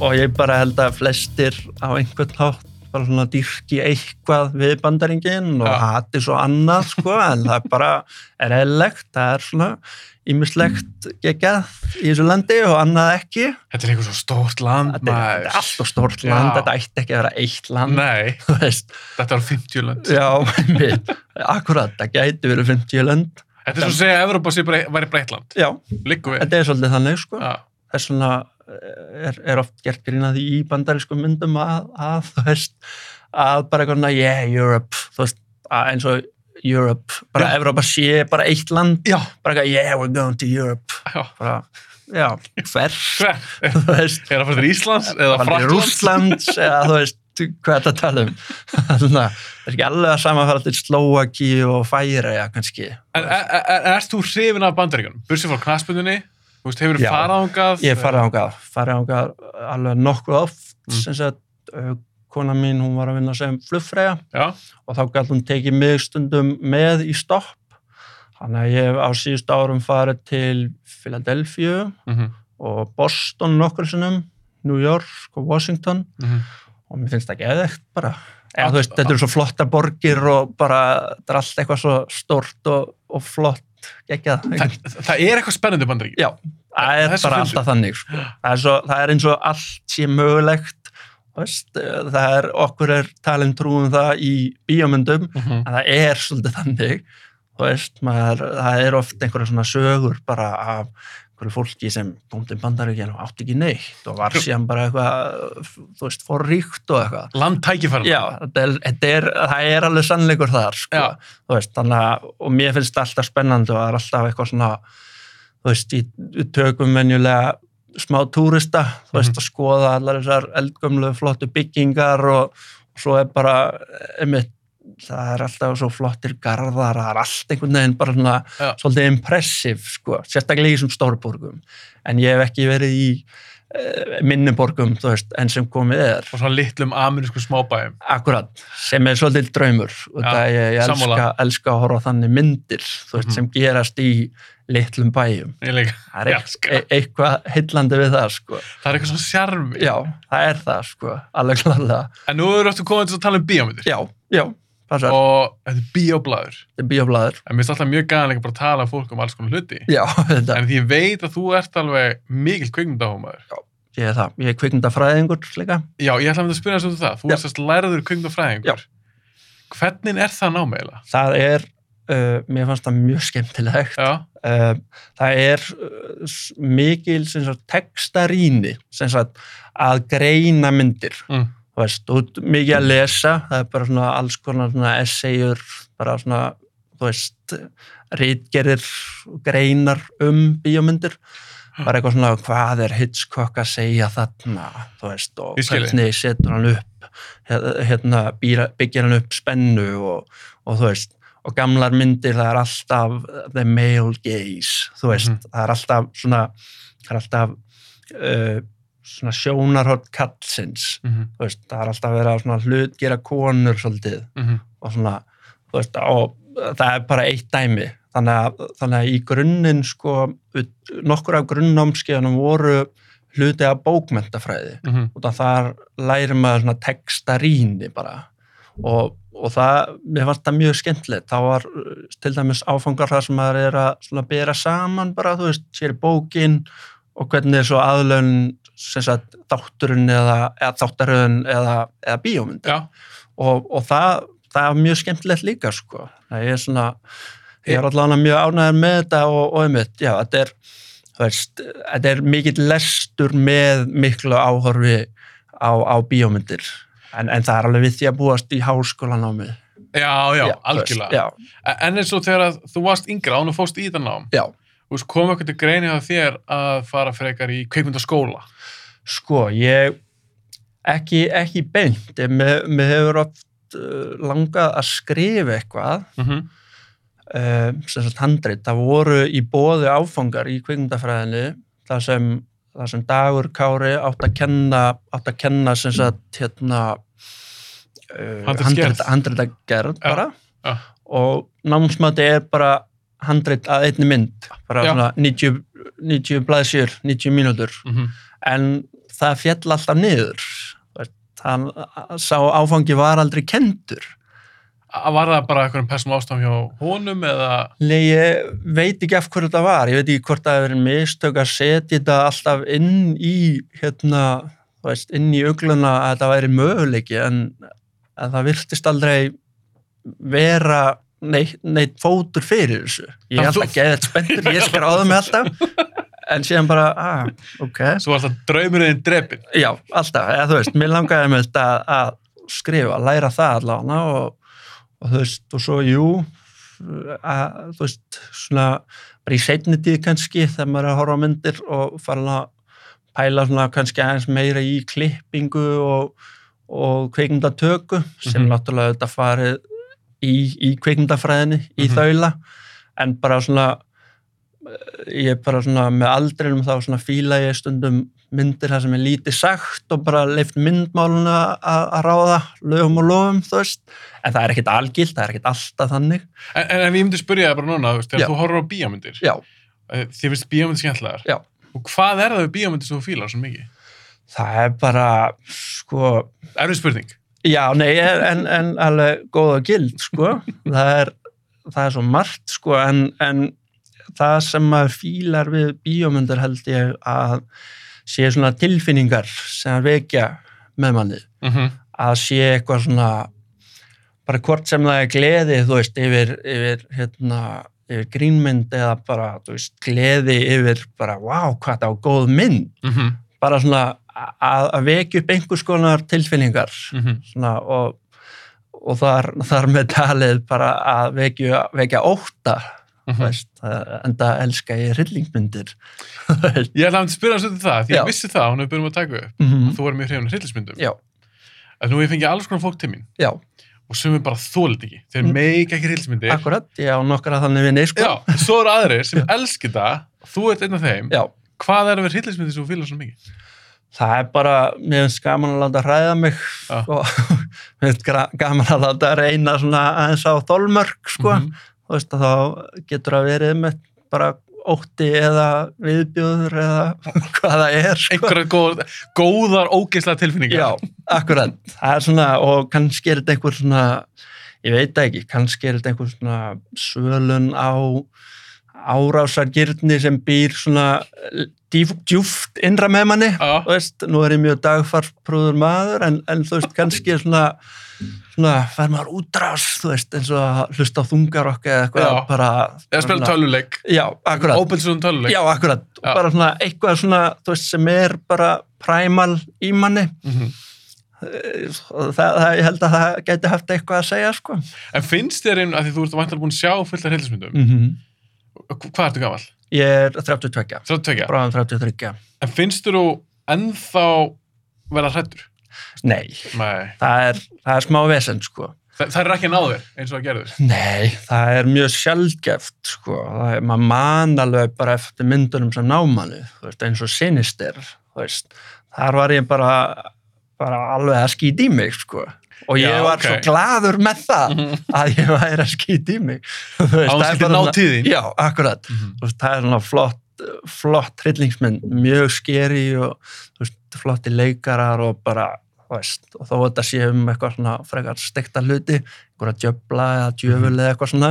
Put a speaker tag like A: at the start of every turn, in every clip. A: og ég bara held að flestir á einhvern hátt bara svona dýrki eitthvað við bandaringin og
B: Já.
A: hati svo annað sko en það er bara er eðlilegt, það er svona ímislegt geggjað í þessu landi og annað ekki
B: Þetta er eitthvað svo stórt land,
A: þetta er, þetta er allt og stórt
B: Já.
A: land, þetta ætti ekki að vera eitt land
B: Nei,
A: þú veist,
B: þetta er 50 land.
A: já, einmitt akkurat, það gæti verið 50 lönd
B: Þetta er svo að segja að Evrópa sé bara, væri bara eitt land.
A: já,
B: Liggum við.
A: þetta er svolítið þannig sko
B: Já,
A: þess vegna er, er oft gert grín að því í bandarískum myndum að, að þú veist að bara eitthvað svona, yeah, Europe þú veist, að eins og Europe bara
B: Já.
A: Evrópa sé bara eitt land
B: já.
A: bara eitthvað, yeah, we're going to Europe
B: já.
A: bara, já, hvert
B: Hver? Er
A: þú veist,
B: það fyrir Íslands eða
A: bara til
B: Fraklands?
A: Rússlands eða þú veist, hvað þetta tala um þannig að það er ekki alveg að samafæra til Slovaki og Færeja kannski
B: En er, er, erst þú hrifin af bandaríkunum? Bursið frá knaspundinni? Þú veist, hefur þú
A: Já.
B: farað ángað?
A: Ég hef farið ángað, farið ángað alveg nokkuð oft,
B: Mm.
A: sem sagt, uh, kona mín, hún var að vinna sem flugfræja
B: Já,
A: og þá gæti hún tekið mig stundum með í stopp. Þannig að ég hef á síðust árum farið til Philadelphia
B: mhm, mhm.
A: og Boston nokkur sinnum, New York og Washington
B: mhm.
A: og mér finnst það geðveikt bara. Eða, þú veist, þetta eru svo flottar borgir og bara, þetta er allt eitthvað svo stórt og, og flott, ekki
B: Þa, það er eitthvað spennandi bandaríkjum.
A: Já, það er
B: Þessu
A: bara
B: finnst-
A: alltaf þannig sko. það, er svo, það er eins og allt sé mögulegt þú veist, eh, það er okkur er talin trúum það í bíómyndum
B: Mm -hmm.
A: en það er svolítið þannig þú veist, maður, það er oft einhverja svona sögur bara af einhverju fólki sem kom til bandaríkjan og átti ekki neitt og var síðan bara eitthvað þú veist, forríkt og eitthvað
B: Land tækifærum.
A: Já, þetta er, þetta er, það er alveg sannleikur þar, sko.
B: Já.
A: Þú Veist, þannig að, og mér finnst það alltaf spennandi og það er alltaf eitthvað svona, þú veist, í- við tökum venjulega smá túrista, þú veist,
B: Mhm.
A: að skoða allar þessar eldgömlu flottu byggingar og, og svo er bara, einmitt, það er alltaf svo flottir garðar, það er allt einhvern veginn bara svona,
B: Já.
A: svolítið impressiv, sko, sérstaklega í þessum stórborgum. En ég hef ekki verið í eh, minni borgum, þú veist, enn sem komið er
B: Og svona litlum aminísku smábæjum.
A: Akkurat, sem er svolítið draumur og
B: Já,
A: það er ég, ég elska,
B: sammála.
A: elska að horfa á þannig myndir þú veist,
B: Mhm.
A: sem gerast í litlum bæjum.
B: Ég líka.
A: Það er
B: Ég
A: eit-
B: elska.
A: e eitthvað heillandi við það, sko.
B: Það er eitthvað svona sjarmi.
A: Já, það er það, sko, alveg klarlega.
B: En nú eru eftir komið til að tala um bíómyndir.
A: Já, já, passar, og...
B: Og þetta er bíóblæður.
A: bíoblæður.
B: En mér finnst alltaf mjög gæðanlega bara að tala um fólk um alls konar hluti.
A: Já, þetta,
B: En því ég veit að þú ert alveg mikil kvikmyndahómaður.
A: ég er það. Ég er kvikmyndafræðingur líka.
B: Já, ég ætla að mynda að spyrja þess um það. Þú
A: Já.
B: ert sérst læraður kvikmyndafræðingur. Hvernig er það námeila?
A: Það er, uh, mér fannst það mjög skemmtilegt.
B: Já,
A: Eh, það er eh, s- mikil sem sagt, textarýni sem sagt, að greina myndir
B: Mm.
A: þú veist, þú ert mikið að lesa það er bara svona alls konar svona essayur bara svona þú veist, rítgerir greinar um bíómyndir bara eitthvað svona hvað er Hitchcock að segja þarna þú veist, og
B: Ég skil þig.
A: hvernig setur hann upp hér- hérna, býra- byggir hann upp spennu og, og þú veist og gamlar myndir það er alltaf the male gaze, þú veist
B: Mhm.
A: það er alltaf svona það er alltaf uh, svona sjónarhótt kallsins
B: mhm,
A: þú veist, það er alltaf verið að svona hlut gera konur svolítið
B: mhm,
A: og svona, þú veist, og það er bara eitt dæmi, þannig að, þannig að í grunninn, sko, ut- nokkur af grunnnámskeiðanum voru hluti af bókmentafræði
B: mhm.
A: út af þar lærir maður svona textarínni bara og, og það, mér fannst það mjög skemmtilegt þá var uh, til dæmis áfangar þar sem maður er að svona bera saman bara, þú veist, sér bókin og hvernig er svo aðlöun sem sagt þátturinn eða, eða þáttaröðun eða, eða bíómynd
B: Já,
A: og, og það, það er mjög skemmtilegt líka sko, það er svona ég er allavega mjög ánægður með þetta og, og einmitt, já, þetta er þú veist, þetta er mikill lestur með miklu áhorfi á, á bíómyndir en, en það er alveg við því að búast í háskólan á mig
B: já, já, algjörlega.
A: já, þú
B: En eins og þegar að þú varst yngra án og fóst í þetta nám,
A: veist, já.
B: þú veist, kom eitthvað til greini á þér að fara frekar í kvikmyndaskóla.
A: Sko, ég ekki, ekki beint, en mér, mér hefur oft uh, langað að skrifa eitthvað
B: Mhm,
A: uh, sem sagt handrit, það voru í bóði áfangar í kvikmyndafræðinu þar sem, þar sem Dagur Kári átt að kenna, átt að kenna sem sagt hérna uh,
B: Handritsgerð.
A: handritagerð bara
B: já.
A: og námsmati er bara handrit að einni mynd bara
B: Já.
A: svona 90, 90 blaðsjur, 90 mínútur
B: Mhm.
A: en það fjall alltaf niður Þú veist, það, sá áfangi var aldrei kendur
B: A- Var það bara eitthvað persónum ástæðum hjá honum eða...
A: Nei, ég veit ekki af hverju þetta var ég veit ekki hvort það hefur verið mistök að setja þetta alltaf inn í hérna, þú veist, inn í augluna að þetta væri möguleiki en, en það virtist aldrei vera neitt, neitt fótur fyrir þessu ég
B: En
A: er alltaf
B: þú-
A: geðið spenntur, ég skráði mig alltaf en síðan bara, ah, ok
B: Svo var alltaf draumurinn drepin.
A: já, alltaf, eða þú veist, mér langaði með þetta að skrifa, læra það allavega og, og þú veist, og svo jú að, þú veist, svona bara í seinni tíð kannski þegar maður er að horfa á myndir og fara að pæla svona kannski aðeins meira í klippingu og, og kveikmyndatöku sem
B: Mhm.
A: náttúrulega þetta farið í, í kveikmyndafræðinni, í
B: Mhm.
A: þaula en bara svona eh, ég bara svona með aldrinum þá svona fíla ég stundum myndir þar sem er lítið sagt og bara leift myndmáluna að að ráða lögum og lofum, þú veist en það er ekkit algilt, það er ekkit alltaf þannig
B: En, en, en ég myndi spyrja það bara núna, þú veist,
A: Já.
B: þegar þú horfur á bíómyndir,
A: já,
B: eh, þið finnst bíómyndir skemmtlegar.
A: Já.
B: Og hvað er það við bíómyndir sem þú fílar svo mikið?
A: það er bara sko,
B: Erfið spurning.
A: Já, nei, en, en alveg góð og gild, sko. Það er, það er svo margt, sko, en, en það sem maður fílar við bíómyndir held ég að sé svona tilfinningar sem að vekja með manni.
B: Mm
A: Að sé eitthvað svona, bara hvort sem það er gleði, þú veist, yfir, yfir, hérna, yfir grínmynd eða bara, þú veist, gleði yfir bara, wow, hvað það var góð mynd. Bara svona að, að vekja upp einhvers konar tilfinningar svona, og, og þar, þar með talið bara að vekja, vekja óta mm. veist, það- enda elska ég hryllingmyndir
B: Ég ætla að spyrja hans um það, því
A: Já.
B: ég vissi það, hún hefur byrjum að taka upp.
A: mm.
B: Þú er mjög hrifin hryllismyndum.
A: já,
B: En nú hef ég fengið alls konar fólk til mín
A: já,
B: og sem er bara þólit ekki. Þeir
A: Mm.
B: meika ekki hryllismyndir.
A: akkurat ég á nokkara þannig vinni sko.
B: Já, svo eru aðrir sem elski það, þú ert einn af þeim.
A: já,
B: Hvað er að vera hryllismyndir sem þú fílar svo mikið?
A: það er bara mér finnst gaman að láta hræða mig
B: Já.
A: og mér finnst gra- gaman að láta reyna svona aðeins á þolmörk sko.
B: Mhm.
A: þú veist að þá getur að verið með bara ótti eða viðbjóður eða hvað það er sko.
B: Einhverjar góð, góðar, ógeðslega tilfinningar.
A: Já, akkurat. Það er svona, og kannski er þetta einhver svona, ég veit það ekki, kannski er þetta einhver svona svölun á árásargirni sem býr svona dýf, djúft innra með manni.
B: Já.
A: Þú veist, nú er ég mjög dagfarprúður maður, en, en þú veist, kannski er svona, svona, fær maður útrás, þú veist, eins og að hlusta á þungar okkar eða eitthvað,
B: Já.
A: bara...
B: Eða spila töluleik.
A: Já, akkurat.
B: Óbelsunum töluleik.
A: Já, akkurat.
B: Já.
A: Bara svona eitthvað svona, þú veist, sem er bara præmal í manni
B: Mhm.
A: það, það, ég held að það geti haft eitthvað að segja sko.
B: En finnst þér einn, að því þú ert vantilega búin að sjá fullt af hryllismyndum, mm. hvað ertu gamall?
A: ég er 32
B: 32.
A: bráðum 33
B: En finnst þér þú ennþá vera hrættur?
A: nei,
B: Nei.
A: það er, það er smá vesen sko.
B: Þa, það er ekki náður eins og það gerður.
A: nei, það er mjög sjálfgeft sko. það er, maður man alveg bara eftir myndunum sem námanu veist, eins og sinister þú veist. þar var ég bara, bara alveg að skýta í mig sko. og ég
B: Já,
A: var
B: ok. Mhm.
A: svo gladur með það að ég væri að skýta í mig Þú veist,
B: Að hún
A: það er
B: skyldi
A: bara
B: ná
A: svona-
B: tíðin. Mhm.
A: já, akkurat Þú veist, það er svona flott flott hryllingsmynd, mjög skeri og þú veist, flotti leikarar og bara, þú veist, og þó að þetta sé um eitthvað svona frekar stekta hluti einhverja djöfla eða djöful eða eitthvað svona,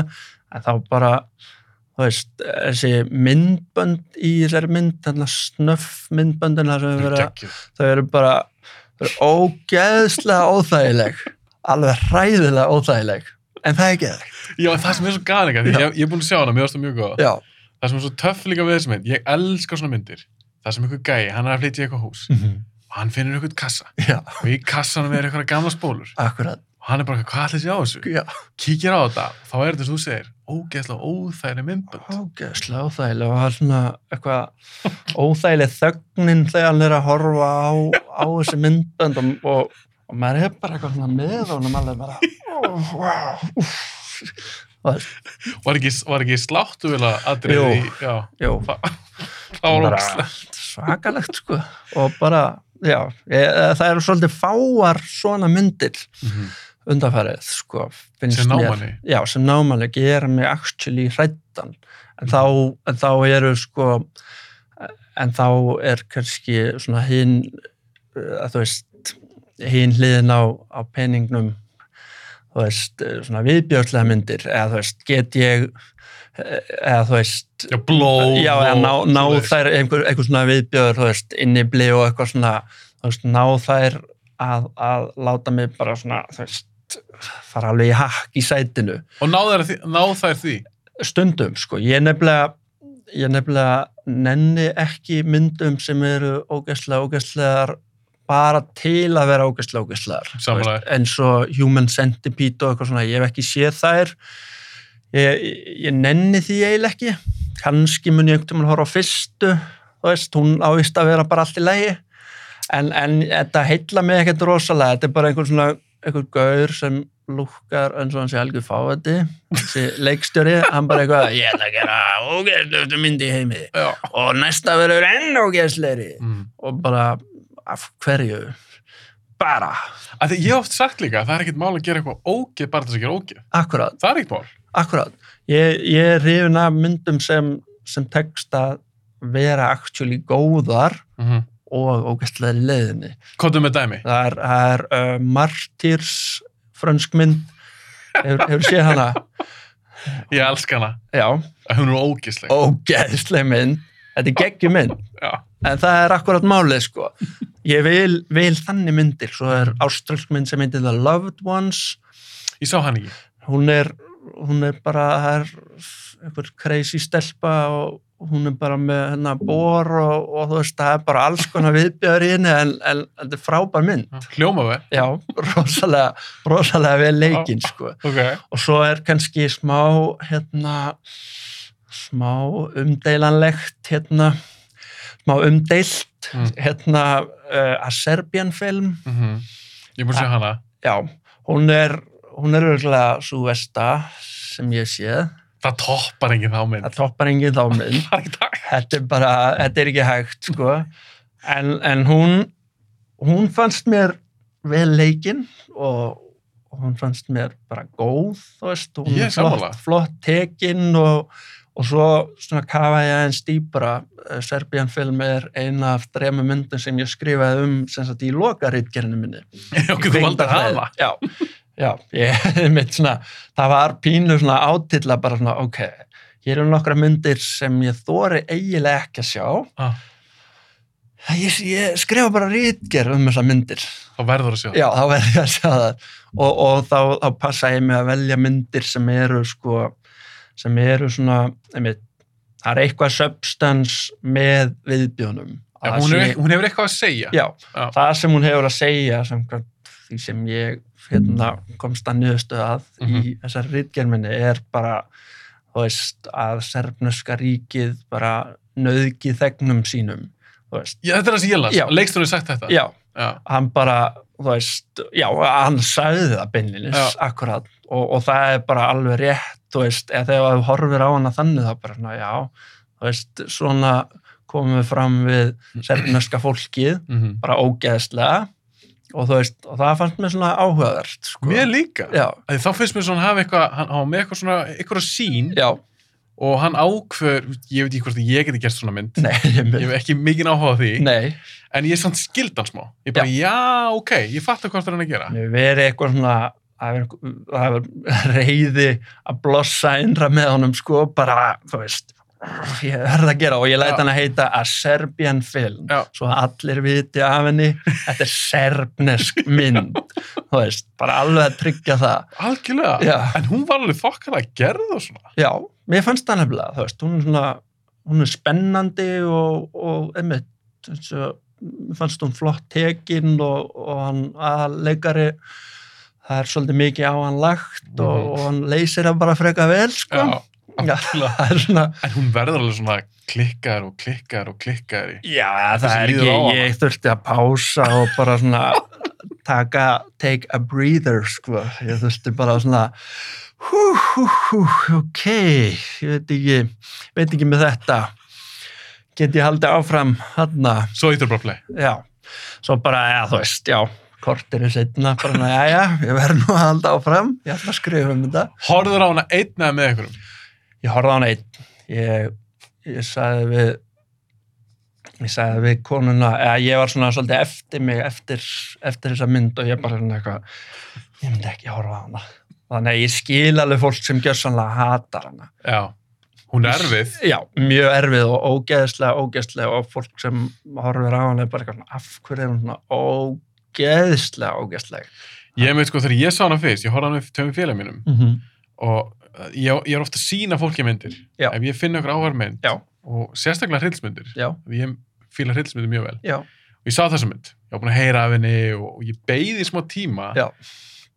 A: en þá bara þú veist, þessi myndbönd í þessari mynd, þannig að snöff myndböndin þar sem við verið að
B: Gekkið.
A: þau eru bara þau eru ógeðslega óþægileg alveg hræðilega óþægileg en það er geðveikt,
B: Já, en það sem er svo gana ekki, af því
A: Já.
B: ég, ég er búin að sjá hana, mér varst það mjög góð.
A: já,
B: Það sem er svo töff líka við þessi mynd, ég elska svona myndir. Það sem einhver gæi, hann er að flytja í eitthvað hús og hann finnur einhvern kassa
A: já,
B: og í kassanum er eitthvað gamla spólur
A: akkurat
B: og hann er bara, hvað ætlis ég á þessu?
A: já,
B: Kíkir á þetta, þá er þetta sem þú segir, ógeðslega óþægri myndbönd.
A: ógeðslega óþægileg og það er svona eitthvað óþægileg þögnin þegar hann er að horfa á, á þessi myndbönd og, og, og maður er bara eitthvað svona með honum alveg bara oh, wow, úff
B: Var ekki, var ekki sláttu vel að
A: Jú.
B: aðrið í, já,
A: jú,
B: það var
A: Bara
B: ógeðslega.
A: svakalegt sko og bara, já, ég, það eru svolítið fáar svona myndir
B: Mhm.
A: Þú undanfærið sko, finnst
B: Sem
A: mér-
B: námanni?
A: já, sem námanni gera mig actually hrættan en, þá, en þá eru sko en þá er kannski svona hinn eh, þú veist, hinn hliðin á, á peningnum þú veist, eh, svona viðbjörnslega myndir eða þú veist, get ég eh, eða þú veist
B: Já, blóð.
A: já, eða
B: og
A: ná, ná
B: svoleiðis.
A: þær einhver, einhver svona viðbjörn, þú veist, innibli og eitthvað svona, þú veist, ná þær að, að láta mig bara svona, þú veist, fara alveg í hakk í sætinu.
B: Og ná þær, því- ná þær því.
A: Stundum, sko, ég nefnilega, ég nefnilega nenni ekki myndum sem eru ógæslega, ógæslegar bara til að vera ógæslega, ógæslegar. Þú
B: Sammála
A: veist, Eins og Human Centipede og eitthvað svona, ég hef ekki séð þær. Ég, ég- ég nenni því eiginlega ekki kannski mun ég einhvern veginn horfa á fyrstu þú veist, hún ávist að vera bara allt í lægi en, en þetta heilla mig ekkert rosalega, þetta er bara einhver svona einhver gaur sem lúkkar eins og hann sé algjör fáviti þessi leikstjóri, hann bara eitthvað ég ætla að gera ógeðslustu mynd í heimi
B: Já.
A: og næsta verður enn ógeðsleiri
B: Mm.
A: og bara, af hverju bara,
B: Af því ég hef oft sagt líka að það er ekkert mál að gera eitthvað ógeð bara til þess að gera ógeð.
A: akkurat
B: Það er ekkert mál.
A: Akkurát, ég, ég er hrifin af myndum sem, sem tekst að vera actually góðar
B: Mm -hmm.
A: og ógæstlega leiðinni.
B: Kottum með dæmi.
A: Það er, það er uh, Martyrs frönsk mynd, hefur, hefur séð hana?
B: Ég elska hana.
A: Já,
B: Að Hún er ógeðsleg.
A: ógæstlega mynd, þetta er geggjum mynd,
B: Já.
A: en það er akkurát málið sko. Ég vil, vil þannig myndir, svo er áströlsk mynd sem heitir The Loved Ones,
B: Ég sá hann ekki.
A: hún er, hún er bara það er einhver crazy stelpa og hún er bara með hennar bor og, og þú veist, það er bara alls konar viðbjör í henni en, en þetta er frábær mynd
B: Hljóma við.
A: já, rosalega, rosalega vel leikinn sko.
B: Ok.
A: og svo er kannski smá hérna smá umdeilanlegt hérna smá umdeilt
B: Mm.
A: hérna uh, að Serbian film
B: Mm Ég er búin að
A: Ah.
B: segja hana.
A: já, hún er hún er örgulega svo vesta sem ég séð
B: Það toppar enginn þá mynd.
A: það toppar enginn þá mynd
B: Það er ekki takk.
A: þetta er bara, þetta er ekki hægt sko. en, en hún hún fannst mér vel leikinn og og hún fannst mér bara góð þú veist, hún
B: Ég er
A: er flott,
B: sammála.
A: flott tekinn og, og svo svona kafa ég aðeins dýpra Eh, Serbian film er eina af dremu myndum sem ég skrifaði um sem sagt í lokaritgerinu minni
B: Ok, þú valdur hana.
A: Já, já ég, mitt svona, það var pínu svona átilla bara svona, ok, hér eru nokkra myndir sem ég þóri eiginlega ekki að sjá.
B: Ah.
A: Ég, ég skrifa bara rítgerð um þessar myndir.
B: Þá verður að sjá það.
A: Já, þá verður ég að sjá það. Og, og þá, þá passa ég mig að velja myndir sem eru sko, sem eru svona, einmitt, það er eitthvað substance með viðbjónum.
B: Já,
A: Að
B: hún,
A: sé-
B: er, hún hefur eitthvað að segja.
A: Ah, Já,
B: Já.
A: það sem hún hefur að segja samkvæmt því sem ég hérna, komst að nýðustu að í þessari rítgerminni er bara þú veist, að serbnuska ríkið bara nöðgi þegnum sínum þú veist,
B: Já, þetta er það sem ég las.
A: Já.
B: Leiksturinn sagt þetta.
A: já,
B: Já.
A: hann bara þú veist, já, hann sagði það beinlinis,
B: Já.
A: akkurat og, og það er bara alveg rétt, þú veist eða þegar þú horfir á hana þannig þá bara svona, já, þú veist, svona komum við fram við serbnuska fólkið
B: Mm
A: bara ógeðslega og þú veist, og það fannst mér svona áhugavert sko.
B: Mér líka.
A: já,
B: Að Þá finnst mér svona hann hafa eitthvað, hann hafa með eitthvað svona, eitthvað sín
A: já,
B: og hann ákveður, ég veit ekki hvort að ég geti gert svona mynd.
A: nei
B: Ég
A: ég,
B: hef ekki mikinn áhuga á því,
A: nei,
B: en ég er samt skildan smá. Ég bara, já, ok, ég fattu hvað það er hann að gera.
A: mér verið eitthvað svona það er- það er reyði að blossa innra með honum sko, bara, þú veist ég verð að gera og ég læt
B: Já.
A: hann að heita að Serbian film,
B: Já.
A: svo að allir viti af henni, þetta er serbnesk mynd, þú veist bara alveg að tryggja það
B: Algjörlega.
A: Já.
B: En hún var alveg þokkar að gera það svona.
A: Já, mér fannst það nefnilega, þú veist, hún er svona, hún er spennandi og, og einmitt, eins og, mér fannst hún flott tekinn og, og hann aðleikari, það er svolítið mikið á hann lagt og,
B: Mhm.
A: og hann leysir það bara freka vel, sko. Já,
B: algjörlega.
A: það er svona,
B: En hún verður alveg svona klikkar og klikkar og klikkar í.
A: já, það
B: það sem
A: er
B: líður
A: ekki,
B: á hana.
A: ég þurfti að pása og bara svona taka, take a breather, sko, ég þurfti bara svona, hú, hú, hú, ok, ég veit ekki, veit ekki með þetta, get ég haldið áfram hann
B: Svo eitthvað bara play.
A: já, svo bara, eða þú veist, já, kortir er setna, bara svona, já, ég verð nú að halda áfram, ég ætla að skrifa um þetta.
B: Horður á hana einn eða með einhverjum?
A: Ég horfði á hana einn, ég, ég sagði við, ég sagði við konuna, eða ég var svona svolítið eftir mig, eftir, eftir þessa mynd og ég bara svona eitthvað, ég myndi ekki horfa á hana. Þannig að ég skil alveg fólk sem gjössanlega hatar hana.
B: Já. Hún er erfið.
A: Já, mjög erfið og ógeðslega, ógeðslega og fólk sem horfir á hann er bara eitthvað svona, af hverju er hún svona ógeðslega, ógeðslega.
B: Ég veit sko þegar ég sá hana fyrst, ég horfði á hana með tveim félag mínum
A: Mm -hmm.
B: og uh, ég, ég er ofta að sína fólki myndir.
A: Já.
B: Ef ég finn okkur áhvermynd
A: Já.
B: og sérstaklega hrylsmyndir,
A: Já,
B: ég fíla hrylsmyndir mjög vel.
A: já,
B: Og ég sá þessa mynd, ég var búin að heyra af henni og, og ég beigði smá tíma
A: Já.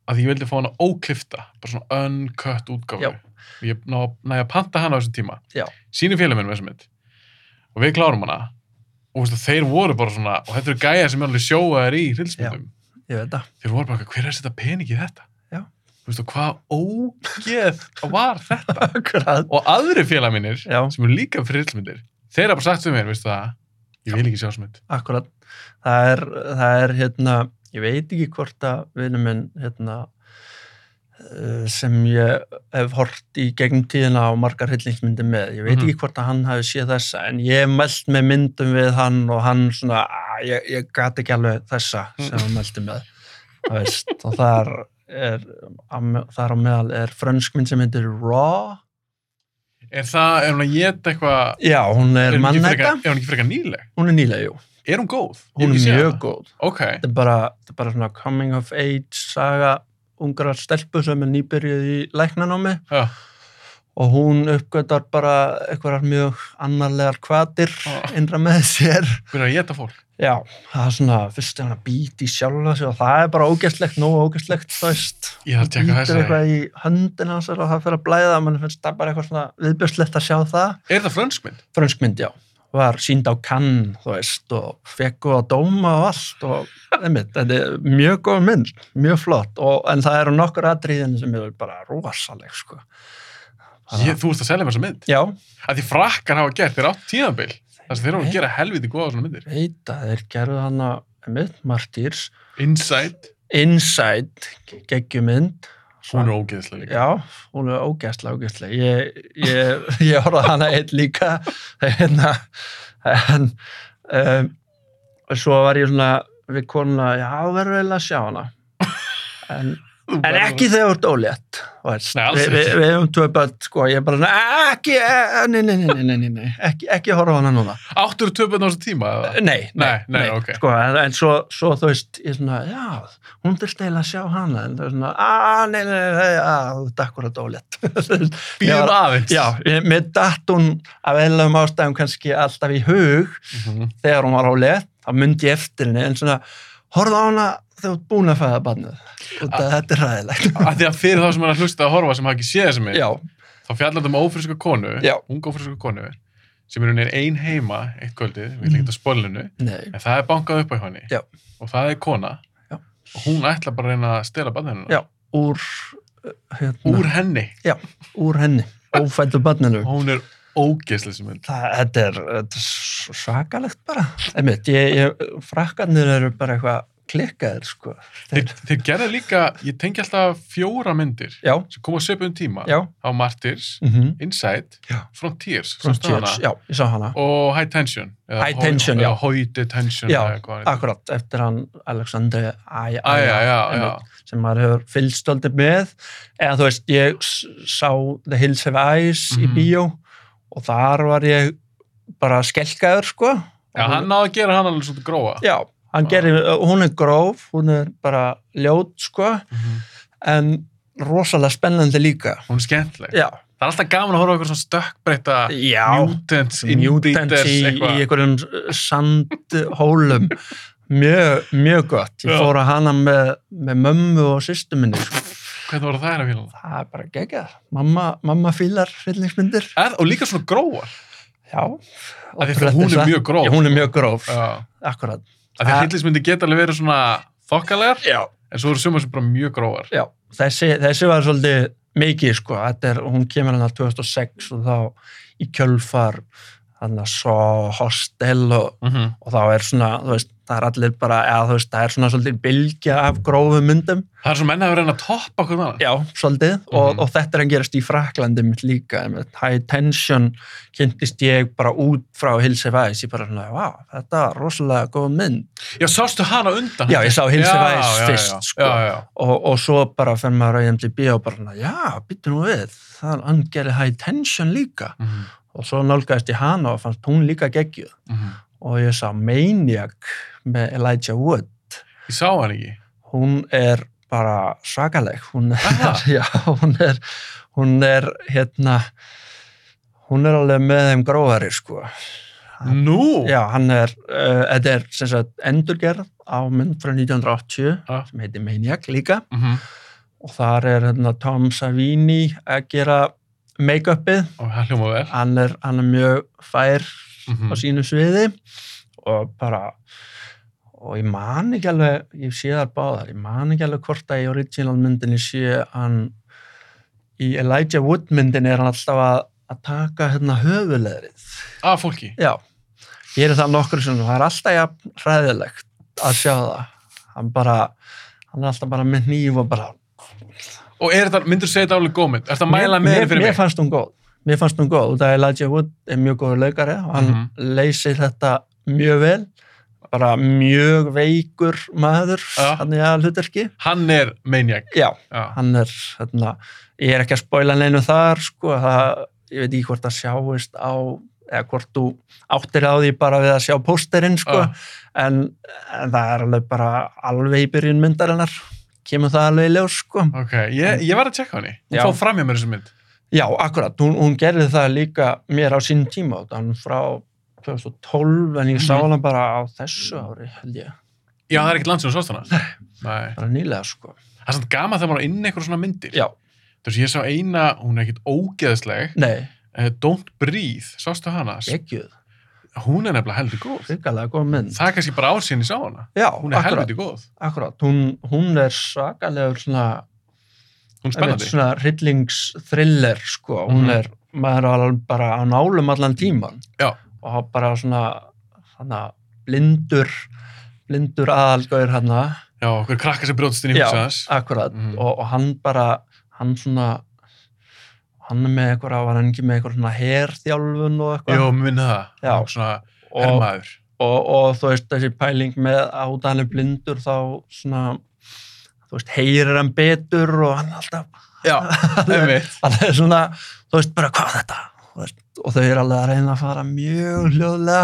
B: að ég vildi fá hana óklifta, bara svona uncut útgáfu.
A: Já.
B: Og Ég ná- næði að panta hana á þessum tíma.
A: Já.
B: Sýnum félag mínum þessa mynd og við klárum hana og veistu, þeir voru bara svona, og þetta eru gæja sem er alveg sjóaðir í hrylsmyndum.
A: ég veit það.
B: þeir voru bara, eitthvað, hver er að setja pening í þetta?
A: Já.
B: Þú veistu, hvað ógeð var þetta?
A: Akkurat.
B: Og aðri félag mínir,
A: Já,
B: sem eru líka frillmyndir, þeir hafa bara sagt við mér, veistu það, ég vil ekki sjá smynd.
A: akkurat. Það er, það er hérna, ég veit ekki hvort að vinur minn hérna, eh, sem ég hef hort í gegnum tíðina á margar hryllingsmyndir með. Ég veit
B: Mhm.
A: ekki hvort að hann hafi séð þessa, en ég hef mælt með myndum við hann og hann svona, "Ah, ég, ég gat ekki alveg þessa sem
B: Mm.
A: hann mælti með. Það veist, og þar er, á me- þar á meðal er frönskmynd sem heitir Raw.
B: Er það, er hún að geta eitthvað,
A: Já, hún er,
B: er,
A: er
B: hún ekki
A: mannæta.
B: frekar- er hún ekki frekar nýleg?
A: Hún er nýlega, jú.
B: Er hún góð?
A: Hún
B: Ég hef
A: er
B: ekki séð
A: mjög
B: hana.
A: góð.
B: Ok,
A: þetta er bara, þetta er bara svona coming of age saga ungra stelpu sem er nýbyrjuð í læknanámi
B: já,
A: og hún uppgötar bara einhverjar mjög annarlegar kvatir
B: Ah.
A: innra með sér
B: hver er að geta fólk?
A: já, það er svona, fyrst er hún að býti í sjálfa sig og það er bara ógæstlegt nógu ógæstlegt, þú veist
B: Ég þarf að tjekka
A: býtur
B: þess að
A: eitthvað í höndin hans og það fyrir að blæða, mann finnst það bara eitthvað svona viðbjörslegt að sjá það
B: Er það frönskmynd?
A: frönskmynd, já var sínd á kann, þú veist og fekk og að dóma og allt og einmitt, þetta er mjög góð mynd mjög flott, og, en það eru nokkur atriðin sem eru bara rosaleg sko. Bara-
B: Ég, þú ert að selja mér þessa mynd.
A: Já,
B: Að því frakkar hafa gert, þeir átt tíðanbill. Þess að þeir eru að
A: Nei.
B: gera helviti góða á svona myndir.
A: veit að þeir gerðu hana einmitt, Martyrs
B: Inside,
A: Inside, geggjumynd
B: hún er ógeðslega líka.
A: Já, hún er ógæstlega, ógæstlega. Ég, ég, ég horfði á hana einn líka, hérna, en um, svo var ég svona við konuna, já, verður eiginlega að sjá hana. En,
B: Þú
A: en
B: verður-
A: ekki þegar þú ert ólétt. þú veist.
B: Nei, alls
A: Vi- vi-
B: ekki.
A: Við hefum tvö börn, sko, ég er bara, svona, ekki, eh, nei, nei, nei, nei, nei, nei, nei, ekki, ekki horfa á hana núna.
B: Áttur töpun á þessu tíma? eða?
A: Nei,
B: Nei, nei, ok.
A: sko, en, en svo, svo þú veist, ég svona, já, hún þurfti eiginlega að sjá hana, en það er svona, að, nei, nei, nei, nei, að, þú dakkur að dólett.
B: Býðum aðeins.
A: Já, ég- mér datt hún af eðlum ástæðum kannski alltaf í hug
B: Mhm.
A: þegar hún var á leð, þá myndi ég eftir henni, en svona, horfða á hana þegar þú ert búin að fæða barnið, og það,
B: Ah.
A: þetta er ræðilegt.
B: Af því að fyrir þá sem hann að hlusta að horfa sem hafa ekki séð þessi mynd,
A: já,
B: þá fjallar þetta um ófríska konu,
A: Já.
B: unga ófríska konu, sem er hún er ein heima eitt kvöldið, við líka þetta spólinu,
A: nei,
B: en það er bankað upp á henni
A: Mhm. Já.
B: og það er kona
A: Já.
B: og hún ætla bara að reyna að stela barninu
A: Já. úr, uh, hérna,
B: úr henni
A: úr henni, ófættu barninu.
B: og hún er ógeðslega sem mynd.
A: Það, þetta er, þetta er s- svakalegt bara. Einmitt, ég, ég, frakkarnir eru bara eitthvað klikkaðir, sko.
B: Þeir, þeir gerða líka, ég tengi alltaf fjóra myndir
A: Já,
B: sem koma að söpu um tíma
A: já.
B: á Martyrs,
A: Mm -hmm.
B: Inside,
A: Já.
B: Frontiers, Mhm. sástu hana?
A: Já, ég sá hana.
B: og High Tension. eða
A: High
B: Hoi-
A: Tension, já.
B: eða Hoi Detention.
A: Já,
B: eða hvað hann heitir.
A: Akkurat, eftir hann Alexander Æja,
B: Æ, já, já, já.
A: einmitt, sem maður hefur fylgst aldrei með. Eða þú veist, ég s- sá The Hills Have Eyes í
B: Mhm.
A: bíó og þar var ég bara skelkaður, sko.
B: Já,
A: Og-
B: hann náði að gera hann alveg svolítið gróa.
A: Já, hann
B: Já.
A: gerir, hún er gróf, hún er bara ljót, sko,
B: Mhm.
A: en rosalega spennandi líka.
B: Hún er skemmtileg.
A: Já,
B: Það er alltaf gaman að horfa á eitthvað svona stökkbreyta
A: já, mutants
B: mutants, inbíters,
A: í, í
B: eitthvað.
A: einhverjum sandhólum mjög, mjög gott ég
B: Já.
A: fór að hana með, með mömmu og sýstu minni sko.
B: Hvernig voru það að fíla það?
A: það er bara geggjað, mamma, mamma fílar hryllingsmyndir,
B: Er, og líka svona gróar.
A: já
B: Af því að hún er mjög gróf.
A: já, hún er mjög gróf,
B: Já.
A: akkurat
B: Af því að
A: Það-
B: hryllismyndi geta alveg verið svona þokkalegar,
A: já,
B: en svo eru sumar sem bara mjög gróar.
A: já, þessi, þessi var svolítið mikið sko, Þetta er, hún kemur hann að 2006 og þá í kjölfar þannig að svo hostel og,
B: Mhm.
A: og þá er svona, þú veist, það er allir bara, eða þú veist, það er svona svolítið bylgja af grófum myndum,
B: Það er svo menn að vera að reyna að toppa hvernig annað.
A: já, svolítið,
B: Mhm.
A: og, og þetta er að gerast í Fraklandi mitt líka, einmitt. high tension kynntist ég bara út frá Hilse Weiss, ég bara svona, vá, þetta var rosalega góð mynd
B: Já, sástu hana undan?
A: Já, ég sá Hilse
B: Já,
A: Weiss
B: já, já.
A: fyrst, sko.
B: Já, já,
A: og, og svo bara fer maður á IMDb og bara, svona, já, býttu nú við, það er angerið high tension líka
B: Mhm,
A: og svo nálgæðist ég hana og fannst hún líka geggjuð
B: mhm.
A: og ég sá Maniac með Elijah Wood
B: Ég sá hann ekki.
A: hún er bara svakaleg hún
B: Aha.
A: er, já, hún er hún er hérna hún er alveg með þeim gróðari sko
B: Nú?
A: já, hann er, uh, þetta er sem sagt endurgerð á mynd frá 1980
B: Ha?
A: sem heitir Maniac líka
B: Mhm.
A: og þar er hérna Tom Savini að gera make-upið
B: Og það hljóma vel.
A: hann er, hann er mjög fær
B: Mhm.
A: á sínu sviði og bara og ég man ekki alveg, ég sé þar báðar ég man ekki alveg hvort að í original myndinni sé hann í Elijah Wood myndinni er hann alltaf að, að taka hérna höfuleðrið
B: Af fólki.
A: já, ég er það nokkur sem það er alltaf jafn hræðilegt að sjá það hann bara, hann er alltaf bara með nýf og bara
B: Og er þetta, myndur þú segja þetta alveg góð mynd? Er þetta að mæla með henni
A: mér,
B: fyrir
A: mér
B: mig?
A: fannst hún góð mér fannst hún góð, það er Elijah Wood er mjög góður leikari og hann
B: Mhm.
A: leysir þetta mjög vel bara mjög veikur maður
B: Já.
A: hann er að hlutverki
B: Hann er maniac.
A: já,
B: Já.
A: hann er hérna, ég er ekki að spoila neinu þar sko, það, ég veit ekki hvort það sjáist á, eða hvort þú áttir á því bara við að sjá pósterinn sko,
B: Já.
A: en, en það er alveg bara alveg í byrjun myndarinnar kemur það alveg í ljós sko
B: Ok, ég, ég var að tjekka henni. Hún
A: Já.
B: fóð fram hjá mér þessu mynd.
A: Já, akkurat, hún, hún gerði það líka mér á sín tíma, þannig frá 2012, en ég sá
B: Mhm.
A: hana bara á þessu ári, held ég,
B: Já, það er ekkert land sem þú sást hana. Nei.
A: bara nýlega, sko.
B: Það er svona gaman þegar maður er inn einhver svona myndir.
A: Já,
B: Þú veist, ég sá eina, hún er ekkert ógeðsleg,
A: nei,
B: eh, Don't Breathe, sástu hana?
A: geggjuð,
B: Hún er nefnilega heldur góð.
A: hrikalega góð mynd.
B: Það er kannski bara ásinn í sá hana.
A: Já,
B: Hún er
A: akkurat,
B: helviti góð.
A: akkurat, hún, hún er svakalegur svona,
B: Hún er
A: einmitt
B: spennandi.
A: svona hryllingsþriller, sko, hún
B: Mhm.
A: er, maður er alveg bara á nálum allan tíman
B: Já.
A: og bara svona, þannig, blindur, blindur aðalgauður hana,
B: Já, okkur krakka sem brjóðst inn í húsa hans.
A: akkurat
B: Mhm.
A: og, og hann bara, hann svona hann er með eitthvað, var hann ekki með eitthvað svona herþjálfun og eitthvað
B: Jó, mér minna það.
A: Já.
B: Hún er Svona
A: og,
B: hermaður.
A: og, og þú veist þessi pæling með át að hann er blindur þá svona þú veist, heyrir hann betur og hann alltaf,
B: Já,
A: hann er,
B: einmitt.
A: hann er svona þú veist bara hvað er þetta Þú veist, og þau eru alveg að reyna að fara mjög hljóðlega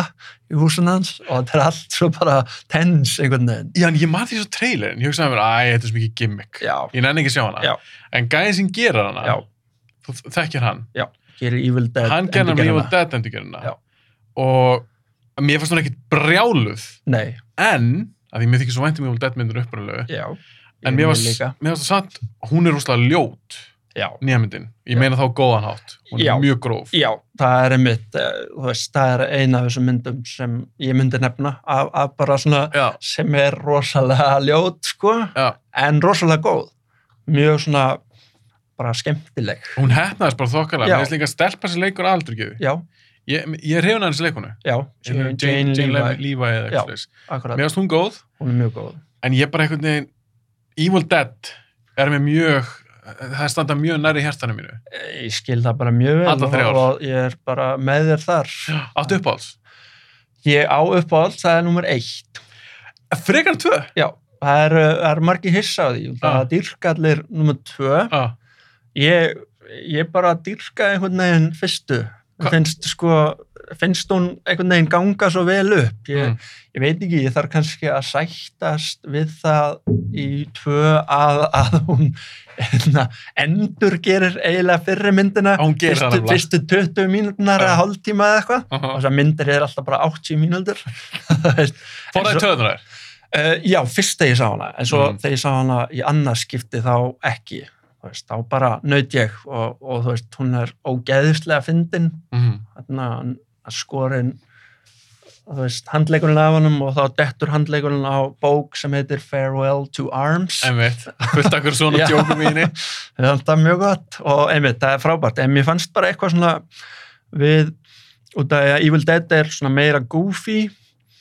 A: í húsin hans og þetta er allt svo bara tens einhvern veginn
B: Já, en ég man því svo trailerin. Ég hugsaði mér, æ, þetta er svo mikið gimmick.
A: já,
B: Ég nenni ekki að sjá hana.
A: Já.
B: En gæðin sem gerir hana,
A: já,
B: þú þekkir hann.
A: gerir Evil Dead
B: hann gerði hann
A: endurgerðina.
B: Evil Dead endurgerðina.
A: Já.
B: Og mér fannst hún ekkit brjáluð,
A: nei,
B: en, að því mér þykir svo vænt um Evil Dead myndur upprannlegu,
A: já
B: en mér fannst, mér fannst það satt, hún er rúslega ljót,
A: já,
B: nýja myndin. Ég
A: Já.
B: meina þá á góðan hátt. Hún er
A: Já.
B: mjög gróf.
A: Já, það er einmitt, eh, þú veist, það er eina af þessum myndum sem ég myndi nefna af, af bara svona
B: Já.
A: sem er rosalega ljót, sko,
B: Já.
A: en rosalega góð. Mjög svona bara skemmtileg.
B: Hún hefnaðist bara þokkalega.
A: Já.
B: Mér finnst líka að stelpa sér leikur aldrei gefið.
A: Já,
B: Ég, ég er hefna hans í leikonu.
A: já,
B: Jane, Jane, Jane Levi,
A: Levi,
B: Levi eða
A: Já.
B: eitthvað slags.
A: akkurat,
B: Mér finnst hún góð,
A: hún er mjög góð.
B: en ég bara einhvern veginn, Evil Dead er mér mjög, það standa mjög nærri hjartanum mínu.
A: Eh, Ég skil það bara mjög vel
B: Alla þrjár.
A: og, og ég er bara með þér þar.
B: Áttu uppáhalds?
A: Ég á uppáhald, það er nummer eitt.
B: Frekar en tvö?
A: Já, það er, það er margi hissa á því. Það
B: Já.
A: er dýrkallir nummer tvö.
B: Já.
A: ég, ég bara dýrka einhvern veginn fyrstu
B: Hva-
A: finnst sko finnst hún einhvern veginn ganga svo vel upp ég,
B: Mm.
A: ég veit ekki, ég þarf kannski að sættast við það í tvö að, að hún enna, endur gerir eiginlega fyrri myndina
B: Já, hún gerir það
A: fyrstu, fyrstu
B: nefnilega.
A: 20 mínútunar
B: Já.
A: eða hálftíma eða eitthvað og
B: Fór
A: þessar myndir er alltaf bara 80 mínútur
B: það í
A: Fórættu
B: töðunar þær?
A: Uh, já, fyrst þegar ég sá hana, en svo
B: Mm.
A: þegar ég sá hana í annars skipti þá ekki. Þú Veist, þá bara naut ég og, og þú veist, hún er ógeðislega fyndin,
B: Mhm.
A: þannig að skorin, þú veist, handleikurinn af honum og þá dettur handleikurinn á bók sem heitir Farewell to Arms.
B: Einmitt, fullt akkur svona
A: Já.
B: djókum í henni.
A: Það er alltaf mjög gott og einmitt, það er frábært, en mér fannst bara eitthvað svona við og það er að Evil Dead er svona meira goofy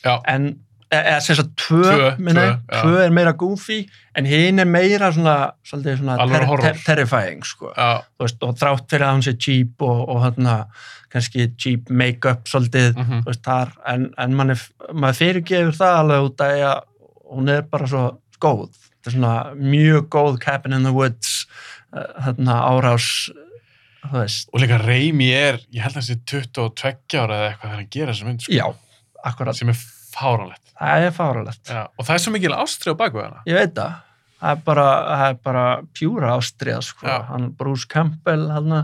B: Já.
A: en e- eða sem sagt tvö, tvö,
B: Tvö,
A: minna,
B: tvö, já.
A: tvö, er meira goofy en hinn er meira svona, svolítið svona
B: Alvöru horror.
A: terrifying sko.
B: já,
A: Þú veist, og þrátt fyrir að hann sé cheap og, og hérna, kannski cheap make-up svolítið
B: mhm,
A: þú veist, þar, en, en mann er, maður fyrirgefur það alveg út af því að hún er bara svo góð þetta er svona mjög góð Cabin in the Woods uh, hérna árás þú veist,
B: og líka Raimi er, ég held að þessi 22 ára eða eitthvað þegar hann gera þessa mynd sko,
A: já, akkurat
B: sem er fáránlegt
A: það er fáralegt,
B: já. og það er svo mikil ástri á bakvið hana
A: ég veit það það er bara, það er bara pjúra ástriða sko,
B: Já.
A: hann Bruce Campbell hérna,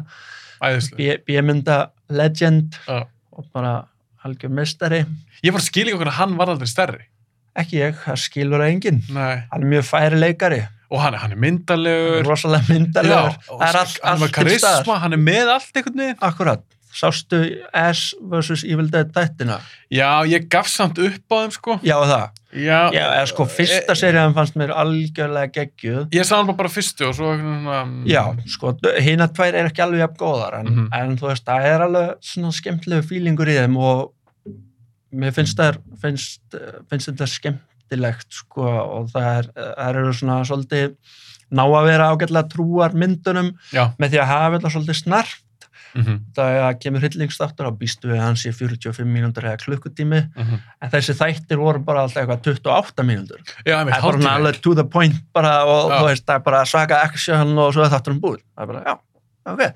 B: æðislega,
A: bímynda legend
B: Já.
A: og bara algjör mistari
B: ég bara skil ekki okkur að hann var aldrei stærri
A: ekki ég, það skilur það enginn
B: Nei.
A: hann er mjög færi leikari,
B: og hann, hann er
A: hann er
B: myndalegur
A: rosalega myndalegur
B: Já, og
A: það er allt,
B: hann var
A: allt til staðar
B: karisma, hann er með allt einhvern veginn
A: Akkurat, sástu S vs. Evil Dead dættina?
B: já, ég gaf samt upp á þeim sko
A: Já, það.
B: já, Eh,
A: Já, eða sko, fyrsta serían fannst mér algjörlega geggjuð.
B: ég sá hann bara, bara fyrstu og svo einhvern veginn, um,
A: Já, sko, hina tvær er ekki alveg jafn góðar, en,
B: Mhm.
A: en þú veist, það er alveg svona skemmtilegu fílingur í þeim og mér finnst, það, finnst, finnst þetta skemmtilegt, sko, og það, er, það eru svona svolítið ná að vera ágætlega trúar myndunum
B: Já.
A: með því að hafa þetta svolítið snarf
B: mhm,
A: það kemur hryllingstáttur á býstu við að hann sé 45 mínútur eða klukkutími
B: mhm.
A: en þessi þættir voru bara alltaf eitthvað 28 mínútur
B: já,
A: það er
B: einmitt,
A: bara svona
B: hálftími.
A: alveg to the point bara og
B: Já.
A: þú veist, það er bara svaka action og svo er þátturinn búinn það er bara, já, ok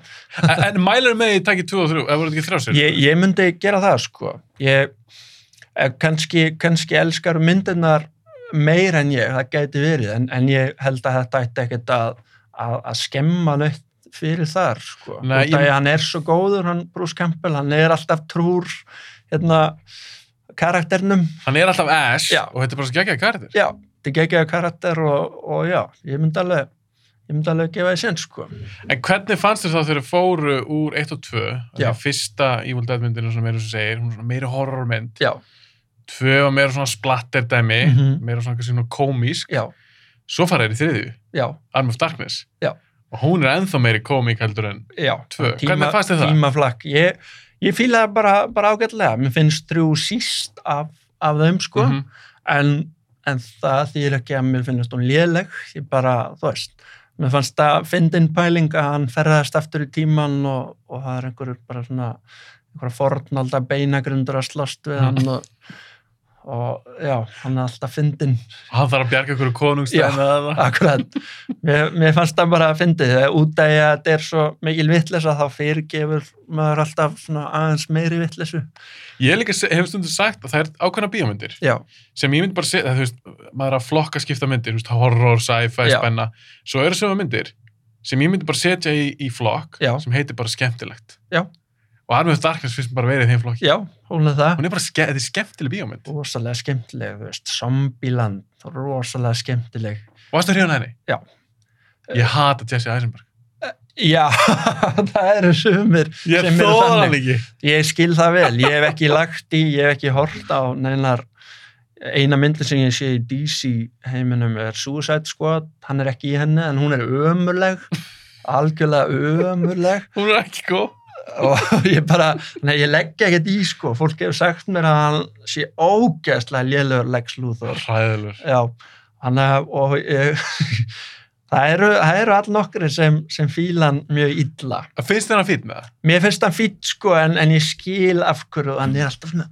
B: En- En mælar með því takkið 2 og 3, eða voru þetta ekki 3 sér?
A: ég, ég myndi gera það sko ég eh, kannski, kannski elskar myndirnar meir en ég, það gæti verið en, en ég held að þetta ætti ekkert að, að, að skemma neitt fyrir þar sko,
B: Nei,
A: út af
B: ég-
A: ég... hann er svo góður hann Bruce Campbell, hann er alltaf trúr hérna karakternum
B: Hann er alltaf Ash
A: Já.
B: og þetta er bara svo geggjað karakter.
A: já, þetta er geggjaðu karakter og, og já, ég myndi alveg ég myndi alveg gefa því sinn sko
B: En hvernig fannst þér þá þegar þau fóru úr 1 og 2?
A: Já.
B: Þegar fyrsta Evil Dead myndin er svona meira sem segir, hún er svona meira horrormynd.
A: já,
B: 2 var meira svona splatter dæmi,
A: Mhm.
B: meira svona kannski svona komísk.
A: já,
B: Svo fara þeir í þriðju,
A: já,
B: Arm of Darkness.
A: Já.
B: Og hún er ennþá meiri komík heldur en
A: já
B: Tvö. Hvernig fannst þér það?
A: tímaflakk, ég, ég fíla það bara, bara ágætlega, mér finnst þrjú síst af, af þeim sko
B: Mhm.
A: en, en það þýr ekki að mér finnst hún léleg, ég bara þú veist, mér fannst það fyndin pæling að hann ferðast aftur í tíman og, og það er einhverjur bara svona einhverja fornalda beinagrundur að slast við hann
B: Mhm.
A: og, og já, hann er alltaf fyndin
B: Hann þarf að bjarga ykkur konungstæðin eða það.
A: Akkurat, mér, mér fannst það bara að fyndi það út af því að þetta er svo mikil vitlesa þá fyrirgefur maður alltaf svona aðeins meiri vitlesu
B: Ég líka se- hef stundum sagt að það er ákveðna bíómyndir
A: Já,
B: sem ég myndi bara segja, þú veist, maður er að flokka skipta myndir, þú veist, horror, sci-fi,
A: Já.
B: spenna svo eru sem myndir sem ég myndi bara setja í, í flokk
A: Já.
B: sem heitir bara skemmtilegt
A: Já.
B: og Armið Darkness finnst mér bara verið í þeim flokki
A: já, hún er það
B: hún er bara ske þetta er skemmtileg bíómynd og
A: rosalega skemmtileg, þú veist, Zombieland rosalega skemmtileg
B: varstu hrjóðan henni?
A: Já.
B: Ég hata Jesse Eisenberg
A: Já, það eru sumir
B: Ég
A: sem eru
B: þóðar
A: þannig.
B: hann ekki
A: Ég skil það vel, ég hef ekki lagt í, ég hef ekki hort á neinar eina myndin sem ég sé í DC heiminum er Suicide Squad, hann er ekki í henni en hún er ömurleg, algjörlega ömurleg
B: hún er ekki góð
A: og ég bara, nei ég leggja ekkert í sko, fólk hefur sagt mér að hann sé ógeðslega lélur Lex Luthor,
B: hræðilur
A: já, hann að- og ég, það eru, það eru allnokkri sem, sem fílan mjög illa
B: finnst þér hann fýtt með það?
A: Mér finnst hann fýtt sko en, en ég skil af hverju hann er alltaf svona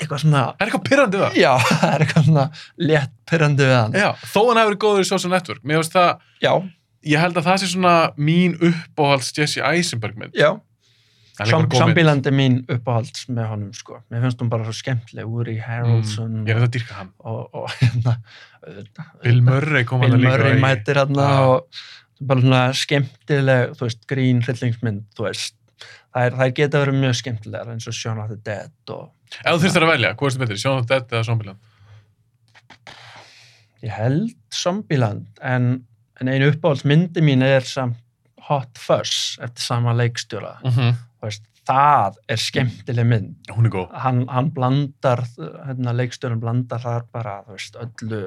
A: eitthvað svona,
B: það er eitthvað pyrrandi það
A: já, það er eitthvað svona létt pyrrandi við hann.
B: Já, þó hann hafi verið góður í Social Network mér finnst það
A: Já,
B: ég held að það sé svona mín uppáhalds Jesse Eisenberg mynd
A: já,
B: Það er líka bara góð mynd.
A: sambílandi mín uppáhalds með honum sko. Mér finnst hún bara svo skemmtileg, Uri Harrelson
B: Mm. ég er þetta að dýrka hann
A: og, og hérna, auðvitað,
B: Bill Murray kom
A: Bill
B: hann líka
A: Murray
B: í-
A: mætir hann
B: Já.
A: og bara svona skemmtileg, þú veist, grín hryllingsmynd, þú veist. Það, er, það geta verið mjög skemmtilegar eins og Shaun of the Dead og
B: ef þú þurftir að velja, hvað er þetta betri, Shaun of the Dead eða Zombieland
A: Ég held Zombieland en, en einu uppáhaldsmyndi mín er samt Hot Fuzz eftir sama leikstjóra.
B: mm -hmm.
A: Þú Veist, það er skemmtileg mynd
B: Hún er góð.
A: hann, hann blandar hérna, leikstjórun blandar þar bara þú veist, öllu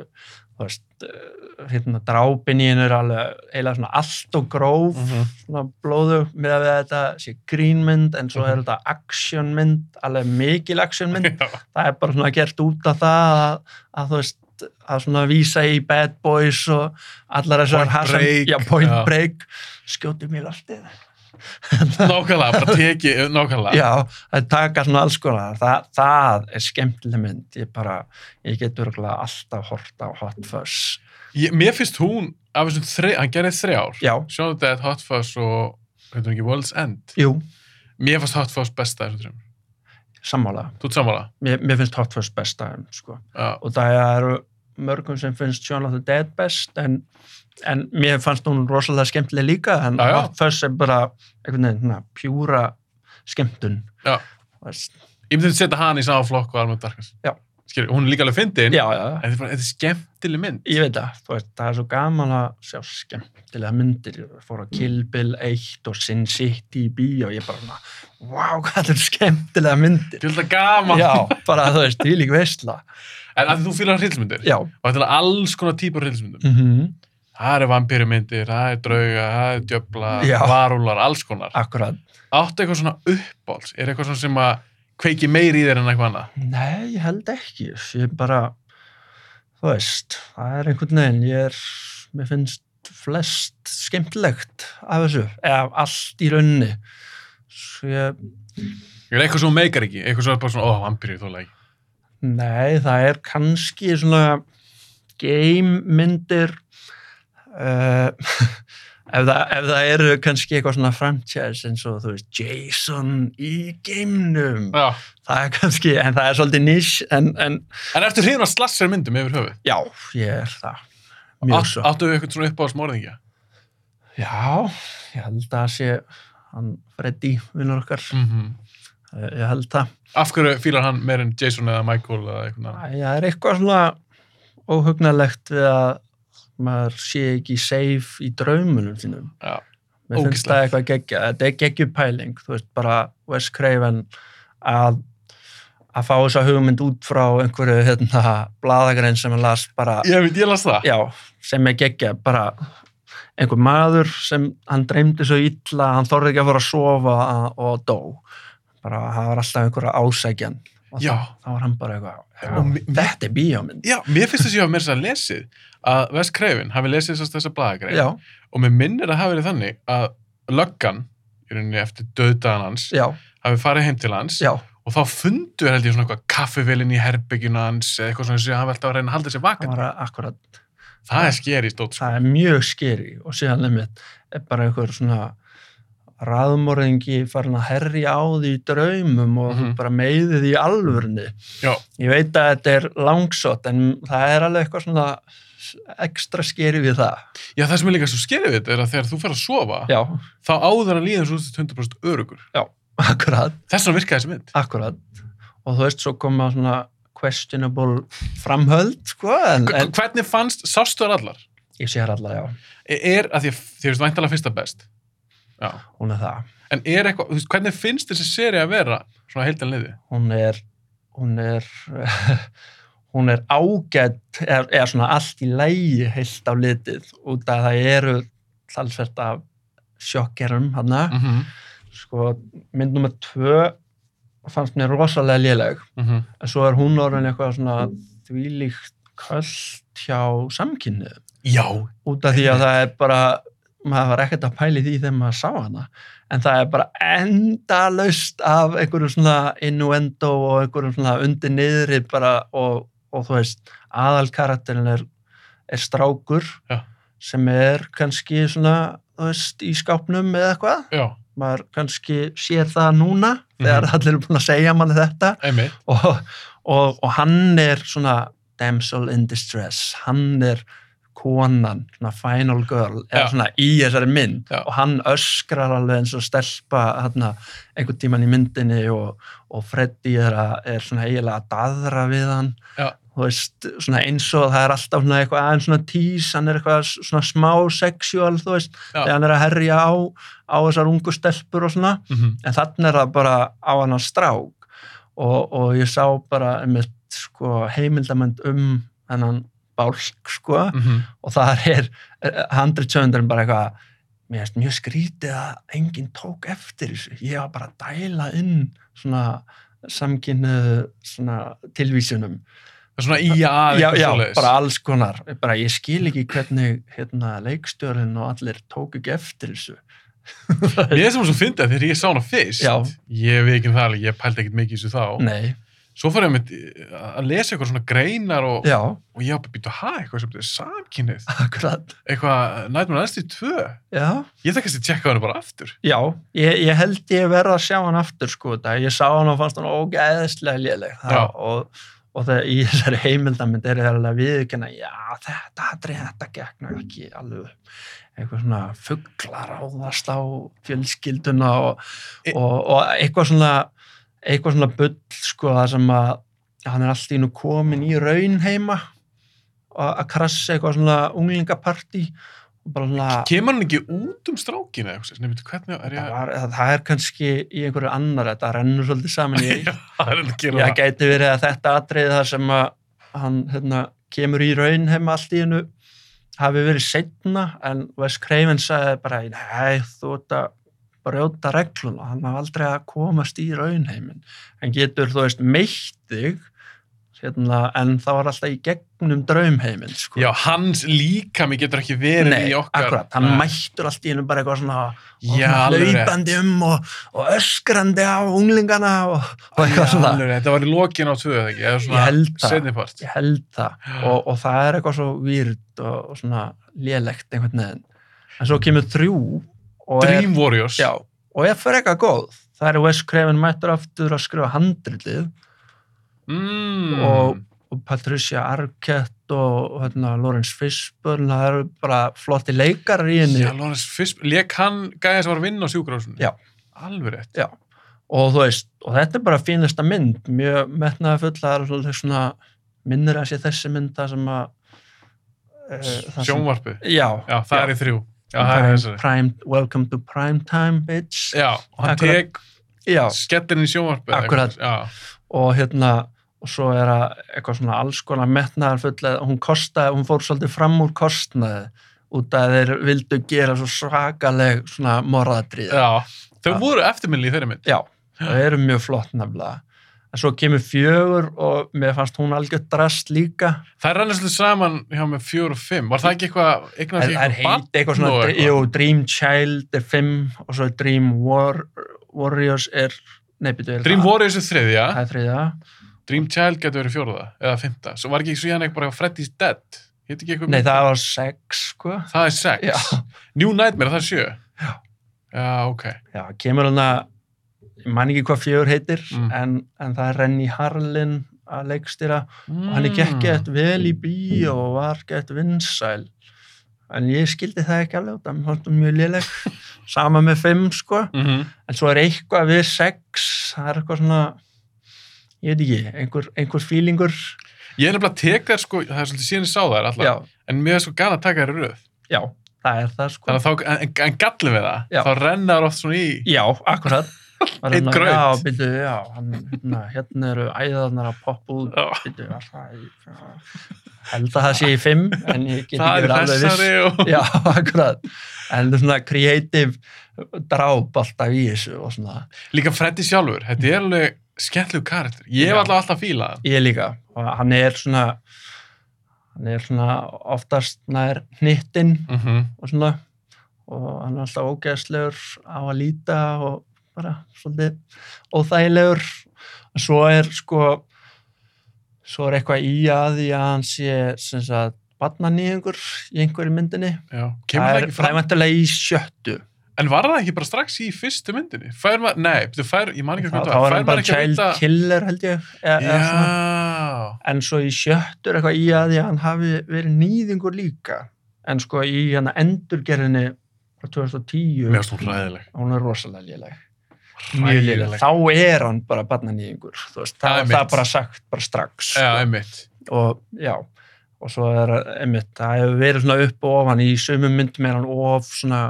A: þú veist, eh, hérna, drápin í hennu er alveg eiginlega svona allt og gróf svona blóðu með að við þetta sé grínmynd en svo er
B: Mhm.
A: þetta actionmynd, alveg mikil actionmynd
B: Já,
A: það er bara svona gert út af það að, að þú veist að svona vísa í Bad Boys og allar þessar
B: Point Break,
A: já, point
B: já.
A: break skjótið mér alltið
B: nákvæmlega, bara teki, eh, nákvæmlega.
A: já, það taka svona alls konar það, það er skemmtileg mynd ég bara, ég get örgulega alltaf hort á Hot Fuzz
B: Ég, mér finnst hún, af þessum þrei, hann gerði þrjár.
A: já,
B: Sjónu Dead, Hot Fuzz og, hvað er ekki, World's End.
A: jú,
B: Mér finnst Hot Fuzz besta þessum þrjum.
A: sammála
B: Þú ert sammála?
A: mér, mér finnst Hot Fuzz besta sko.
B: Já.
A: og það eru mörgum sem finnst Shaun of the Dead best en, en mér fannst hún rosalega skemmtileg líka en
B: Já, já.
A: Hot Fuzz er bara einhvern veginn svona pjúra skemmtun
B: Já.
A: Þú veist,
B: Ég myndi að setja hann í sama flokk og alveg darkast.
A: Já.
B: Skilur, hún er líka alveg fyndin.
A: já, já, já.
B: En þetta er bara, þetta er skemmtileg mynd.
A: ég veit það þú veist, það er svo gaman að sjá skemmtilega myndir ég fór á Kill Bill 1 og Sin City í bíó og ég bara svona, wow, hvað þetta er skemmtilega myndir
B: Ég held að gaman.
A: já, bara þú veist, því lík veistla
B: En að þú fýlar hrilsmyndir.
A: já,
B: Og þetta er alls konar típar hrilsmyndum.
A: mm
B: Það eru vampýrumyndir, það er drauga, það er djöfla,
A: Já.
B: varúlar, alls konar.
A: akkurat
B: Áttu eitthvað svona uppbóls? Er eitthvað svona sem að kveiki meir í þér en eitthvað annað?
A: Nei, ég held ekki. Ég bara, þú veist, það er einhvern veginn, ég er, mér finnst flest skemmtilegt af þessu, eða af allt í raunni. Svo ég,
B: Er eitthvað sem hún meikar ekki? Eitthvað svona bara svona, ó, vampýri, þú leik.
A: nei, það er kannski svona game myndir, uh, ef, það, ef það eru kannski eitthvað svona franchise eins og, þú veist, Jason í geimnum.
B: Já.
A: Það er kannski, en það er svolítið nisch, en, en
B: En ertu hrifin að slassir myndum yfir höfuð?
A: já, ég er það. Mjög
B: Átt-
A: svo.
B: Áttu eitthvað svona uppbóls morðingja?
A: Já, ég held að það sé hann Freddy, vinnur okkar,
B: Mm
A: Eh, ég held það.
B: Af hverju fýlar hann meir en Jason eða Michael eða eitthvað annað?
A: Æ, Það er eitthvað svona óhugnalegt við að maður sé ekki safe í draumunum sínum.
B: Já.
A: Mér finnst það
B: Ógeðslegt.
A: eitthvað geggja, þetta er geggjupæling, þú veist, bara Wes Craven að að fá þessa hugmynd út frá einhverju hérna, bladagrein sem hann las bara
B: Ég veit, ég las það.
A: já, sem er geggja bara einhver maður sem hann dreymdi svo illa að hann þorði ekki að fara að sofa að- og dó bara það var alltaf einhverja ásækjan og
B: Já.
A: þá- þá var hann bara
B: Og
A: eitthvað já,
B: mi- mi-
A: þetta er bíómynd
B: Já, mér finnst þess að ég hafa meira þess að lesið að Wes Craven hafi lesið þess að þessa blagagrein
A: já,
B: og mér minnir að hafi verið þannig að löggan, í rauninni eftir döðdagan hans,
A: já,
B: hafi farið heim til hans
A: já,
B: og þá fundu held ég svona eitthvað kaffivélinn í herbygginu hans eða eitthvað svona sem hann veldi að reyna að halda sér
A: það
B: vakandi.
A: var akkurat
B: Það er skeri stótt sko.
A: það er mjög skeri og síðan lemmitt er bara einhver svona raðmóringi farin að herja á því í draumum og
B: Mhm.
A: þú bara meiði því í alvörni
B: Já.
A: ég veit að þetta er langsótt en það er alveg eitthvað svona ekstra skeri við það
B: Já, það sem er líka svo skerið við þetta er að þegar þú fer að sofa,
A: já,
B: þá áður að líða eins og þú ert 100% örugur.
A: akkurat,
B: Þess vegna virkaði þessi mynd.
A: akkurat og þú veist svo koma svona questionable framhöld sko, en,
B: H
A: en
B: hvernig fannst, sástu þar allar?
A: ég sé hér alla, já,
B: E- Er, að því að þið veist væntalega fyrsta best. Já.
A: hún er það
B: En er eitthvað, þú veist, hvernig finnst þessi seri að vera svona heildan liði?
A: hún er hún er hún er ágætt eða, eða svona allt í lægi heilt á litið út af það eru talsvert af sjokkerum hann
B: Mm -hmm.
A: sko, mynd nummer tvö fannst mér rosalega léleg
B: Mm -hmm.
A: en svo er hún orðin eitthvað svona þvílíkt köllt hjá samkynni
B: Já.
A: út af því að það er bara maður var ekkert að pæli því þegar maður sá hana en það er bara endalaust af einhverjum svona innuendo og einhverjum svona undir niðri bara og, og þú veist aðalkarakterin er, er strákur
B: Já.
A: sem er kannski svona þú veist í skápnum eða eitthvað
B: Já,
A: maður kannski sér það núna þegar allir eru búin að segja manni þetta
B: einmitt.
A: og, og, og hann er svona damsel in distress hann er konan, svona final girl
B: Já.
A: eða svona í þessari mynd
B: Já.
A: og hann öskrar alveg eins og stelpa hérna, einhvern tíman í myndinni og, og Freddy er, að, er svona eiginlega að daðra við hann
B: Já.
A: þú veist, svona eins og það er alltaf svona eitthvað aðeins svona tís, hann er eitthvað s- svona smá sexual, þú veist,
B: Já.
A: þegar hann er að herja á, á þessar ungu stelpur og svona,
B: Mm -hmm.
A: en þannig er það bara á hann að strák og, og ég sá bara einmitt, sko, heimildamönd um hennan bálk, sko, og þar er handritsöndurinn bara eitthvað mér finnst mjög skrítið að enginn tók eftir þessu, ég var bara að dæla inn svona samkynnu svona tilvísunum
B: Það er svona í að
A: já,
B: eitthvað
A: já,
B: svoleiðis.
A: bara alls konar bara ég skil ekki hvernig hérna, leikstjórinn og allir tók ekki eftir þessu
B: Ég sem svo fyndi að þegar ég sá hana fyrst,
A: Já.
B: ég veit ekki um það alveg, ég pældi ekkert mikið í þessu þá.
A: nei,
B: Svo fór ég að, að lesa eitthvað svona greinar og,
A: já,
B: og ég ábyrði býta að eitthvað sem þetta er samkynnið.
A: akkurat
B: Eitthvað Nightmare Ernst í tvö.
A: já,
B: Ég þakkast að tjekka hana bara aftur.
A: já ég, ég held ég verða að sjá hann aftur sko, það ég sá hann og fannst hann ógeðslega léleg Það-
B: Já.
A: og, og það í þessari heimildamind er það alveg viðkynna já, þetta atrið, þetta gekk nú ekki alveg upp." eitthvað svona fugglar áðast á fjölskylduna og
B: E-
A: og, og eitthvað svona eitthvað svona bull sko það sem að hann er allt í nú komin í raun heima og að krassi eitthvað svona unglingapartí og bara svona
B: Kemur hann ekki út um strákinu eða eitthvað? Nei, veitu, hvernig er
A: það,
B: ég...
A: var, það, það er kannski í einhverju annar þetta rennur svolítið saman í
B: Já, það er hann að gera
A: ég
B: það.
A: gæti verið að þetta atrið þar sem að hann hérna, kemur í raun heima allt í hennu hafi verið setna en Wes Craven sagði bara nei þú ert að brjóta reglun og hann hafði aldrei að komast í raunheimin hann getur þú veist meitt þig hérna, en það var alltaf í gegnum draumheimin sko.
B: Já, hans líkami getur ekki verið
A: Nei,
B: í okkar.
A: akkurat, hann
B: Nei.
A: mættur allt í hennu bara eitthvað svona og
B: Já,
A: svona
B: alveg rétt.
A: hlaupandi um og, og öskrandi á unglingana og, og
B: Já,
A: eitthvað svona
B: alveg rétt. Þetta var í lokin á tvöð, ekki? Eða
A: Ég held
B: svona
A: það.
B: setnipart.
A: ég held það
B: Já.
A: og, og það er eitthvað svo výrt og, og svona lélegt einhvern veginn en svo kemur þrjú og er,
B: Dream Warriors.
A: já, og er fyrir eitthvað góð það er Wes Craven mættur aftur að skrifa handritið
B: Mm.
A: Og- og Patricia Arquette og hérna, Lawrence Fishburne það eru bara flotti leikarar í henni
B: Já, Lawrence Fishburne, leik hann gæði sem var að vinna á sjúkrahúsinu?
A: Já.
B: Alveg rétt.
A: Já, og þú veist, og þetta er bara fínasta mynd, mjög metnaða full það er svolítið svona minnir að sé þessi mynda sem að uh,
B: Sjónvarpið.
A: Já,
B: Já, það
A: Já.
B: er í þrjú. Já, það er í
A: prime,
B: þessari.
A: prime, Welcome to Primetime, bitch
B: Já, og hann
A: Akkurat.
B: tek
A: Já,
B: skellin í sjónvarpið. eða
A: Akkurat.
B: eitthvað. Já,
A: og hérna og svo er að eitthvað svona alls konar metnaðar full hún kostaði, hún fór svolítið fram úr kostnaði út að þeir vildu gera svo svakaleg svona morðadrið
B: já. Þau
A: Já.
B: voru eftirminni í þeirri mynd.
A: Já, það eru mjög flott nefnilega. En svo kemur fjögur og mér fannst hún algjört drast líka.
B: Það er annars lið saman hjá með fjör og fimm. Var það ekki eitthvað, eitthvað,
A: Það er heit eitthvað svona, jú, Dream Child er fimm og svo er Dream War, Warriors er, nei, byrju, er
B: Dream
A: það?
B: Warriors er þriðja,
A: Það er þriðja.
B: Dream Child getur verið fjórða eða fymta. Svo var ekki svo hérna eitthvað bara Freddy's Dead. Hitt ekki eitthvað
A: Nei,
B: mynd?
A: það var sex, sko.
B: það er sex.
A: Já,
B: New Nightmare, það er sjö.
A: Já.
B: Já, ok.
A: já kemur hann að, ég man ekki hvað fjögur heitir,
B: Mm.
A: en, en það er Renny Harlin að leikstýra
B: Mm.
A: og hann er gekk gett vel í bíó og var gett vinsæl en ég skildi það ekki alveg það var mjög léleg sama með 5 sko
B: Mhm.
A: en svo er eitthvað við 6 það er eitthvað svona ég veit ekki, einhver, einhver fílingur
B: Ég er nefnilega að teka þær sko, það er svolítið síðan ég sá þær allar,
A: já,
B: en mér er svo gana að taka þær í röð.
A: já, það er það sko
B: Þannig að þá, en, en gallum við það,
A: Já.
B: þá renna þær oft svona í,
A: já, akkurat Það er
B: Einn
A: svona,
B: graut.
A: já, byrju, já, hann, hérna, hérna eru æðarnar að poppa út
B: Já.
A: byrju, var það í- já. held að það sé í 5 en ég get ekki
B: það er
A: verið alveg viss
B: þessari og...
A: Já, akkurat. En þetta er svona kreatív dráp alltaf í þessu og svona.
B: Líka Freddy sjálfur, þetta er alveg skemmtlegu karakter. Ég
A: Já.
B: hef alltaf alltaf fílað hann.
A: Ég líka. Og hann er svona, hann er svona oftast nær hnittinn
B: Mm
A: og svona og hann er alltaf ógeðslegur á að líta og bara svolítið óþægilegur og svo er sko svo er eitthvað í að því að hann sé sem sagt barnanýðingur í einhverju myndinni
B: Já, kemur
A: það
B: það
A: er
B: ekki fram.
A: fræmæntilega í sjöttu
B: En var það ekki bara strax í fyrstu myndinni? Fær maður, nei, þú fær, ég man ekki
A: þá,
B: hvað
A: þá
B: það
A: var
B: fær
A: hann bara child killer held ég eða, eða svona.
B: Já,
A: en svo í sjöttur eitthvað í að því að hann hafi verið nýðingur líka en sko í hann endurgerðinni frá 2010
B: mér finnst hún ræðileg.
A: hún er rosalega léleg Mjög léleg.
B: Ræðileg.
A: þá er hann bara barnanýðingur þú veist,
B: Það
A: það,
B: er
A: það er
B: mitt.
A: bara sagt bara strax
B: Já,
A: sko.
B: einmitt.
A: og já og svo er einmitt, það hefur verið svona upp og ofan í sumum myndum er hann of svona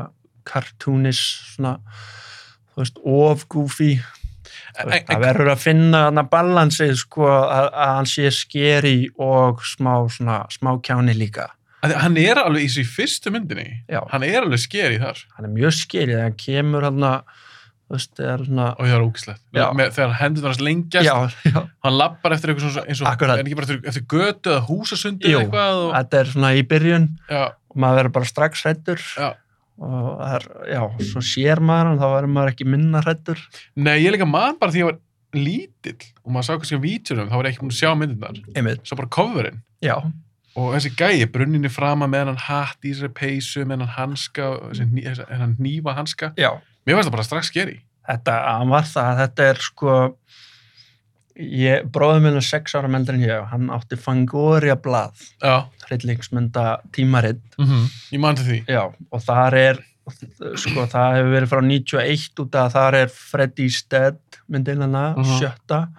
A: kartúnis svona, þú veist, of goofy Þú
B: En-
A: veist, það
B: en-
A: verður að finna hann að balansið sko að, að hann sé skeri og smá svona, smá kjáni líka
B: Af því Hann er alveg í þessu í fyrstu myndinni.
A: Já.
B: Hann er alveg skeri þar.
A: hann er mjög skerið, hann kemur hann að, þú veist, það er svona
B: Og það er ógislegt.
A: Já.
B: Þegar hendur hans lengjast,
A: já, já,
B: hann lappar eftir eitthvað svona, eins og,
A: Akkurat.
B: er ekki bara eftir, eftir götu eða húsasundu
A: Jú.
B: eða eitthvað. Og,
A: þetta er svona í byrjun
B: já,
A: og maður verður bara strax hrættur
B: já.
A: og það er, já, svo sér maður hann þá verður maður ekki minna hrættur
B: Nei, ég líka man bara því ég var lítill og maður sá kannski á vítjunum, þá var ég ekki búin að sjá myndirnar.
A: einmitt,
B: Svo bara coverinn.
A: já, og
B: Og þessi gæi, brunninni frama með hennan hatt í þessari peysu, með hennan hanska, og þessi hní- þessa- hennan nýfa hanska.
A: já
B: Mér finnst það bara strax skeri.
A: þetta, hann var það, þetta er sko ég, bróðum minn er sex ára meldur en ég, hann átti Fangoria blað,
B: Já.
A: hryllingsmynda tímaritt
B: Mm Ég man til því.
A: Já, og þar er sko, það hefur verið frá 91 út að þar er Freddy's Dead myndin hana,
B: Mhm.
A: sjötta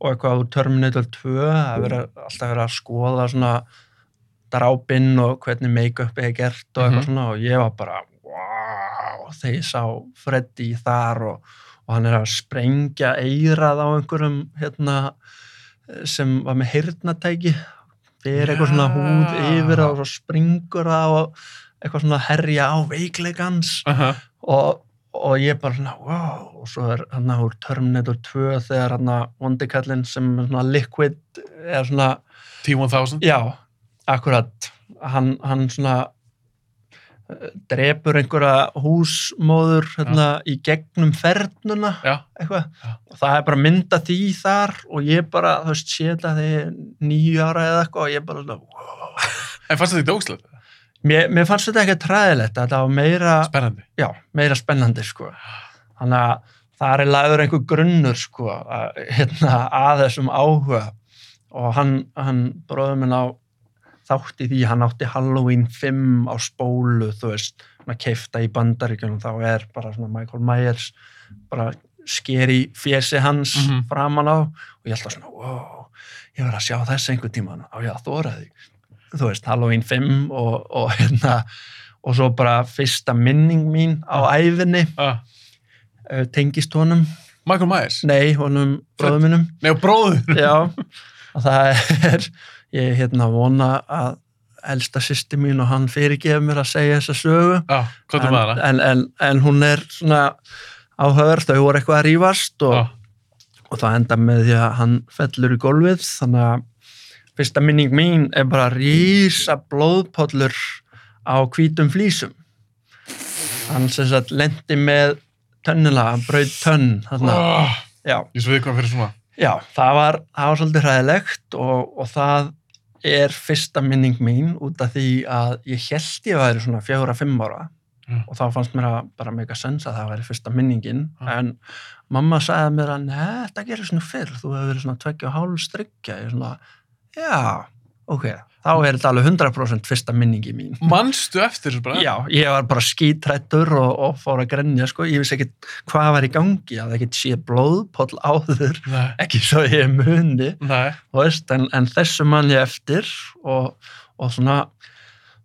A: og eitthvað úr Terminator 2 það verið alltaf verið að skoða svona drápinn og hvernig make-up er gert og eitthvað
B: Mhm.
A: svona og ég var bara, wow þegar ég sá Freddy þar og, og hann er að sprengja eirað á einhverjum hérna sem var með heyrnatæki fyrir eitthvað svona
B: Já.
A: húð yfir og svo springur það og eitthvað svona að herja á veikleikans
B: Aha.
A: og, og ég bara svona, wow og svo er hann úr Terminator 2 þegar hann að vondikallin sem er svona liquid er svona,
B: T-1000.
A: já, akkurat hann, hann svona eh, drepur einhverja húsmóður hérna, í gegnum fernuna
B: Já.
A: eitthvað
B: Já.
A: og það er bara mynda því þar og ég bara, þú veist, sé þetta þegar nýju ára eða eitthvað og ég bara svona, wow.
B: En fannst þetta ekki ógislegt?
A: mér, mér fannst þetta ekki træðilegt þetta var meira
B: Spennandi.
A: já, meira spennandi sko. þannig að það er lagður einhver grunnur sko, að, hérna, að þessum áhuga og hann, hann bróður minn á þátti því, hann átti Halloween 5 á spólu, þú veist maður keifta í bandaríkjunum, þá er bara svona Michael Myers bara sker í fjesi hans
B: Mhm.
A: framan á og ég held að svona, wow ég var að sjá þess einhvern tíman á ég að þóra því þú veist, Halloween 5 og, og hérna og svo bara fyrsta minning mín á æfinni
B: Ah.
A: eh, tengist honum,
B: Michael Myers.
A: nei, honum bróðuminum,
B: Nei, og bróður.
A: já og það er, ég hérna vona að elsta sýsti mín og hann fyrirgefa mér að segja þessa sögu
B: Já, Ah, hvað er
A: en, eh,
B: með hana?
A: en, en, en hún er svona áhör, þau voru eitthvað að rífast og,
B: Já.
A: og það enda með því að hann fellur í gólfið þannig að fyrsta minning mín er bara rísa blóðpollur á hvítum flísum hann sem sagt lendi með tönnila, hann braut tönn þannig að,
B: Oh,
A: já,
B: ég svo við hvað fyrir svona.
A: já, það var það var svolítið hræðilegt og, og það er fyrsta minning mín út af því að ég held ég væri svona fjögur að fimm ára
B: Já.
A: og þá fannst mér að bara meika sens að það væri fyrsta minningin
B: Já.
A: en mamma sagði mér að neða, þetta gerir svona fyrr, þú hefur verið svona tveggja og hálf strykja, ég svona já, ok, þá er þetta alveg 100% fyrsta minningi mín
B: Manstu eftir þessu bara?
A: já, ég var bara skítrættur og, og fór að grenja, sko, ég vissi ekkit hvað var í gangi, að ekkit sé blóðpoll áður,
B: Nei.
A: ekki svo ég muni
B: Nei.
A: þú veist, en, en þessu mann ég eftir og, og svona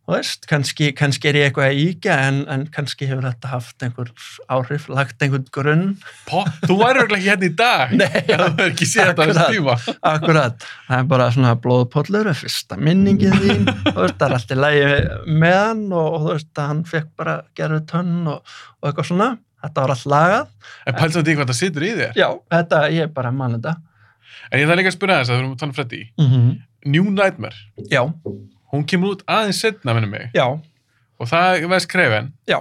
A: þú veist, kannski, kannski er ég eitthvað að íkja en, en kannski hefur þetta haft einhver áhrif, lagt einhvern grunn
B: Pó, þú væri örugglega ekki hérna í dag.
A: Nei,
B: Ef Þú er ekki séð þetta á
A: Akkurat.
B: þessu tíma.
A: akkurat það er bara svona blóðpollur er fyrsta minningin þín, þú veist, það er allt í lægi með hann og, og þú veist að hann fekk bara gerðu tönn og, og eitthvað svona þetta var allt lagað,
B: En pælst þetta í hvað það situr í þér.
A: já, þetta ég er bara mann þetta
B: En ég ætla líka að spyrja þess að þú erum að tala um Freddy.
A: mm
B: New Nightmare.
A: já,
B: Hún kemur út aðeins setna, minnum mig.
A: já,
B: Og það veist Kreven.
A: já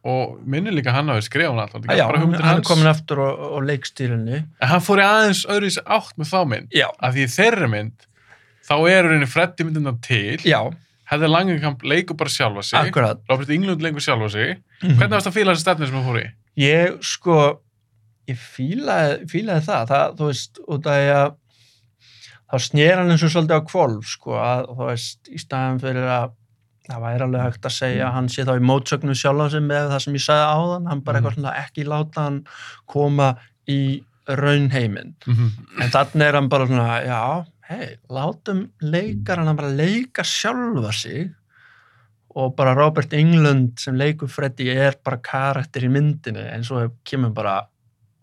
B: Og minnum líka um hann hafi skrifað hún alltaf.
A: já, hann,
B: hann,
A: hann er komin aftur og, og leikstýrunni
B: En hann fór í aðeins öðru átt með þá mynd.
A: já,
B: Af því í þeirri mynd, þá er rauninni Freddy myndina til.
A: já,
B: Hefði langenkamp leikur bara sjálfa sig.
A: akkurat
B: Robert Englund lengur sjálfa sig.
A: Mhm.
B: Hvernig varst að fíla þessa stefni sem þú fór í?
A: Ég sko, ég fílaði, fílaði það, það, þú veist, út af því að þá snýr hann eins og svolítið á kvolf, sko, að þú veist, í staðan fyrir að það væri alveg hægt að segja að hann sé þá í mótsögnu sjálf á sig með það sem ég sagði áðan, hann bara
B: Mhm.
A: eitthvað svona ekki láta hann koma í raunheiminn.
B: Mm
A: Mhm. En þannig er hann bara svona, já, hei, látum leikarana bara leika sjálfa sig og bara Robert Englund sem leikur Freddy er bara karakter í myndinu en svo kemur bara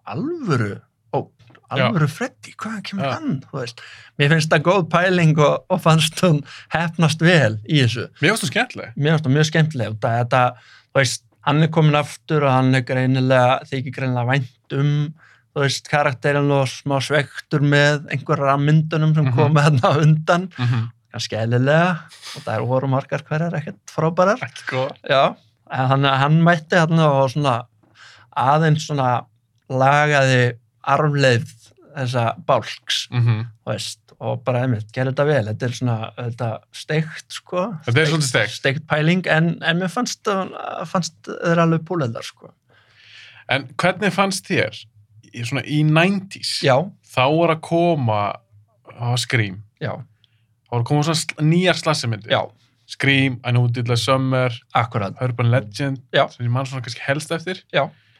A: alvöru ó, alvöru Freddy, hvaðan kemur
B: Já.
A: hann þú veist, mér finnst það góð pæling og, og fannst hún hefnast vel í þessu,
B: Mér finnst þú skemmtileg.
A: mér finnst það mjög skemmtileg og þetta, þú veist, hann er komin aftur og hann er greinilega, þykir greinilega vænt um, þú veist, karakterin og smá svektur með einhverjar af myndunum sem
B: Mhm.
A: komu þarna á undan
B: Mm -hmm.
A: kannski eðlilega og það er voru margar hverjar ekkert frábærar
B: Ekki góð.
A: Já, en hann, hann mætti hann og svona aðeins svona lagaði armleið þessa bálks
B: Mm
A: þú veist, og bara einmitt, gerði þetta vel þetta er svona, þetta steikt sko,
B: Þetta er svolítið steikt.
A: steikt pæling en, en mér fannst, fannst þeir alveg púleðar sko,
B: En hvernig fannst þér í, svona í 90s?
A: já,
B: Þá var að koma á Scream.
A: já,
B: Þá var að koma svona sl nýjar slassemyndir.
A: já
B: Scream, I Know Diddler Summer,
A: akkurat,
B: Urban Legend,
A: Já.
B: sem ég mann svona kannski helst eftir.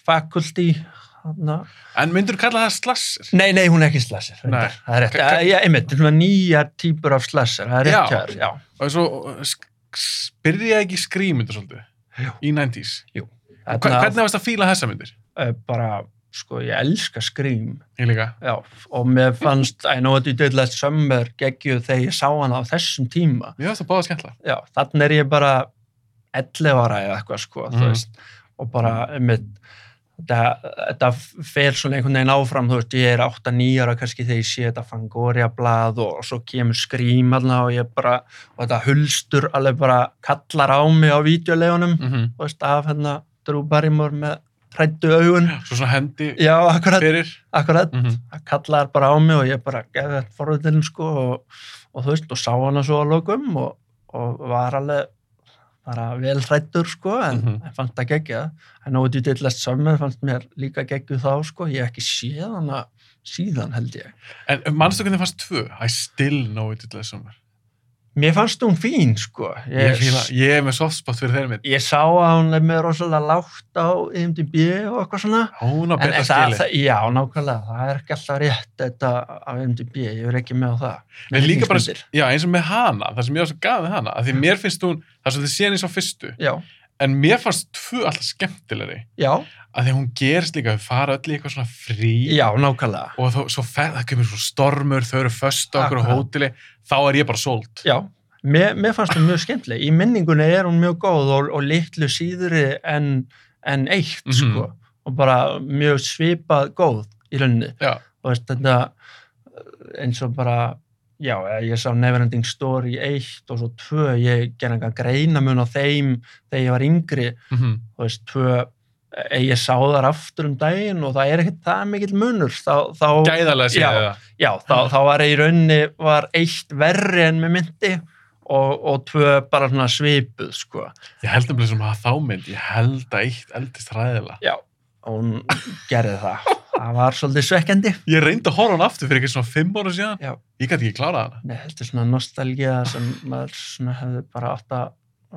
A: fakulti hana.
B: En myndur þú kalla það slasser?
A: nei, nei, hún er ekki slasher
B: Nei.
A: reyndar. það er rétt,
B: Ka- ka-
A: ja, einmitt, þetta er svona nýjar típur af slasher, það er rétt hjá
B: Já.
A: þér, já
B: Og svo sk- sk- byrjaði ekki Scream myndur svolítið
A: Já.
B: í 90s. Hva,
A: Þarna-
B: hvernig varst að fíla þessa myndir?
A: eh, bara, sko, ég elska Scream
B: Ég líka.
A: já, og mér fannst I Know What You Did Last Summer geggju þegar ég sá hana á þessum tíma
B: Mér finnst það báða skemmtilega.
A: já, þannig er ég bara 11 ára eða eitthvað, sko, þú
B: Mhm.
A: veist og bara, einmitt þetta, þetta fer svona einhvern veginn áfram þú veist, ég er 8-9 ára kannski þegar ég sé þetta Fangoria blað og, og svo kemur Scream allna og ég bara og þetta hulstur alveg bara kallar á mig á vídeolegunum,
B: Mm -hmm.
A: þú veist, af hérna Drew Barrymore með hrættu augun
B: Svo svona hendi
A: já, akkurat
B: fyrir.
A: akkurat,
B: Mm
A: það kallaði bara á mig og ég bara gefði þetta forvitinn sko og, og þú veist, og sá hana svo að lokum og, og var alveg bara vel hrættur sko en mm
B: Mhm.
A: -hmm. fannst það geggjað en ótið dillast saman fannst mér líka geggjuð þá sko, ég hef ekki séð hana síðan held ég.
B: En mannstu hvernig fannst tvö? I still know it Diddler Summer.
A: Mér fannst hún fín sko
B: Ég, fíla, ég er með softspot fyrir þeirra mynd.
A: ég sá að hún er með rosalega lágt á IMDb og eitthvað svona
B: Hún
A: en,
B: á betra
A: en það,
B: skili.
A: það, já, nákvæmlega, það er ekki alltaf rétt þetta á IMDb, ég er ekki með á það
B: En líka bara,
A: Myndir.
B: já, eins og með hana, það sem ég var svo gaf með hana, að því mér finnst hún, það er svolítið síðan eins og fyrstu,
A: já,
B: en mér fannst tvö alltaf skemmtilegri,
A: já
B: að því hún gerist líka, þau fara öll í eitthvað svona frí,
A: Já, nákvæmlega.
B: og þó, svo fer, það kemur svo stormur, þau eru föst á okkur á
A: Akkurat.
B: hóteli, þá er ég bara sold.
A: Já, mér, mér fannst hún mjög skemmtileg. Í minningunni er hún mjög góð og, og litlu síðri en, en eitt,
B: Mhm.
A: sko. Og bara mjög svipað góð í rauninni.
B: Já.
A: Og veist, þetta eh, eins og bara, já, eh, ég sá Neverending Story eitt og svo tvö, ég gerði engan greinamun á þeim þegar ég var yngri,
B: Mm
A: þú veist, tvö, eh, ég sá þar aftur um daginn og það er ekkert það mikill munur. Þá, þá,
B: Gæðalega
A: Já.
B: síðan það.
A: Já, þá, þá var ég í rauninni var eitt verri en mér myndi og, og tvö bara svona svipuð, sko.
B: Ég held um þessum að þá mynd, ég held að eitt eldist ræðilega.
A: Já. Og hún gerði það. Það var svolítið svekkjandi.
B: Ég reyndi að horfa hann aftur fyrir eitthvað svona fimm ára síðan,
A: Já.
B: ég gæti ekki klárað hana.
A: Nei, þetta er svona nostalgía sem maður svona hefði bara átt að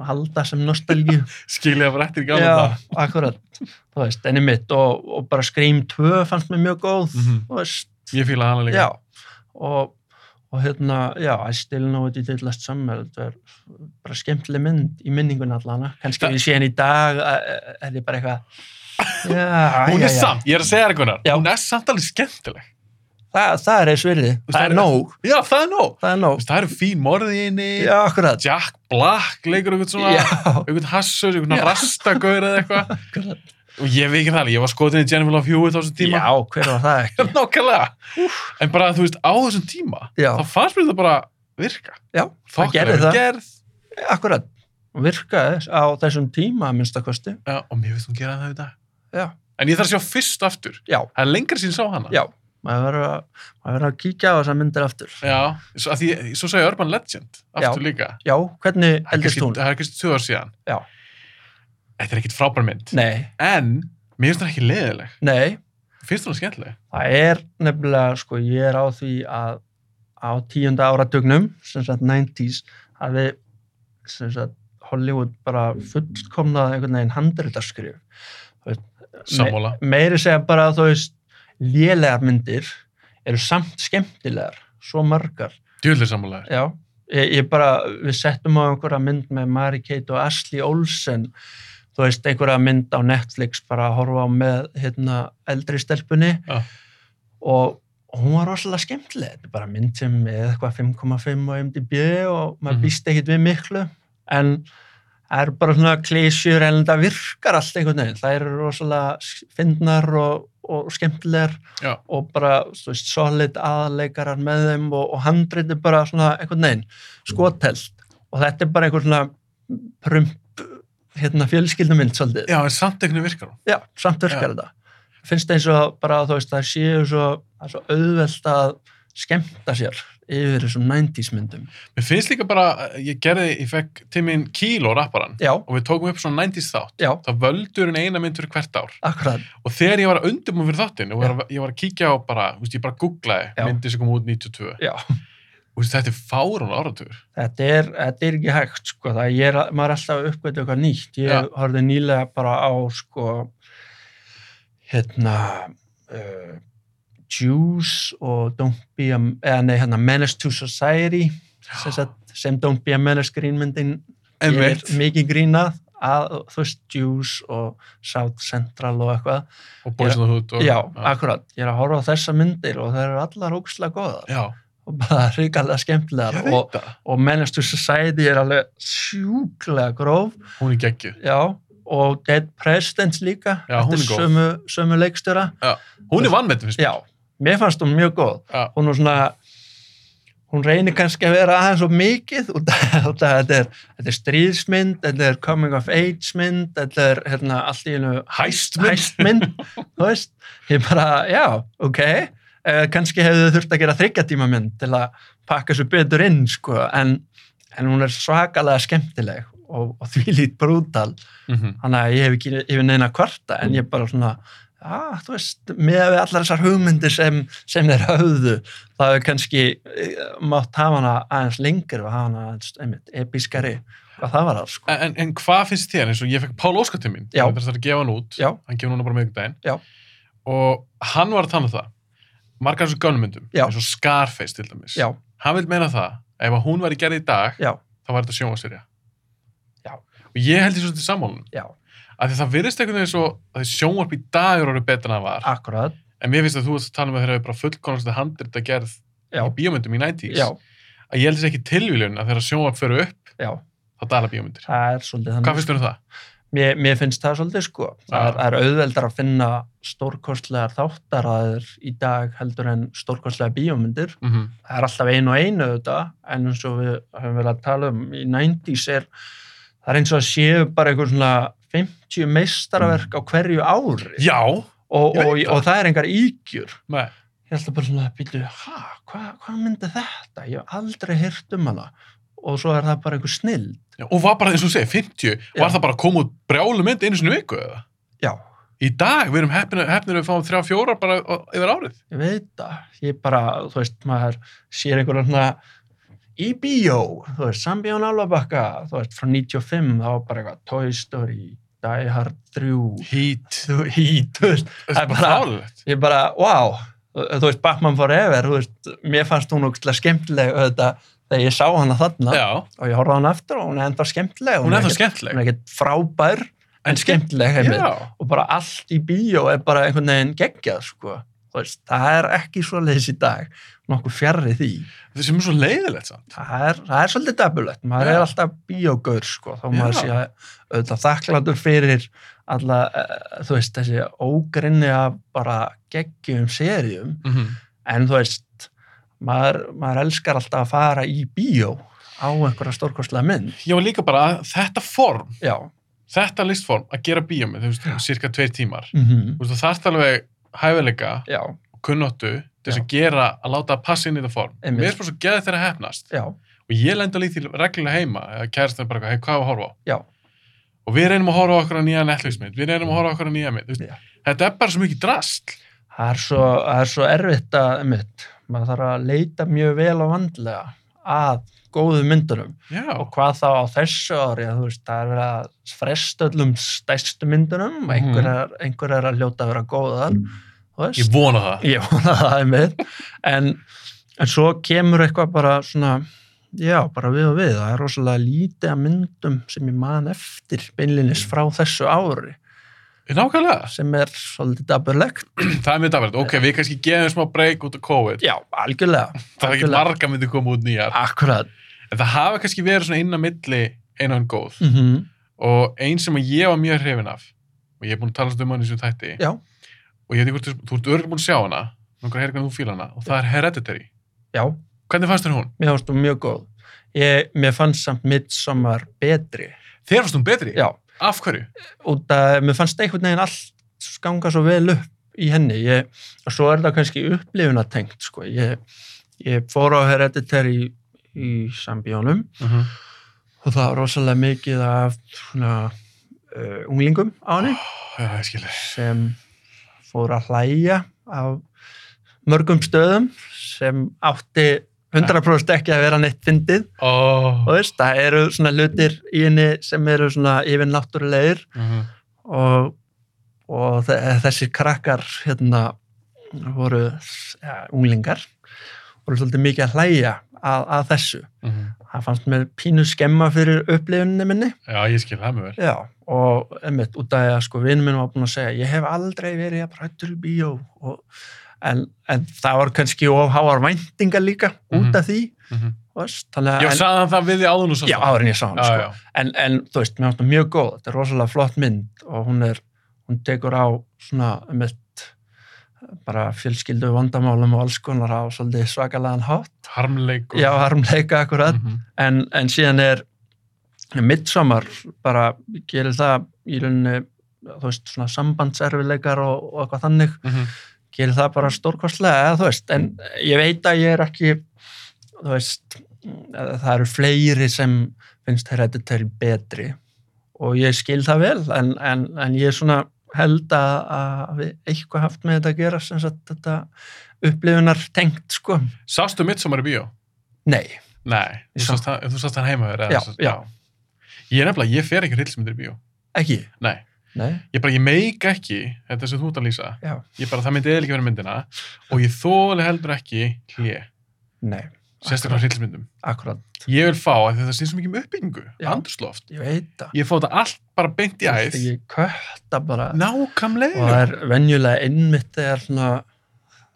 A: halda sem nostalgíu.
B: Skilja það bara eftir í gamla
A: Já,
B: það.
A: akkurat. Þú veist, enni mitt og, og bara Scream 2 fannst mér mjög góð.
B: Mhm.
A: Þú veist,
B: Ég fíla hana líka.
A: já. Og, og hérna, já, I still know what you did last summer. Þetta er bara skemmtileg mynd í minningun allana. Kannski
B: Það-
A: við séum í dag eh, eh, er ég bara eitthvað... Já,
B: Hún
A: já,
B: er
A: já.
B: samt, ég er að segja þér Gunnar,
A: Já.
B: hún er samt alveg skemmtileg.
A: Þa, það er eins virði. Það
B: það
A: er
B: er-
A: nóg.
B: Já, það er nóg.
A: Það er
B: Þú
A: nóg.
B: veist, Það eru fín morði inni,
A: Já, akkurat.
B: Jack Black leikur einhvern svona,
A: Já,
B: einhvern hassur, einhvern
A: Já.
B: rastagaur eða eitthvað.
A: akkurat.
B: Og ég veit ekki það, alveg, ég var skotin í Jennifer Love Hewitt á þessum tíma.
A: Já, hver var það ekki?
B: Nákvæmlega. En bara, þú veist, á þessum tíma,
A: Já,
B: þá fannst mér þetta bara virka.
A: já, það
B: Þokkar
A: gerði
B: hefur
A: það.
B: Gerð,
A: Akkurat. Virkaði á þessum tíma að minnstakosti.
B: Já, og mér veist hún gera það í dag.
A: Já,
B: En ég þarf að sjá fyrst aftur.
A: já,
B: Það er lengra sín sá hana.
A: já. Maður verður að, maður verður að kíkja á þessa myndir aftur.
B: Já, svo, að því, svo sagði Urban Legend aftur líka.
A: Já, hvernig
B: Það er
A: eldist
B: kannski-
A: hún?
B: Það er kannski tvö ár síðan.
A: Já.
B: Þetta er ekkit frábær mynd.
A: Nei,
B: En, mér finnst það ekki leiðileg.
A: nei,
B: Finnst þú það skemmtileg?
A: það er nefnilega, sko, ég er á því að á tíunda áratugnum, sem sagt 90s, að við, sem sagt, Hollywood bara fullkomnaði einhvern veginn handritaskrif.
B: Sammála.
A: Meiri segja bara, þú veist, lélegar myndir eru samt skemmtilegar, svo margar,
B: djúðlega sammálaðir.
A: Já, ég, ég bara, við settum á einhverja mynd með Mary Kate og Ashley Olsen, þú veist, einhverja mynd á Netflix bara að horfa á með hérna, eldri stelpunni
B: Já.
A: og hún var rosalega skemmtileg, þetta er bara mynd sem er eitthvað 5,5 og MDB og maður
B: Mhm.
A: býst ekkit við miklu, en það er bara svona klísjur en það virkar allt einhvern veginn, það eru rosalega finnar og, og skemmtilegar
B: Já.
A: og bara þú veist, solid aðleikarar með þeim og, og handrit er bara svona einhvern veginn skotelt og þetta er bara einhver svona prump hérna fjölskyldumind svolítið,
B: Já, en samt einhvern veginn virkar hún.
A: já, samt virkar þetta finnst eins og bara þú veist það séu svo, það er svo auðvelt að skemmta sér yfir þessum 90s myndum,
B: Mér finnst líka bara, eh, ég gerði, ég fekk tíminn Kilo rapparan
A: já,
B: og við tókum upp svona 90s þátt.
A: já
B: Það völdur en eina mynd fyrir hvert ár.
A: akkurat,
B: Og þegar ég var að undirbúin fyrir þáttinn og var, að- ég var að kíkja á bara, þú veist, ég bara googlaði
A: Já.
B: myndir sem kom út 92.
A: já
B: Þú veist, þetta er fárun áratugur.
A: þetta er, þetta er ekki hægt sko, það ég er, maður er alltaf að uppgötu eitthvað nýtt ég
B: Já.
A: horfði nýlega bara á sko hérna uh, Juice og Don't Be a, eða nei, hérna Menace to Society sem, sagt, sem Don't Be a Menace grínmyndin er
B: Einmitt.
A: mikið grínað að, þú veist, Juice og South Central og eitthvað
B: Og Boys in the Hood. Og,
A: já, akkurat, ég er að horfa á þessa myndir og það eru allar ógslag góðar
B: Já,
A: og bara hrikalega
B: ég
A: skemmtilegar og
B: veit það.
A: og Menace to Society er alveg sjúklega gróf
B: Hún er geggjuð.
A: já, og Dead Presidents líka
B: Já, hún er
A: eftir
B: góð.
A: sömu, sömu leikstjóra
B: Hún er vannmetið, finnst mér.
A: já, mér fannst hún mjög góð
B: Já.
A: hún er svona hún reynir kannski að vera aðeins og mikið og þetta er, þetta er stríðsmynd þetta er coming of age mynd þetta er hérna allt í einu
B: Hæstmynd.
A: hæstmynd þú veist, ég bara, já, ok eh, kannski hefðu þurft að gera þryggja tíma mynd til að pakka svo betur inn sko, en, en hún er svakalega skemmtileg og, og því lít brútal
B: Mhm.
A: þannig að ég hef ekki yfir neina kvarta en ég bara svona Já, þú veist, með við allar þessar hugmyndir sem, sem þeir höfðu, það er kannski eh, mátt hafa hana aðeins lengur og hafa hana aðeins, einmitt, episkari hvað það var það, sko.
B: En, en hvað finnst þér eins og ég fekk Pál Óskar til mín
A: Já.
B: það er að gefa hann út,
A: Já.
B: hann gefur núna bara miðvikudaginn
A: Já.
B: og hann var að tala um það margar eins og gönnmyndum
A: Já.
B: eins og Scarface til dæmis
A: Já,
B: hann vil meina það, ef að hún væri gerð í dag
A: já,
B: þá var þetta sjónvasterja
A: Já.
B: og ég held því svo til sammálunum
A: já,
B: af því það virðist einhvern veginn svo að sjónvarp í dag eru orðið betur en það var
A: akkurat,
B: en mér finnst að þú veist að tala um að þeir eru bara fullkonast að handrita gerð
A: já,
B: í bíómyndum í 90s
A: já,
B: að ég held þess ekki tilvílun að þegar sjónvarp fyrir upp
A: já,
B: þá dala bíómyndir
A: það er svolítið þannig.
B: hvað finnst þér um það?
A: Mér, mér finnst það svolítið sko. Það
B: Já.
A: er, það er auðveldar að finna stórkostlegar þáttaraður í dag heldur en stórkostlega bíómyndir.
B: Mm
A: Það er alltaf einu og einu þetta, en eins og við höfum verið að tala um í 90s er, það er eins og að séu bara einhver svona 50 meistaraverk á hverju ári
B: Já,
A: og,
B: ég
A: og,
B: veit
A: og,
B: það.
A: það er engar ígjur.
B: Nei.
A: Ég held að bara svona að byrja, hæ, hvað hva myndi þetta? Ég hef aldrei heyrt um hana og svo er það bara einhver snill.
B: Já, og var bara, eins og þú segir, 50, var
A: Já.
B: það bara að koma út brjálu mynd einu sinni í viku eða?
A: Já,
B: Í dag, við erum hefnir, hefnir að við fáum þrjá fjórar bara á- yfir árið.
A: ég veit það, ég bara, þú veist, maður sér einhverja svona í bíó, þú veist, Sambjón Álabakka, þú veist, frá 95, þá var bara eitthvað Toy Story, Die Hard 3,
B: Hít.
A: þú, hít, þú veist,
B: Það
A: er
B: er bara
A: bara-
B: fálilegt.
A: ég bara, wow, þú þú veist, Batman Forever, þú veist, mér fannst hún ógstlega skemmtileg auðvitað þegar ég sá hana þarna
B: Já,
A: og ég horfði á hana aftur og hún er enda skemmtileg,
B: hún er það
A: ekkert- hún
B: skemmtileg.
A: er ekkert frábær,
B: En
A: en skemmtileg heimil
B: Já,
A: og bara allt í bíó er bara einhvern veginn geggjað sko. Þú veist, það er ekki svo leiðis í dag nokkuð fjarrri því
B: það sem er svo leiðilegt samt.
A: það er, það er svolítið dabulegt maður
B: Já.
A: er alltaf bíógaur sko, þá maður
B: Já.
A: sé að auðvitað þakklandur fyrir alla, eh, þú veist, þessi ógrinni að bara geggjum seriðum
B: Mm
A: en þú veist, maður, maður elskar alltaf að fara í bíó á einhverja stórkostlega mynd
B: Já, og líka bara að þetta form,
A: já,
B: þetta listform að gera bíómið, þú veist, cirka tveir tímar.
A: mm
B: Þú veist, það er alveg hæfileika
A: já,
B: og kunnottu til þess að gera að láta að passa inn í þetta form.
A: Einmitt.
B: Mér er bara svo geðið þegar að hefnast.
A: já,
B: og ég lenda líkt til reglulega heima eða kærastan er bara, eitthvað, hey, hvað er að horfa á?
A: Já.
B: Og við reynum að horfa á okkur á nýja Netflix-mynd, við reynum að horfa á okkur á nýja mynd. þú
A: Já.
B: veist, Þetta er bara svo mikið drast.
A: Það er svo, það er svo erfitt að, mitt, maður þarf að leita mjög vel og vandlega að góðu myndunum
B: Já,
A: og hvað þá á þessu ári, að, þú veist, það er verið að fresta öllum stæstu myndunum,
B: Mhm.
A: einhverjar, einhverjar að hljóta að vera góðar, þú veist,
B: ég vona það.
A: ég vona það er mitt, en, en svo kemur eitthvað bara svona já, bara við og við, það er rosalega lítið af myndum sem ég man eftir beinlinis frá þessu ári
B: Nákvæmlega,
A: sem er svolítið daburlegt
B: það er mjög dafært. Ok, við kannski gefum smá break út af COVID.
A: já, algjörlega,
B: það er ekki
A: algjörlega.
B: marga myndi koma út nýjar.
A: akkurat
B: En það hafa kannski verið svona inn á milli einan góð.
A: mm
B: Og einn sem að ég var mjög hrifin af, og ég er búin að tala svolítið um hann í þessu þætti,
A: já,
B: og ég veit ekki hvort þú- þú ert örgulega búin að sjá hana, nokkar heyrir hvernig þú fílar hana, og það er Hereditary.
A: já,
B: Hvernig fannst þér hún?
A: mér fannst þú mjög góð ég, mér fannst samt midsommar betri,
B: Þér fannst hún betri?
A: já
B: Af hverju?
A: út að mér fannst einhvern veginn allt ganga svo vel upp í henni ég, og svo er það kannski upplifunatengt sko. ég, ég fór á Hereditary í sambíónum og það var rosalega mikið af svona, uh, unglingum á henni
B: Já, það skilur.
A: sem fór að hlæja á mörgum stöðum sem átti 100% ekki að vera neitt fyndið og
B: Oh.
A: veist, það eru svona hlutir í henni sem eru svona yfirnáttúrulegir
B: mhm,
A: og, og þe- þessir krakkar hérna voru ja, unglingar voru svolítið mikið að hlæja að, að þessu.
B: mhm.
A: Það fannst mér pínu skemma fyrir upplifunni minni
B: Já, ég skil það mjög vel.
A: Já, og einmitt út af því að sko vinn minn var búinn að segja ég hef aldrei verið að prættur í bíó og, en, en það var kannski of háar væntingar líka út af því þú veist, þannig
B: Mhm. Ég
A: að en,
B: sagði hann það við því áður nú svo.
A: já, áður en ég sá hann sko
B: já, já.
A: en, en þú veist, mér finnst það mjög góð þetta er rosalega flott mynd og hún er hún tekur á svona mitt, bara fjölskyldu vandamálum og alls konar á svolítið svakalegan hátt,
B: Harmleik og...
A: já, harmleika akkurat,
B: Mhm.
A: en, en síðan er midsommar bara gerir það í rauninni þú veist, svona sambandserfileikar og, og eitthvað þannig,
B: Mhm.
A: gerir það bara stórkostlega, eða þú veist, en ég veit að ég er ekki, þú veist, að það eru fleiri sem finnst Hereditary betri og ég skil það vel, en, en, en ég svona held að, að við eitthvað haft með þetta að gera sem sagt þetta upplifunar tengt, sko.
B: Sástu mitt í bíó?
A: Nei,
B: Nei,
A: Ég sá.
B: þú sást, hann- þú sást hann heima þér. eða
A: Já,
B: sást-
A: já.
B: Ég er nefnilega, ég fer ekki hryllismyndir í bíó.
A: ekki,
B: Nei,
A: nei,
B: ég bara, ég meik ekki þetta sem þú ert að lýsa.
A: já,
B: Ég bara, það myndi eða ekki verið myndina og ég þóli heldur ekki hlje,
A: nei,
B: sérstaklega hryllismyndum.
A: akkurat,
B: Ég vil fá að þetta sé svo mikið um uppbyggingu,
A: Já.
B: andurslóft.
A: ég veit það.
B: Ég vil fá þetta allt bara beint í æð.
A: Ég kötta bara. og
B: Nákvæmlega.
A: það er venjulega einmitt þegar svona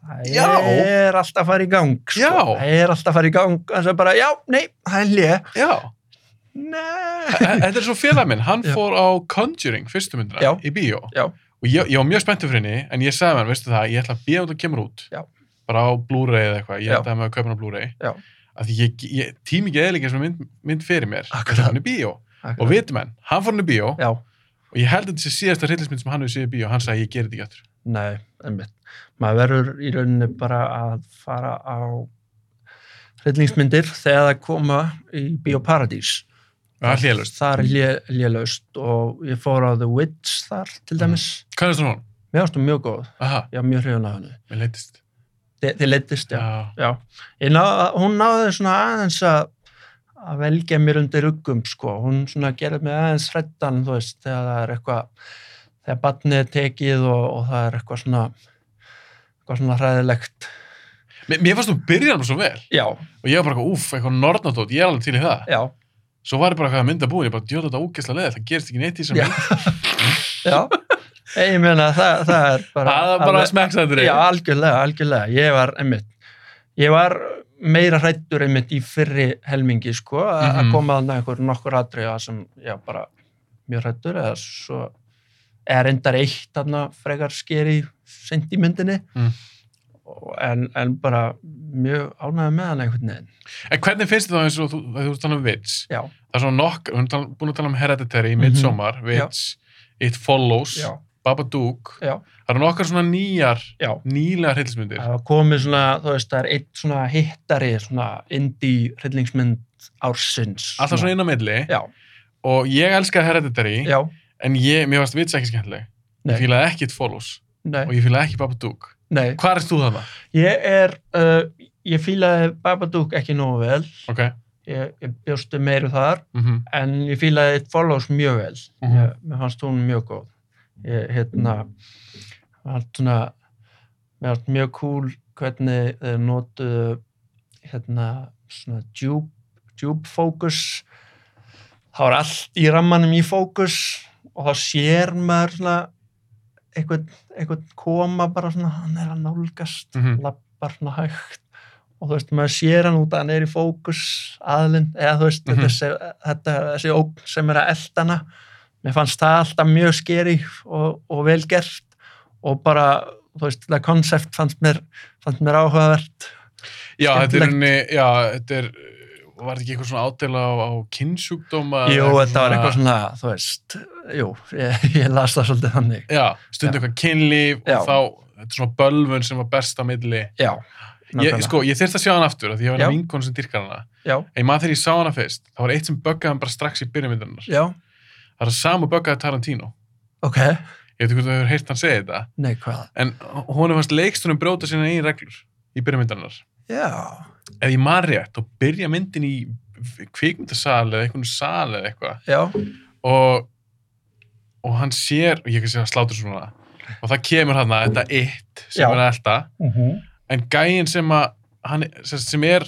A: það
B: Já.
A: er alltaf að fara í gang sko.
B: Já.
A: það er alltaf að fara í gang en svo bara, já, nei, það er lé
B: Já.
A: nei,
B: Þe- Þetta er svo félag minn, hann
A: Já.
B: fór á Conjuring fyrstu myndina
A: Já.
B: í bíó
A: Já.
B: og ég, ég var mjög spenntur fyrir henni en ég sagði mér, veistu það, ég ætla að bíða út að kemur út
A: Já.
B: bara á Blu-ray eða eitthvað, ég
A: Já.
B: ætla að maður kaupa hann á Blu-ray
A: Já.
B: af því ég, ég tími ekki eðlíkja sem mynd, mynd fyrir mér
A: Akkurat.
B: Ég fór hann í bíó og vitum hann, hann fór hann í bíó
A: já,
B: og ég held að þetta sé síðasta hryllismynd sem hann hefur séð í bíó hann sagði ég gerir þetta ekki aftur
A: nei, einmitt maður verður í rauninni bara að fara á hryllingsmyndir þegar það koma í Bíóparadís
B: Það er hlélust,
A: það er lélaust og ég fór á The Witch þar til
B: Mhm.
A: dæmis
B: hvað er það hún?
A: mér ástum mjög góð,
B: Aha,
A: já, mjög hrifun af henni
B: mér leittist
A: Þi- þið leittist, já Já, Ég ná, hún náði svona aðeins að, að velja mér undir uggum sko, hún svona gerði mig aðeins hrættan, þú veist, þegar það er eitthvað þegar barnið er tekið og, og það er eitthvað svona eitthvað svona hræðilegt
B: Mér, mér fannst þú byrjaði hann svo vel
A: Já,
B: og ég var bara, úff, eitthvað nornatótt, ég er alveg til í það
A: já,
B: svo var ég bara hvað að mynda búin, ég bara djóða þetta ógeðslega leðið, það gerist ekki neitt í sem
A: Já, já Nei, Ég meina, það, það er bara
B: það er bara smekksættur
A: Já, algjörlega, algjörlega, ég var einmitt, ég var meira hrættur einmitt í fyrri helmingi sko, mm
B: Mhm.
A: að koma þannig einhver nokkur atriða sem ég var bara mjög hrættur eða svo er endar eitt þarna frekar skeri sent í myndinni
B: Mm.
A: Og- en, en bara mjög ánægði með hann einhvern veginn
B: en hvernig finnst þið þá eins og þú, að þú ert talað um Vits
A: já,
B: það er svona nokk, við erum tal- búin að tala um Hereditary,
A: Mhm.
B: Midsommar, Vits It Follows,
A: já,
B: Babadook
A: já,
B: það eru nokkar svona nýjar,
A: já
B: nýlega hreilsmyndir
A: það var komið svona, þú veist, það er eitt svona hittari, svona indie hryllingsmynd ársins
B: alltaf svona inn á milli
A: já,
B: og ég elska Hereditary
A: já,
B: en ég, mér varst Vits ekki skemmtileg
A: Nei.
B: ég fílaði ekki It Follows
A: nei,
B: og ég fílaði ekki Babadook
A: nei
B: hvað er þú þarna?
A: Ég er, uh, ég fílaði Babadook ekki nógu vel,
B: ok,
A: ég, ég bjóstu meiru þar,
B: mm -hmm.
A: en ég fílaði It Follows mjög vel,
B: Mhm.
A: ég, mér fannst hún mjög góð. Ég, hérna, mér fannst svona, mér fannst mjög cool hvernig þeir notuðu hérna svona djúb, djúb fókus þá er allt í rammanum í fókus og þá sér maður svona einhvern, einhvern koma bara svona hann er að nálgast
B: Mhm.
A: lappar svona hægt og þú veist maður sér hann út að hann er í fókus aðlinn eða þú veist
B: Mhm.
A: þetta, þessi, þetta þessi ógn sem er að eldana mér fannst það alltaf mjög skeri og, og vel gert og bara þú veist þetta konsept fannst mér, fannst mér áhugavert
B: Já, þetta er
A: Skemmtilegt.
B: unni, já, þetta er, var þetta ekki eitthvað svona ádela á, á kynnsjúkdóma?
A: Jú,
B: Eitthvað
A: þetta var eitthvað svona, þú veist, jú, ég, ég las það svolítið þannig.
B: Já, stundu eitthvað kynlíf
A: Já.
B: og þá, þetta er svona bölvun sem var best á milli.
A: Já,
B: Ég,
A: nákvæmlega.
B: sko, ég þyrst að sjá hann aftur, af því ég var
A: Já.
B: hann vinkon sem dyrkar hana.
A: Já,
B: En maður þegar ég sá hana fyrst, þá var eitt sem böggaði hann bara strax í byrjumyndarinnar.
A: já,
B: Það er að sama böggaði Tarantino.
A: ok,
B: Ég veit ekki hvort þú hefur heyrt hann segja þetta,
A: nei, hvað?
B: en hún fannst leikstunum brjóta sína einn reglur í byrjumyndarinnar.
A: Já,
B: Ef ég man rétt, þá byrja myndin í kvikmyndasal eða einhvern sal eða eitthvað
A: já,
B: og, og hann sér og ég kannski að slátur svona og það kemur hann að þetta eitt sem
A: Já.
B: er að elta
A: mhm, mhm,
B: en gæinn sem að hann, sem- sem er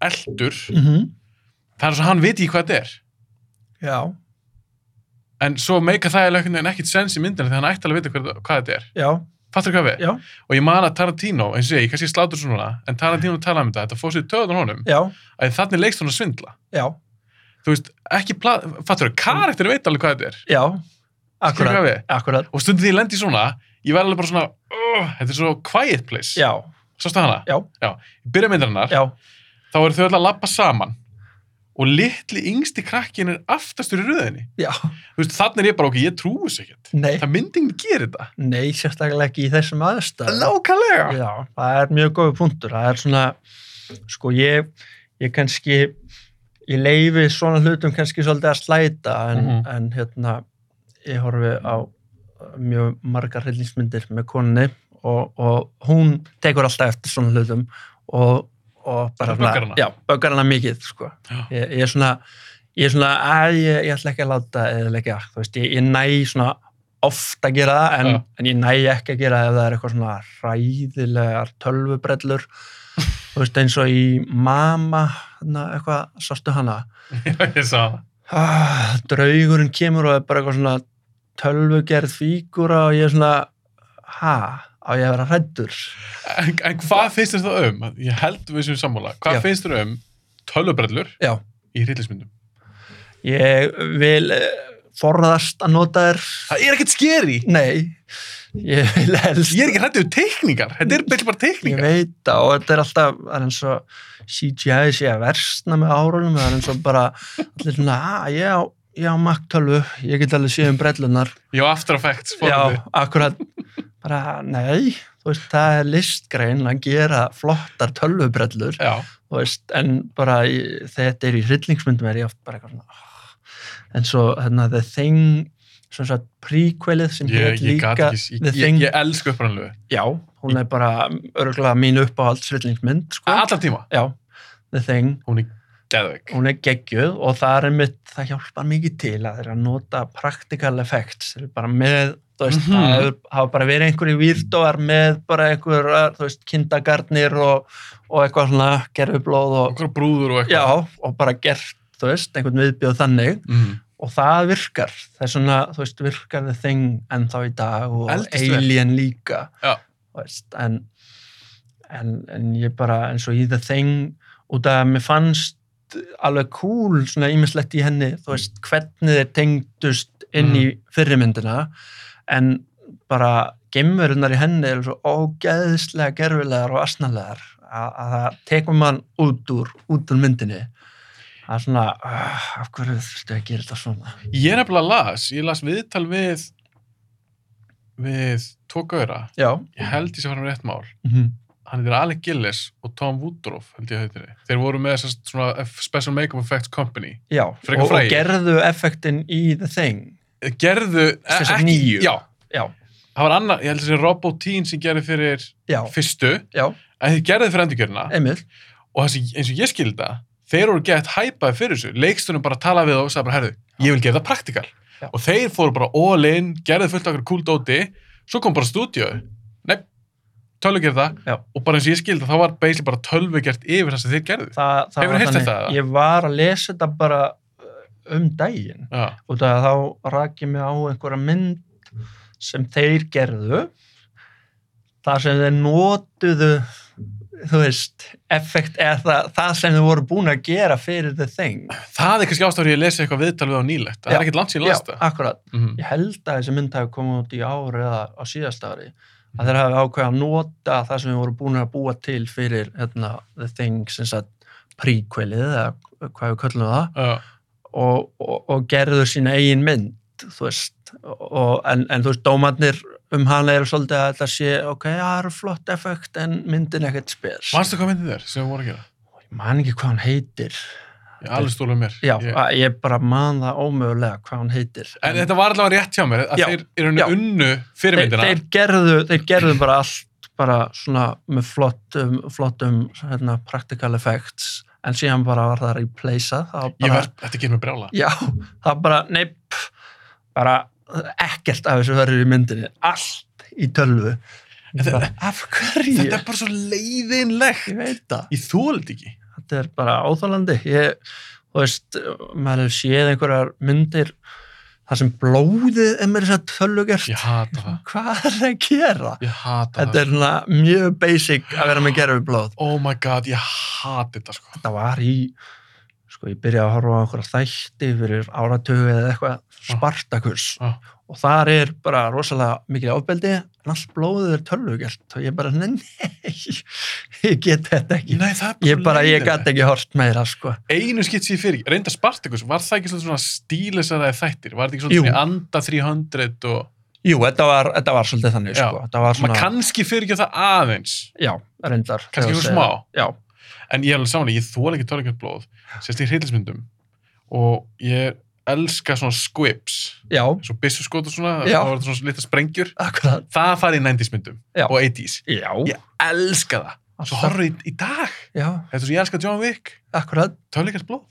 B: eldur það er svo hann viti hvað þetta er
A: Mhm. já,
B: en svo meika það eiginlega einhvern veginn ekkit sens í myndinu þegar hann ætti alveg að vita hvað, hvað þetta er
A: já,
B: fattur hvað við?
A: já,
B: og ég man að Tarantino, eins og ég, ég kannski slátur svona en Tarantino talaði um þetta, þetta fór sér töðan honum
A: já,
B: að þannig leikst hún að svindla
A: já,
B: þú veist, ekki plat, fattur það, karakter veit alveg hvað þetta er
A: já,
B: Skilurðu hvað
A: akkurat,
B: við?
A: akkurat,
B: og stundið því ég lendi í svona ég var alveg bara svona, "Ugh, þetta er svo quiet place
A: já,
B: sástu hana?
A: já,
B: Í byrjamyndarinnar,
A: já,
B: þá eru þau öll að lappa saman og litli yngsti krakkin er aftastur í röðinni
A: já,
B: Þú veist, þannig er ég bara okkur, ég trúi þessu ekkert
A: nei,
B: það myndi ekki gera þetta
A: nei, sérstaklega ekki í þessum aðstæðum.
B: Lákalega!
A: Já, það er mjög góð punktur. Það er svona, sko, ég, ég kannski, ég leifi svona hlutum kannski svolítið að slæta, en,
B: Mhm.
A: en hérna, ég horfi á mjög margar hryllingsmyndir með konunni og, og hún tekur alltaf eftir svona hlutum og, og bara
B: Það böggar hana.
A: já, böggar hana mikið, sko.
B: Já.
A: Ég, ég er svona, ég er svona, að ég, ég ætla ekki að láta eða ekki að, þú veist, ég, ég næ svona oft að gera það en,
B: Já.
A: en ég næ ekki að gera það ef það er eitthvað svona ræðilegar tölvubrellur þú veist eins og í Mama hana, eitthvað, sástu hana
B: ég sá það
A: ah, draugurinn kemur og er bara eitthvað svona tölvugerð fígúra og ég er svona ha, á ég að vera hrættur
B: en, en hvað finnst þér það um? Ég held við sem sammála Hvað
A: Já.
B: finnst þér um tölubrellur
A: já,
B: í hryllismyndum?
A: ég vil eh, forðast að nota þér
B: Það er ekkert skeri
A: nei, ég vil helst
B: Ég er ekki hrættið um teikningar Þetta er bara
A: Ég
B: teikningar
A: veit það og þetta er alltaf það er eins og CGI sé að versna með árunum, það er eins og bara allir svona, að ég á, ég á Mac 12 ég get alveg séð um brellunar
B: Já, After Effects
A: já,
B: forritið.
A: akkurat bara, nei, þú veist, það er listgrein að gera flottar tölvubrellur,
B: Já.
A: þú veist, en bara í- þegar þetta er í hryllingsmyndum er ég oft bara eitthvað svona "Ah." en svo, hérna, The Thing sem sagt prequelið sem
B: Ég,
A: hét
B: ég
A: líka
B: gat ekki,
A: The
B: ég, ég,
A: Thing
B: ég elsku upprannlegu.
A: já, hún er bara örgulega mín uppáhalds hryllingsmynd, sko
B: Allar tíma.
A: já, The Thing
B: Hún er geðveik.
A: hún er geggjöð og það er einmitt það hjálpar mikið til að þeirra nota practical effects, þeir eru bara með þú veist,
B: Mhm.
A: það hefur- hafa bara verið einhverju výrdóar með bara einhverjar þú veist, kindagarnir og, og eitthvað svona gerfublóð og,
B: Okkur brúður og
A: já,
B: eitthvað.
A: og bara gert, þú veist, einhvern viðbjóð þannig
B: Mm.
A: og það virkar, það er svona, þú veist, virkar the thing ennþá í dag og
B: Eldist vel.
A: Alien líka
B: Já.
A: Þú veist, en, en, en ég bara eins og í the thing út af að mér fannst alveg cool svona ímislegt í henni þú veist, hvernig þeir tengdust inn
B: Mm.
A: í fyrirmyndina en bara gemverunar í henni eru svo ógeðslega gerfilegar og asnalegar að, að það tekur mann út úr, út úr myndinni það er svona uh, af hverju þurftu að gera þetta svona
B: Ég er nefnilega las, ég las viðtal við við tvo gauðra.
A: já
B: Ég held ég sem var um rétt mál.
A: mm -hmm.
B: Hann heitir Alec Gillis og Tom Woodruff, held ég heitir þið. Þeir voru með þessast svona F- Special Makeup Effects Company.
A: já,
B: Frekar
A: og, og
B: frægir.
A: gerðu effektin í the thing
B: Gerðu, e-
A: Sem sagt
B: ekki,
A: nýju.
B: já.
A: já,
B: Það var annar, ég held þessi Robotín sem gerði fyrir
A: já,
B: fyrstu,
A: já,
B: en þið gerði fyrir endurgjörna.
A: einmitt
B: og þessi, eins og ég skildi það, þeir voru gett hæpaði fyrir þessu, leikstunum bara talaði við þá og sagði bara, herðu, ég vil gera það praktikal
A: Já.
B: og þeir fóru bara all in, gerði fullt okkur cool dóti, svo kom bara stúdíu nei, tölvugerða
A: Já.
B: og bara eins og ég skildi þá var basically bara tölvugerð yfir það sem þeir gerðu.
A: það, það
B: Hefurðu
A: var
B: heyrt
A: þannig-
B: þetta, eða?
A: Ég var að lesa þetta bara uh, um daginn
B: Já,
A: og það þá rak ég mig á einhverja mynd sem þeir gerðu þar sem þeir notuðu þú veist, effekt eða það, það sem þau voru búin að gera fyrir the thing
B: það er kannski ástæður ég lesi eitthvað viðtal við á nýlegt. Það
A: Já.
B: er ekkert langt síðan
A: Já,
B: lasta.
A: akkurat,
B: Mm.
A: ég held að þessi mynd hafi komið út í ár eða á síðast ári að þeir hafi ákveða að nota það sem þau voru búin að búa til fyrir hérna, the thing, sem sagt prequelið eða hvað við köllum það
B: Já,
A: og, og, og gerður sína eigin mynd þú veist og, en, en þú veist, dómarnir um hana eru svolítið að þetta sé, ok, það eru flott effekt en myndin ekkert spes
B: Manstu hvað myndið þér sem við vorum að gera?
A: ég man ekki hvað hann heitir
B: Ég alveg stólum mér.
A: já,
B: ég,
A: ég, ég bara man það ómögulega hvað hann heitir
B: En þetta var allavega rétt hjá mér að
A: Já.
B: þeir eru henni
A: Já.
B: unnu
A: þeir,
B: fyrirmyndina.
A: þeir, gerðu, þeir gerðu bara allt bara svona með flottum, flottum hérna, practical effects en síðan bara var það replaceað það var
B: Ég
A: bara,
B: var, þetta gerir mér brjála.
A: Já, það bara, nei, pff, bara ekkert af þessu verður í myndinni, allt í tölvu. Ég
B: Þetta-
A: Bara, af hverju?
B: Þetta er bara svo leiðinlegt.
A: Ég veit það.
B: Ég þóla þetta ekki.
A: Þetta er bara áþálandi. Ég, þú veist, maður hefur séð einhverjar myndir þar sem blóðið er með þess að tölvu gert.
B: Ég hata það.
A: Hvað er það að gera?
B: Ég hata
A: Þetta
B: það.
A: er svona mjög basic að vera með gerfi blóð.
B: Oh my god, ég hata þetta sko.
A: Þetta var í, sko, ég byrjaði að horfa á einhverja þætti fyrir áratögu eða eitthvað Spartacus.
B: Ah.
A: og þar er bara rosalega mikil ofbeldi en allt blóðið er tölvugert og ég bara, nei, nei ég get þetta ekki
B: Nei, það er bara
A: ég bara, ég gat ekki hort meira sko.
B: Einu skitt sér fyrir, reynda Spartacus, var það ekki svolítið svona stílisar eða þættir? Var það ekki
A: Jú.
B: svolítið svona anda 300 og...
A: jú, þetta var, þetta var svolítið þannig
B: Já.
A: sko. þetta var
B: Svona...
A: svona,
B: Maður kannski fyrir ekki það aðeins,
A: já, reyndar þegar
B: kannski
A: þú
B: fyrir
A: segir
B: smá.
A: það. já,
B: En ég er alveg samanlega, ég þóla ekki tölvökkjöld blóð, sérst í hryllismyndum. Og ég elska svona squips,
A: já,
B: svo byssuskot og svona,
A: Já.
B: það var svona litla sprengjur.
A: akkurat
B: Það farið í 90s myndum
A: Já.
B: og 80s.
A: já,
B: Ég elska það. Svo
A: alltaf,
B: horfður í, í dag.
A: já,
B: Þetta er svo ég elska John Wick,
A: akkurat
B: tölvökkjöld blóð.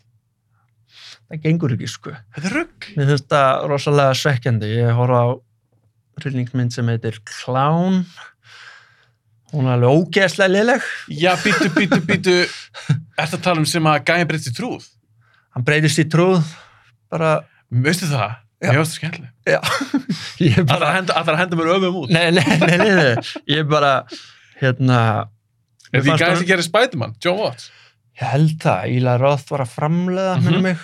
A: það gengur ekki sko
B: Þetta er rugg.
A: mér finnst það rosalega svekkjandi ég horfa á rillingsmynd sem heitir Clown hún er alveg ógeðslega liðleg
B: Já, býtu, býtu, býtu Ertu að tala um sem að gæja breytist í trúð?
A: hann breytist í trúð bara,
B: Veistu það?
A: Já.
B: Mér varst það skemmtileg
A: ég
B: Það
A: bara
B: þarf að henda, að þarf að henda mér öfum út
A: nei, nei, nei, nei, nei, ég bara hérna,
B: Er
A: mér
B: því
A: fannst
B: gæja
A: það-
B: sem gerir Spiderman, John Watts
A: ég held það Íla Roth var að framlega mm
B: Mhm.
A: mig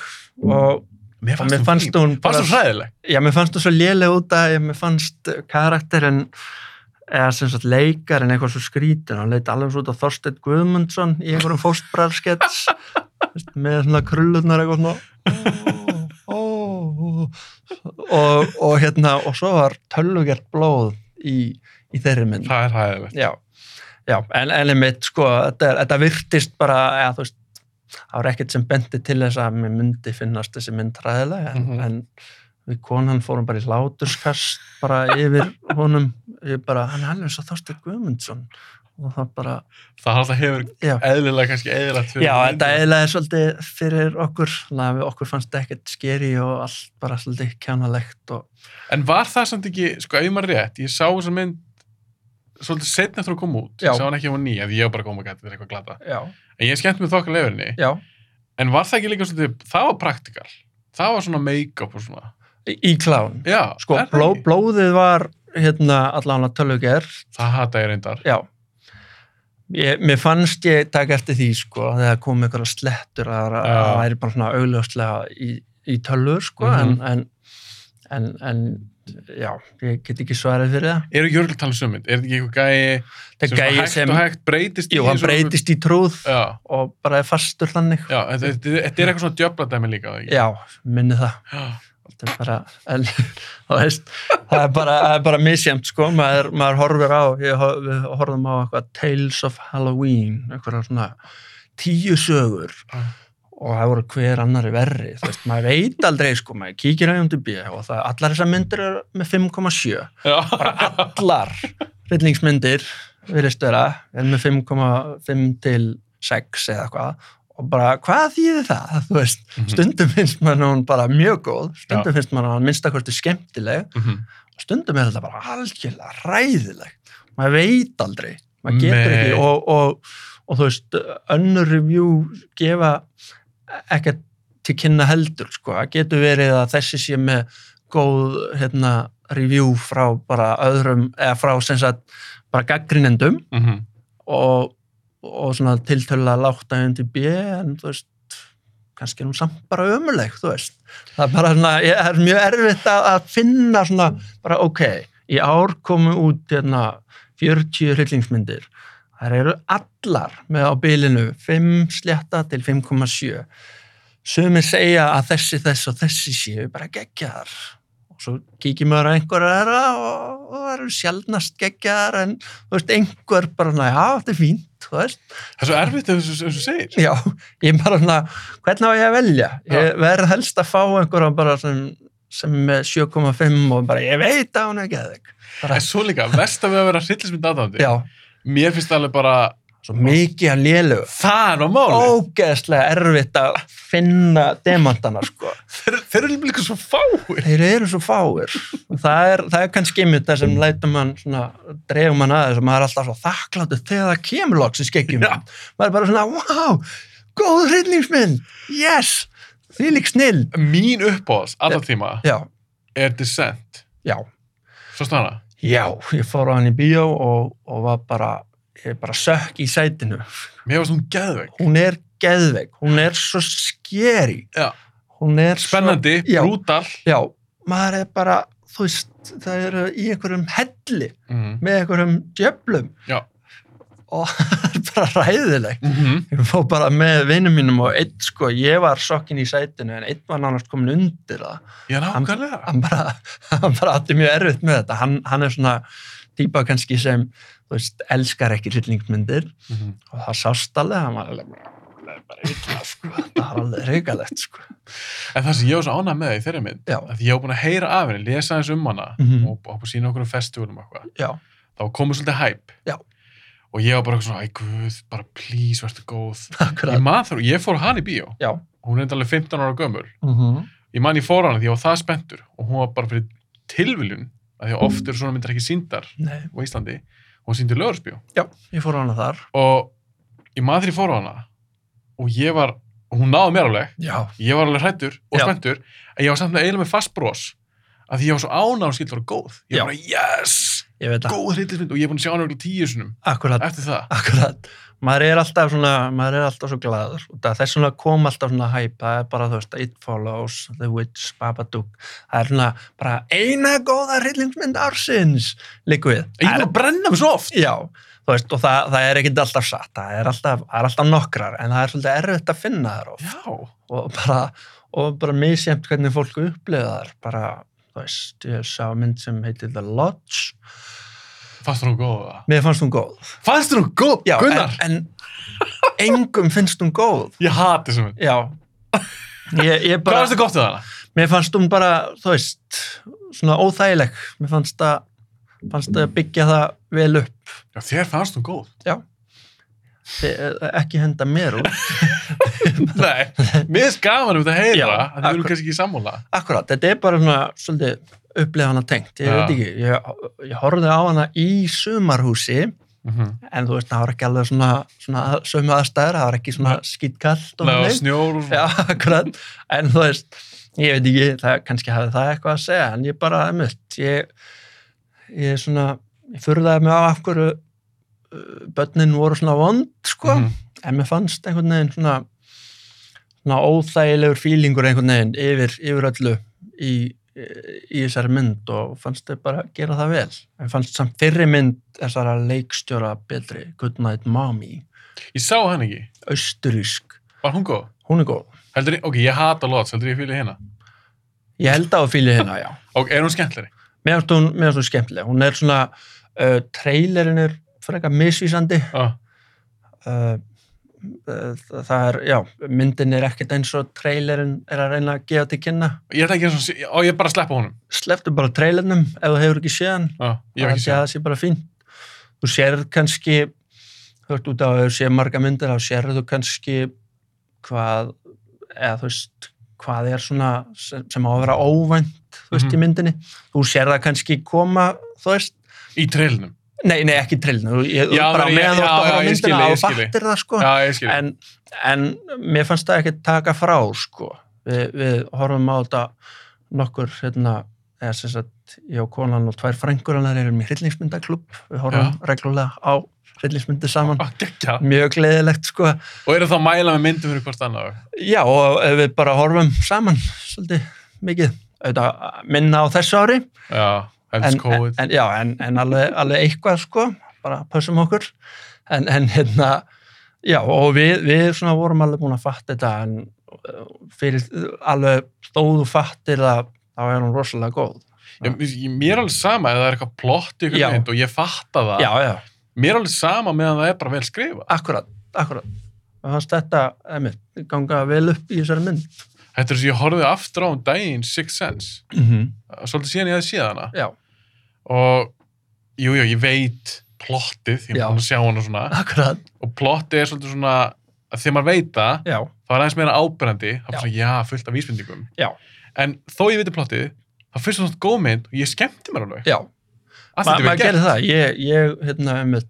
A: og,
B: Mér
A: og mér fannst
B: fín.
A: hún bara,
B: Fannst hún hræðileg?
A: já, mér fannst hún svo léleg út að ég, mér fannst karakterinn eða sem sagt leikarinn eitthvað svo skrítin, hann leit alveg svo út á Þorsteinn Guðmundsson í einhverjum fóstbrarskets með svona krullurnar eitthvað svona ó, ó, ó. og, og hérna og svo var tölvugert blóð í, í þeirri mynd
B: Það er hræðilegt
A: já, já en, en einmitt sko, þetta, er- þetta virtist bara eða, þú veist, það var ekkert sem bendi til þess að mér myndi finnast þessi mynd ræðilega en,
B: Mhm.
A: en við konan fórum bara í láturskast bara yfir honum ég bara, hann er alveg svo Þorsteinn Guðmundsson og það bara,
B: Það alltaf hefur
A: já
B: eðlilega kannski eðlilegt fyrir
A: Já,
B: myndina.
A: þetta eðlaði svolítið fyrir okkur, þannig að við okkur fannst þetta ekkert skeri og allt bara svolítið kjánalegt og
B: En var það samt ekki, sko, ef maður rétt Ég sá þess mynd svolítið setna eftir að koma út
A: Já.
B: Ég sá hann ekki á nýja, því ég var bara koma gæti, þetta er eitthvað glata
A: já,
B: En ég skemmt með þokkar leifurinni
A: já.
B: En var það ekki líka svolítið, það var praktikal Það var svona make-up og svona
A: Í, í klán.
B: Já,
A: Sko,
B: er það
A: bló,
B: ekki?
A: blóðið var hérna allan að tölvugerð
B: Það hata ég reyndar.
A: Já. Ég, mér fannst ég taka eftir því, sko, þegar kom einhverja slettur að að
B: Já.
A: það væri bara svona augljóslega í, í tölvur, sko,
B: Mhm.
A: en, en, en, en, já, ég get ekki svarið fyrir það.
B: Eru Jörgl talað sömund? um Er þetta ekki eitthvað gæi
A: Það
B: svona
A: gæði
B: hægt
A: sem,
B: og hægt breytist? í
A: jú, hann
B: svona-
A: breytist í trúð
B: Já,
A: og bara er fastur þannig.
B: já þetta, þetta, þetta er eitthvað svona djöfladæmi líka, eða ekki?
A: Já, minni það.
B: Já.
A: Það er bara, en, það, veist, það er bara, það er bara misjæmt, sko, maður, maður horfir á, ég, hor- við horfum á eitthvað Tales of Halloween, eitthvað svona tíu sögur
B: Ah.
A: og það voru hver annari verri, þú veist, maður veit aldrei, sko, maður kíkir á IMDb og það, allar þessar myndir eru með 5,7,
B: Já.
A: bara allar rillingsmyndir virðist vera, en með 5,5 til 6 eða hvað, og bara, hvað þýðir það, þú veist, stundum finnst mann hún bara mjög góð stundum finnst mann hún minnstakosti skemmtileg
B: Mhm.
A: og stundum er þetta bara algjörlega ræðileg maður veit aldrei maður getur
B: Nei.
A: ekki og, og, og þú veist, önnur review gefa ekkert til kynna heldur sko, það getur verið að þessi sé með góð hérna, review frá bara öðrum, eða frá sem sagt bara gaggrinendum
B: Mhm.
A: og, og svona tiltölulega lágt að undir B en þú veist kannski er hún samt bara ömuleg þú veist, það er bara svona ég- það er mjög erfitt að, að finna svona bara ok, í ár komu út hérna 40 hryllingsmyndir þær eru allar með á bilinu 5 slétta til 5,7 sumir segja að þessi þess og þessi séu bara geggjaðar og svo kíkir maður að einhverja þeirra og, og það eru sjaldnast geggjaðar en þú veist, einhver bara svona, já, þetta er fínt, þú veist,
B: Það er svo erfitt eins og eins og þú segir.
A: já, ég er bara svona, hvernig á ég að velja? Ég verð helst að fá einhverja bara sem, sem er með 7,5 og bara, ég veit að hún er geðvig. Bara,
B: En svo líka, vest að við að vera hryllismynd aðdáðandi.
A: já,
B: Mér finnst það alveg bara,
A: svo mikið að lélu.
B: það er á máli.
A: Ógeðslega erfitt að finna demantana, sko.
B: Þeir, þeir eru líka svo fáir.
A: Þeir eru svo fáir. Það er, það er kannski mjög það sem lætum hann svona, dreifum hann aðeins og maður er alltaf svo þakkláttu þegar það kemur loks í skeggjum.
B: Já.
A: Maður er bara svona, wow, góð hryllingsmynd, yes, því lík snill.
B: Mín uppáðs, alla tíma,
A: Já,
B: er Descent.
A: já,
B: Svo stanna.
A: já, ég fór á hann í bíó og, og var bara, ég bara sökk í sætinu.
B: Mér varst hún geðveik.
A: Hún er geðveik, hún er svo skeri.
B: Já.
A: Hún er
B: Spennandi,
A: Já.
B: brútal.
A: svo, já, maður er bara, þú veist, það eru í einhverjum helli.
B: Mhm.
A: með einhverjum djöflum
B: Já.
A: og það er bara ræðilegt
B: Mhm.
A: ég fór bara með vinnum mínum og einn sko, ég var sokkin í sætinu en einn var nánast komin undir það
B: Já, nákvæmlega.
A: hann bara, hann bara átti mjög erfitt með þetta hann, hann er svona típa kannski sem þú veist, elskar ekki hryllingsmyndir
B: Mhm.
A: og það sást alveg hann var alveg bara, alveg bara illa sko það var alveg reykalegt sko
B: En það sem ég var svo ánægð með í þeirra mynd,
A: já,
B: að ég var búin að heyra af henni, lesa aðeins um hana
A: Mhm.
B: og og búin að sína okkur um festivalum og eitthvað,
A: já,
B: þá var komið svolítið hæp.
A: Já.
B: Og ég var bara eitthvað svona, æ, guð, bara please, verður góð. Ég
A: akkurat
B: man þar, ég fór á hana í bíó.
A: já,
B: Hún er enda alveg 15 ára gömul.
A: mm
B: Ég man ég fór á hana því ég var það spenntur og hún var bara fyrir tilviljun, að því að oft eru svona myndir ekki síndar
A: nei,
B: á Íslandi, og hún síndi lögursbjó.
A: já, ég fór á hana þar
B: Og ég man þegar ég fór á hana og ég var, og hún náði mér alveg,
A: já,
B: ég var alveg hrættur og
A: Já.
B: spenntur en ég var samt með eiginlega með fast bros að því ég var svo ánáð skilt var góð ég
A: Já.
B: var bara yes,
A: ég veit það,
B: góð hryllismynd og ég er búin að sjá hann auðvitað tíu sinum
A: akkurat
B: eftir það
A: Akkurat, maður er alltaf svona maður er alltaf svo glaður og það þess svona kom alltaf svona hæp, það er bara þú veist It Follows, The Witch, Babadook það er svona bara eina góða hryllingsmynd ársins líkuð,
B: ég er búin að brenna mig svo oft
A: já þú veist, og það, það er ekkert alltaf satt það er alltaf, það er alltaf nokkrar en það er svolítið erfitt að finna þar of
B: já,
A: og bara, og bara misjæmt hvernig fólk upplifa þar bara, þú veist, ég sá mynd sem heitir The Lodge,
B: fannst hún góð það?
A: mér fannst hún góð
B: fannst hún góð,
A: já,
B: Gunnar
A: en, en engum finnst hún góð
B: ég hati þessum mynd
A: Já. Ég, ég
B: hvað
A: bara,
B: fannst þú gott við hana?
A: mér fannst hún bara, þú veist, svona óþægileg. Mér fannst að, fannst að byggja það vel upp.
B: já, þér fannst hún góð
A: Þi- eh, Ekki henda mér úr.
B: nei, mér er gaman um þetta að heyra
A: Já,
B: að þið viljum
A: akkur-
B: kannski ekki sammála
A: Akkurat, þetta er bara svona, svolítið, upplifa hana tengt. Ég
B: Já.
A: veit ekki, ég, ég horfði á hana í sumarhúsi,
B: Mhm.
A: en þú veist, það var ekki alveg svona, svona sömu aðstæður, það var ekki svona skýtkallt og
B: það var
A: þannig.
B: snjór og
A: Já, akkurat, en þú veist ég veit ekki, það, kannski hafði það eitthvað að segja en ég bara, einmitt ég, ég er svona, ég furðaði mig á af hverju uh, börnin voru svona vond, sko
B: Mhm.
A: en mér fannst einhvern veginn svona svona óþægilegur fílingur einhvern veginn yfir, yfir öllu í, í þessari mynd og fannst þau bara gera það vel en fannst samt fyrri mynd þessara leikstjóra betri, Good Night Mommy
B: ég sá hann ekki,
A: austurísk,
B: var hún góð?
A: hún er góð
B: Heldur, ég- ok, ég hata lots, heldur ég fylgir hérna
A: ég held á að fíli hérna, já
B: ok, er hún skemmtleri?
A: mér finnst hún, mér finnst hún skemmtileg hún er svona, uh, trailerin er frekar misvísandi
B: Ah.
A: uh, uh, það er, já, myndin er ekkert eins og trailerin er að reyna að gefa til kynna
B: Ég ætla ekki að svona, á ég er bara að sleppa honum.
A: sleftu bara trailernum ef þú hefur ekki séðan
B: Já, ég hef ekki séð.
A: það sé bara fínt þú sérð kannski þú ert út á að þú séð marga myndir þá sérð þú kannski hvað eða þú veist hvað er svona sem, sem á að vera óvænt þú veist
B: Mhm.
A: í myndinni þú sérð það kannski koma þú veist
B: Í trailinum.
A: Nei, nei, ekki trillinu, ég,
B: Já,
A: bara
B: nei,
A: meðan
B: já,
A: þú ert að horfa
B: já,
A: á
B: ég skil,
A: myndina
B: ég
A: og
B: skil.
A: fattir það sko
B: Já, ég skil.
A: en, en mér fannst það ekki taka frá sko, Vi, við horfum á þetta nokkur hérna, eða sem sagt, ég og konan og tvær frængur hann erum í hryllingsmyndaklubb við horfum reglulega á hryllingsmyndir saman,
B: Á, geggjað.
A: mjög gleðilegt sko
B: Og eru þá að mæla með myndum fyrir hvort annað?
A: já, og ef við bara horfum saman svolítið mikið Auðvitað, minna á þessu ári
B: Já, helst
A: en,
B: COVID.
A: en, já, en, en alveg, alveg eitthvað sko, bara pössum okkur en, en hérna já, og við, við svona vorum alveg búin að fatta þetta en uh, fyrir alveg stóðu fattir það þá er hún rosalega góð
B: Ég, ég- mér er alveg sama ef það er eitthvað plott í
A: Já.
B: ykkur mynd og ég fatta það.
A: já, já,
B: Mér er alveg sama meðan það er bara vel skrifað.
A: akkurat, akkurat og fannst þetta, einmitt, ganga vel upp í þessari mynd
B: Þetta er þess að ég horfið aftur á um daginn Six Sense.
A: mm -hmm.
B: Svolítið síðan ég hefði séð hana.
A: já,
B: Og jú, jú, ég veit plottið, ég er
A: Já.
B: búin að sjá hana svona.
A: akkurat,
B: Og plottið er svolítið svona, að þegar maður veit það,
A: já,
B: þá er aðeins meira ábyrrandi. Það er
A: Já.
B: bara svona, já, fullt af vísbendingum.
A: Já.
B: En þó ég veit plottið, þá finnst það svona góð mynd og ég skemmti mér alveg.
A: já
B: Allt
A: Ma,
B: þetta er
A: maður
B: vel
A: gerði
B: gert.
A: það, ég, ég hérna einmitt,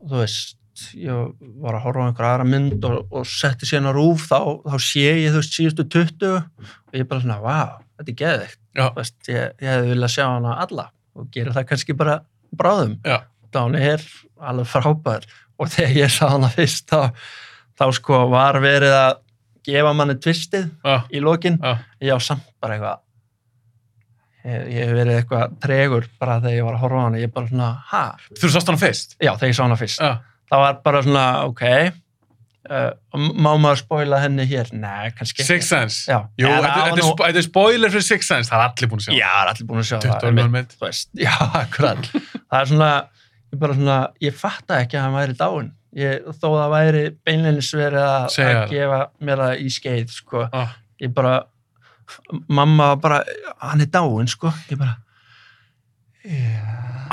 A: þú veist ég var að horfa á einhverja aðra mynd og, og setti síðan á rúf þá, þá sé ég þú veist síðustu 20 og ég bara svona, vá, þetta er geðvikt
B: Já.
A: þú veist, ég, ég hefði viljað sjá hana alla og gera það kannski bara bráðum
B: Já.
A: Dáni er alveg frábær og þegar ég sá hana fyrst þá, þá sko var verið að gefa manni tvistið
B: Já,
A: í lokin
B: já.
A: já, samt bara eitthvað ég, ég hef verið eitthvað tregur bara þegar ég var að horfa á hana ég bara svona, ha,
B: Þú sást hana fyrst?
A: já, þegar ég sá hana fyrst
B: Já.
A: það var bara svona, ok uh, má maður spoila henni hér nei, kannski
B: Six Sense
A: já,
B: Jú,
A: Eða
B: þetta
A: það
B: þetta er
A: var
B: spo- þetta er spoiler fyrir Six Sense, það er allir búin að sjá
A: nú- já, það er allir búin að sjá
B: 20
A: það
B: ára
A: einmitt,
B: mynd
A: þú veist, já, akkurat það er svona, ég bara svona ég fatta ekki að hann væri dáin ég, þó það væri beinleins verið að,
B: Segja
A: að
B: það.
A: gefa mér það í skeið sko.
B: ah,
A: ég bara mamma var bara, hann er dáinn sko, ég bara já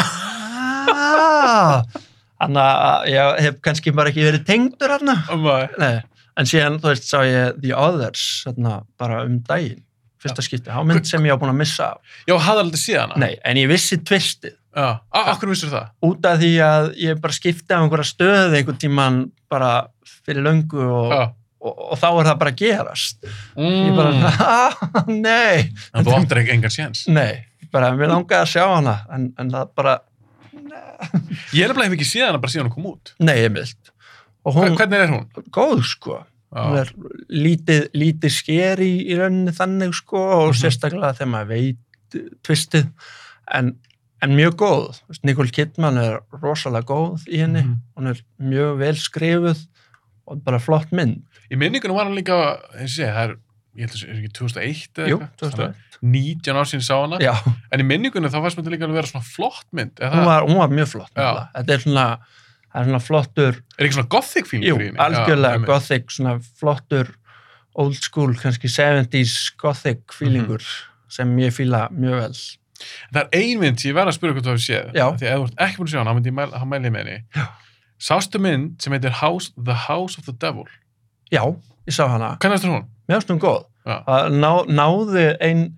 A: þannig að ég hef kannski bara ekki verið tengdur hann
B: um að-
A: en síðan þú veist sá ég The Others þarna, bara um daginn fyrsta skipti, þá mynd sem ég á búin að missa af.
B: Já, hafði aldrei síðan hana
A: nei, en ég vissi tvistið
B: Já, Á- af hverju vissir það?
A: út af því að ég bara skipti af einhverja stöðu einhvern tíman bara fyrir löngu og,
B: Já.
A: og, og, þá er það bara að gerast ég bara,
B: Mm.
A: ah, nei
B: En þú áttir ekki engan séns
A: Nei, bara mér langaði að sjá hana en, en það bara,
B: Ég hef bara ekki síðan hana bara síðan hún kom út
A: nei, ég mild og
B: Hva-
A: hún,
B: Hvernig er hún?
A: góð sko hún
B: Já,
A: er lítið, lítið sker í, í rauninni þannig sko og
B: Mhm.
A: sérstaklega þegar maður veit tvistið en, en mjög góð, Þú veist, Nicole Kidman er rosalega góð í henni
B: Mhm.
A: hún er mjög vel skrifuð og bara flott mynd
B: Í minningunum var hann líka eins og sé, það er, ég held að það er ekki 2001 eða
A: Jú,
B: eitthvað?
A: 2001.
B: 19 ár síðan ég sá hana
A: Já,
B: En í minningunum þá fannst mér þetta líka alveg vera svona flott mynd Er,
A: hún
B: það,
A: var, hún var mjög flott nefnilega.
B: Já.
A: þetta er svona, það er svona flottur
B: er ekki svona gothic fílingur
A: Jú,
B: í henni?
A: algjörlega
B: Já, einmitt.
A: gothic, svona flottur old school, kannski 70s gothic feelingur
B: Mhm.
A: sem ég fíla mjög vel.
B: Það er ein mynd sem ég verð að spyrja hvort þú hefur séð.
A: Já.
B: Því að ef þú ert ekki búin að sjá hana, þá myndi ég mæla, þá mæli ég með henni.
A: Já.
B: Sástu mynd sem heitir House, The House of the Devil.
A: Já, ég sá hana.
B: Hvernig er hún?
A: Mjög stund góð.
B: Já.
A: Það Ná, náði ein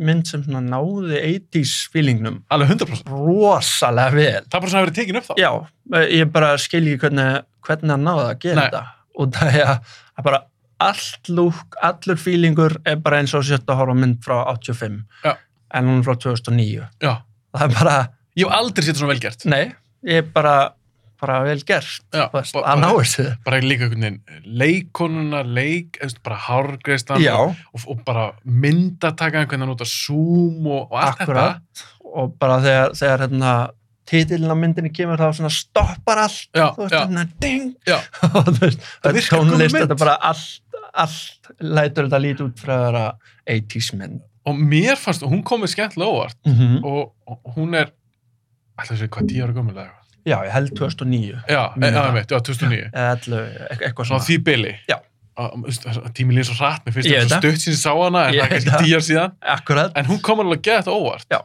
A: mynd sem svona náði 80s feelingnum
B: Alveg 100%.
A: rosalega vel.
B: Það er bara svona að vera tekin upp þá.
A: Já, ég bara skilji hvernig, hvernig hann náði að gera
B: Nei.
A: þetta. Og það er að bara allt lúk, allur feelingur er bara eins og sért að horfa á mynd frá 85.
B: Já.
A: En hún er frá 2009.
B: Já.
A: Það er bara...
B: Ég hef aldrei séð þetta svona vel gert.
A: Nei, ég er bara, bara vel gert.
B: Já,
A: þú veist,
B: bara-
A: Að ná þessu.
B: Bara líka einhvern veginn leikonuna, leik, eða, þú veist, bara hárgreistan
A: Já,
B: og, og, og bara myndataka einhvern veginn út af Zoom og, og allt
A: akkurat. Og bara þegar, þegar hérna, titilin á myndinni kemur þá svona stoppar allt. Þú
B: þetta.
A: veist,
B: Já, já.
A: hérna, ding.
B: Já.
A: og þú veist, það er
B: virkar góð
A: tónlist,
B: mynd.
A: þetta er bara allt, allt lætur þetta lítið út frá þeirra 80s mynd.
B: Og mér fannst, og hún komið skemmtilega óvart
A: Mm
B: og, og hún er, alltaf sé hvað, 10 ára gömulega?
A: Já, ég held 2009.
B: Já,
A: Minna
B: e, já,
A: það.
B: einmitt, já, 2009.
A: Eða ellefu, e- eitthvað
B: svona
A: svona.
B: á því byli
A: Já.
B: tími líður svo hratt mér finnst
A: Ég
B: það
A: veit
B: svo
A: það.
B: stutt síðan ég sá hana en
A: Ég
B: það er
A: veit
B: kannski
A: það.
B: tíjar síðan
A: Akkurat,
B: en hún kom alveg að geða þetta óvart
A: Já.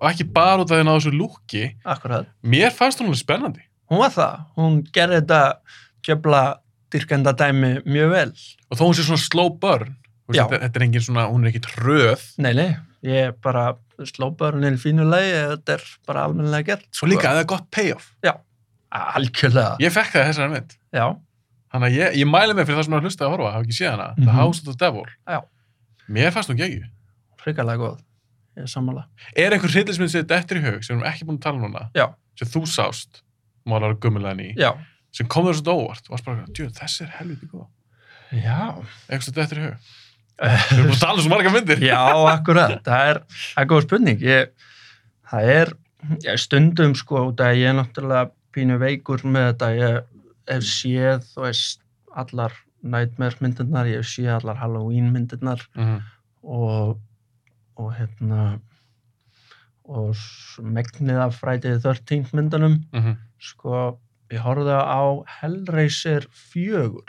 B: og ekki bara út af því að ná þessu lúki
A: akkurat.
B: mér fannst hún alveg spennandi
A: Hún var það. Hún gerði þetta tjöfla dyrkenda dæmi mjög vel.
B: og þó hún sé svona slow burn þú veist,
A: Já.
B: þetta, þetta er engin svona, hún er ekki tröð
A: Nei, nei, ég er bara slópaður hún í fínulegi eða þetta er bara almennilega gert sko.
B: Svo líka að það er gott payoff.
A: algjörlega,
B: Ég fekk það í þessari mynd.
A: já,
B: Þannig að ég, ég mæli mig fyrir það sem er að hlusta að horfa, hafa ekki séð hana.
A: Mhm.
B: The House of the Devil.
A: Já.
B: Mér fannst hún gegju.
A: hrikalega góð ég er sammála,
B: Er einhver hryllismynd sem þetta eftir í hug, sem við erum ekki búin að tala um núna,
A: Já.
B: sem þú sást, málar gummilegan í,
A: já
B: sem kom þér svona óvart og varst bara, djú, þessi er helviti góð.
A: já,
B: Eitthvað þetta eftir í hug. Við erum búin að tala um svo marga myndir.
A: já, akkurat það er, það er góð spurning ég, það er, ég stundum sko, út af að ég er náttúrulega pínu veikur með þetta, ég hef séð, þú veist, allar Nightmare myndirnar, ég hef séð allar Halloween myndirnar
B: Mhm.
A: og, og hérna og s- megnið af frætiði 13 myndunum
B: Mhm.
A: sko, ég horfði á Hellraiser 4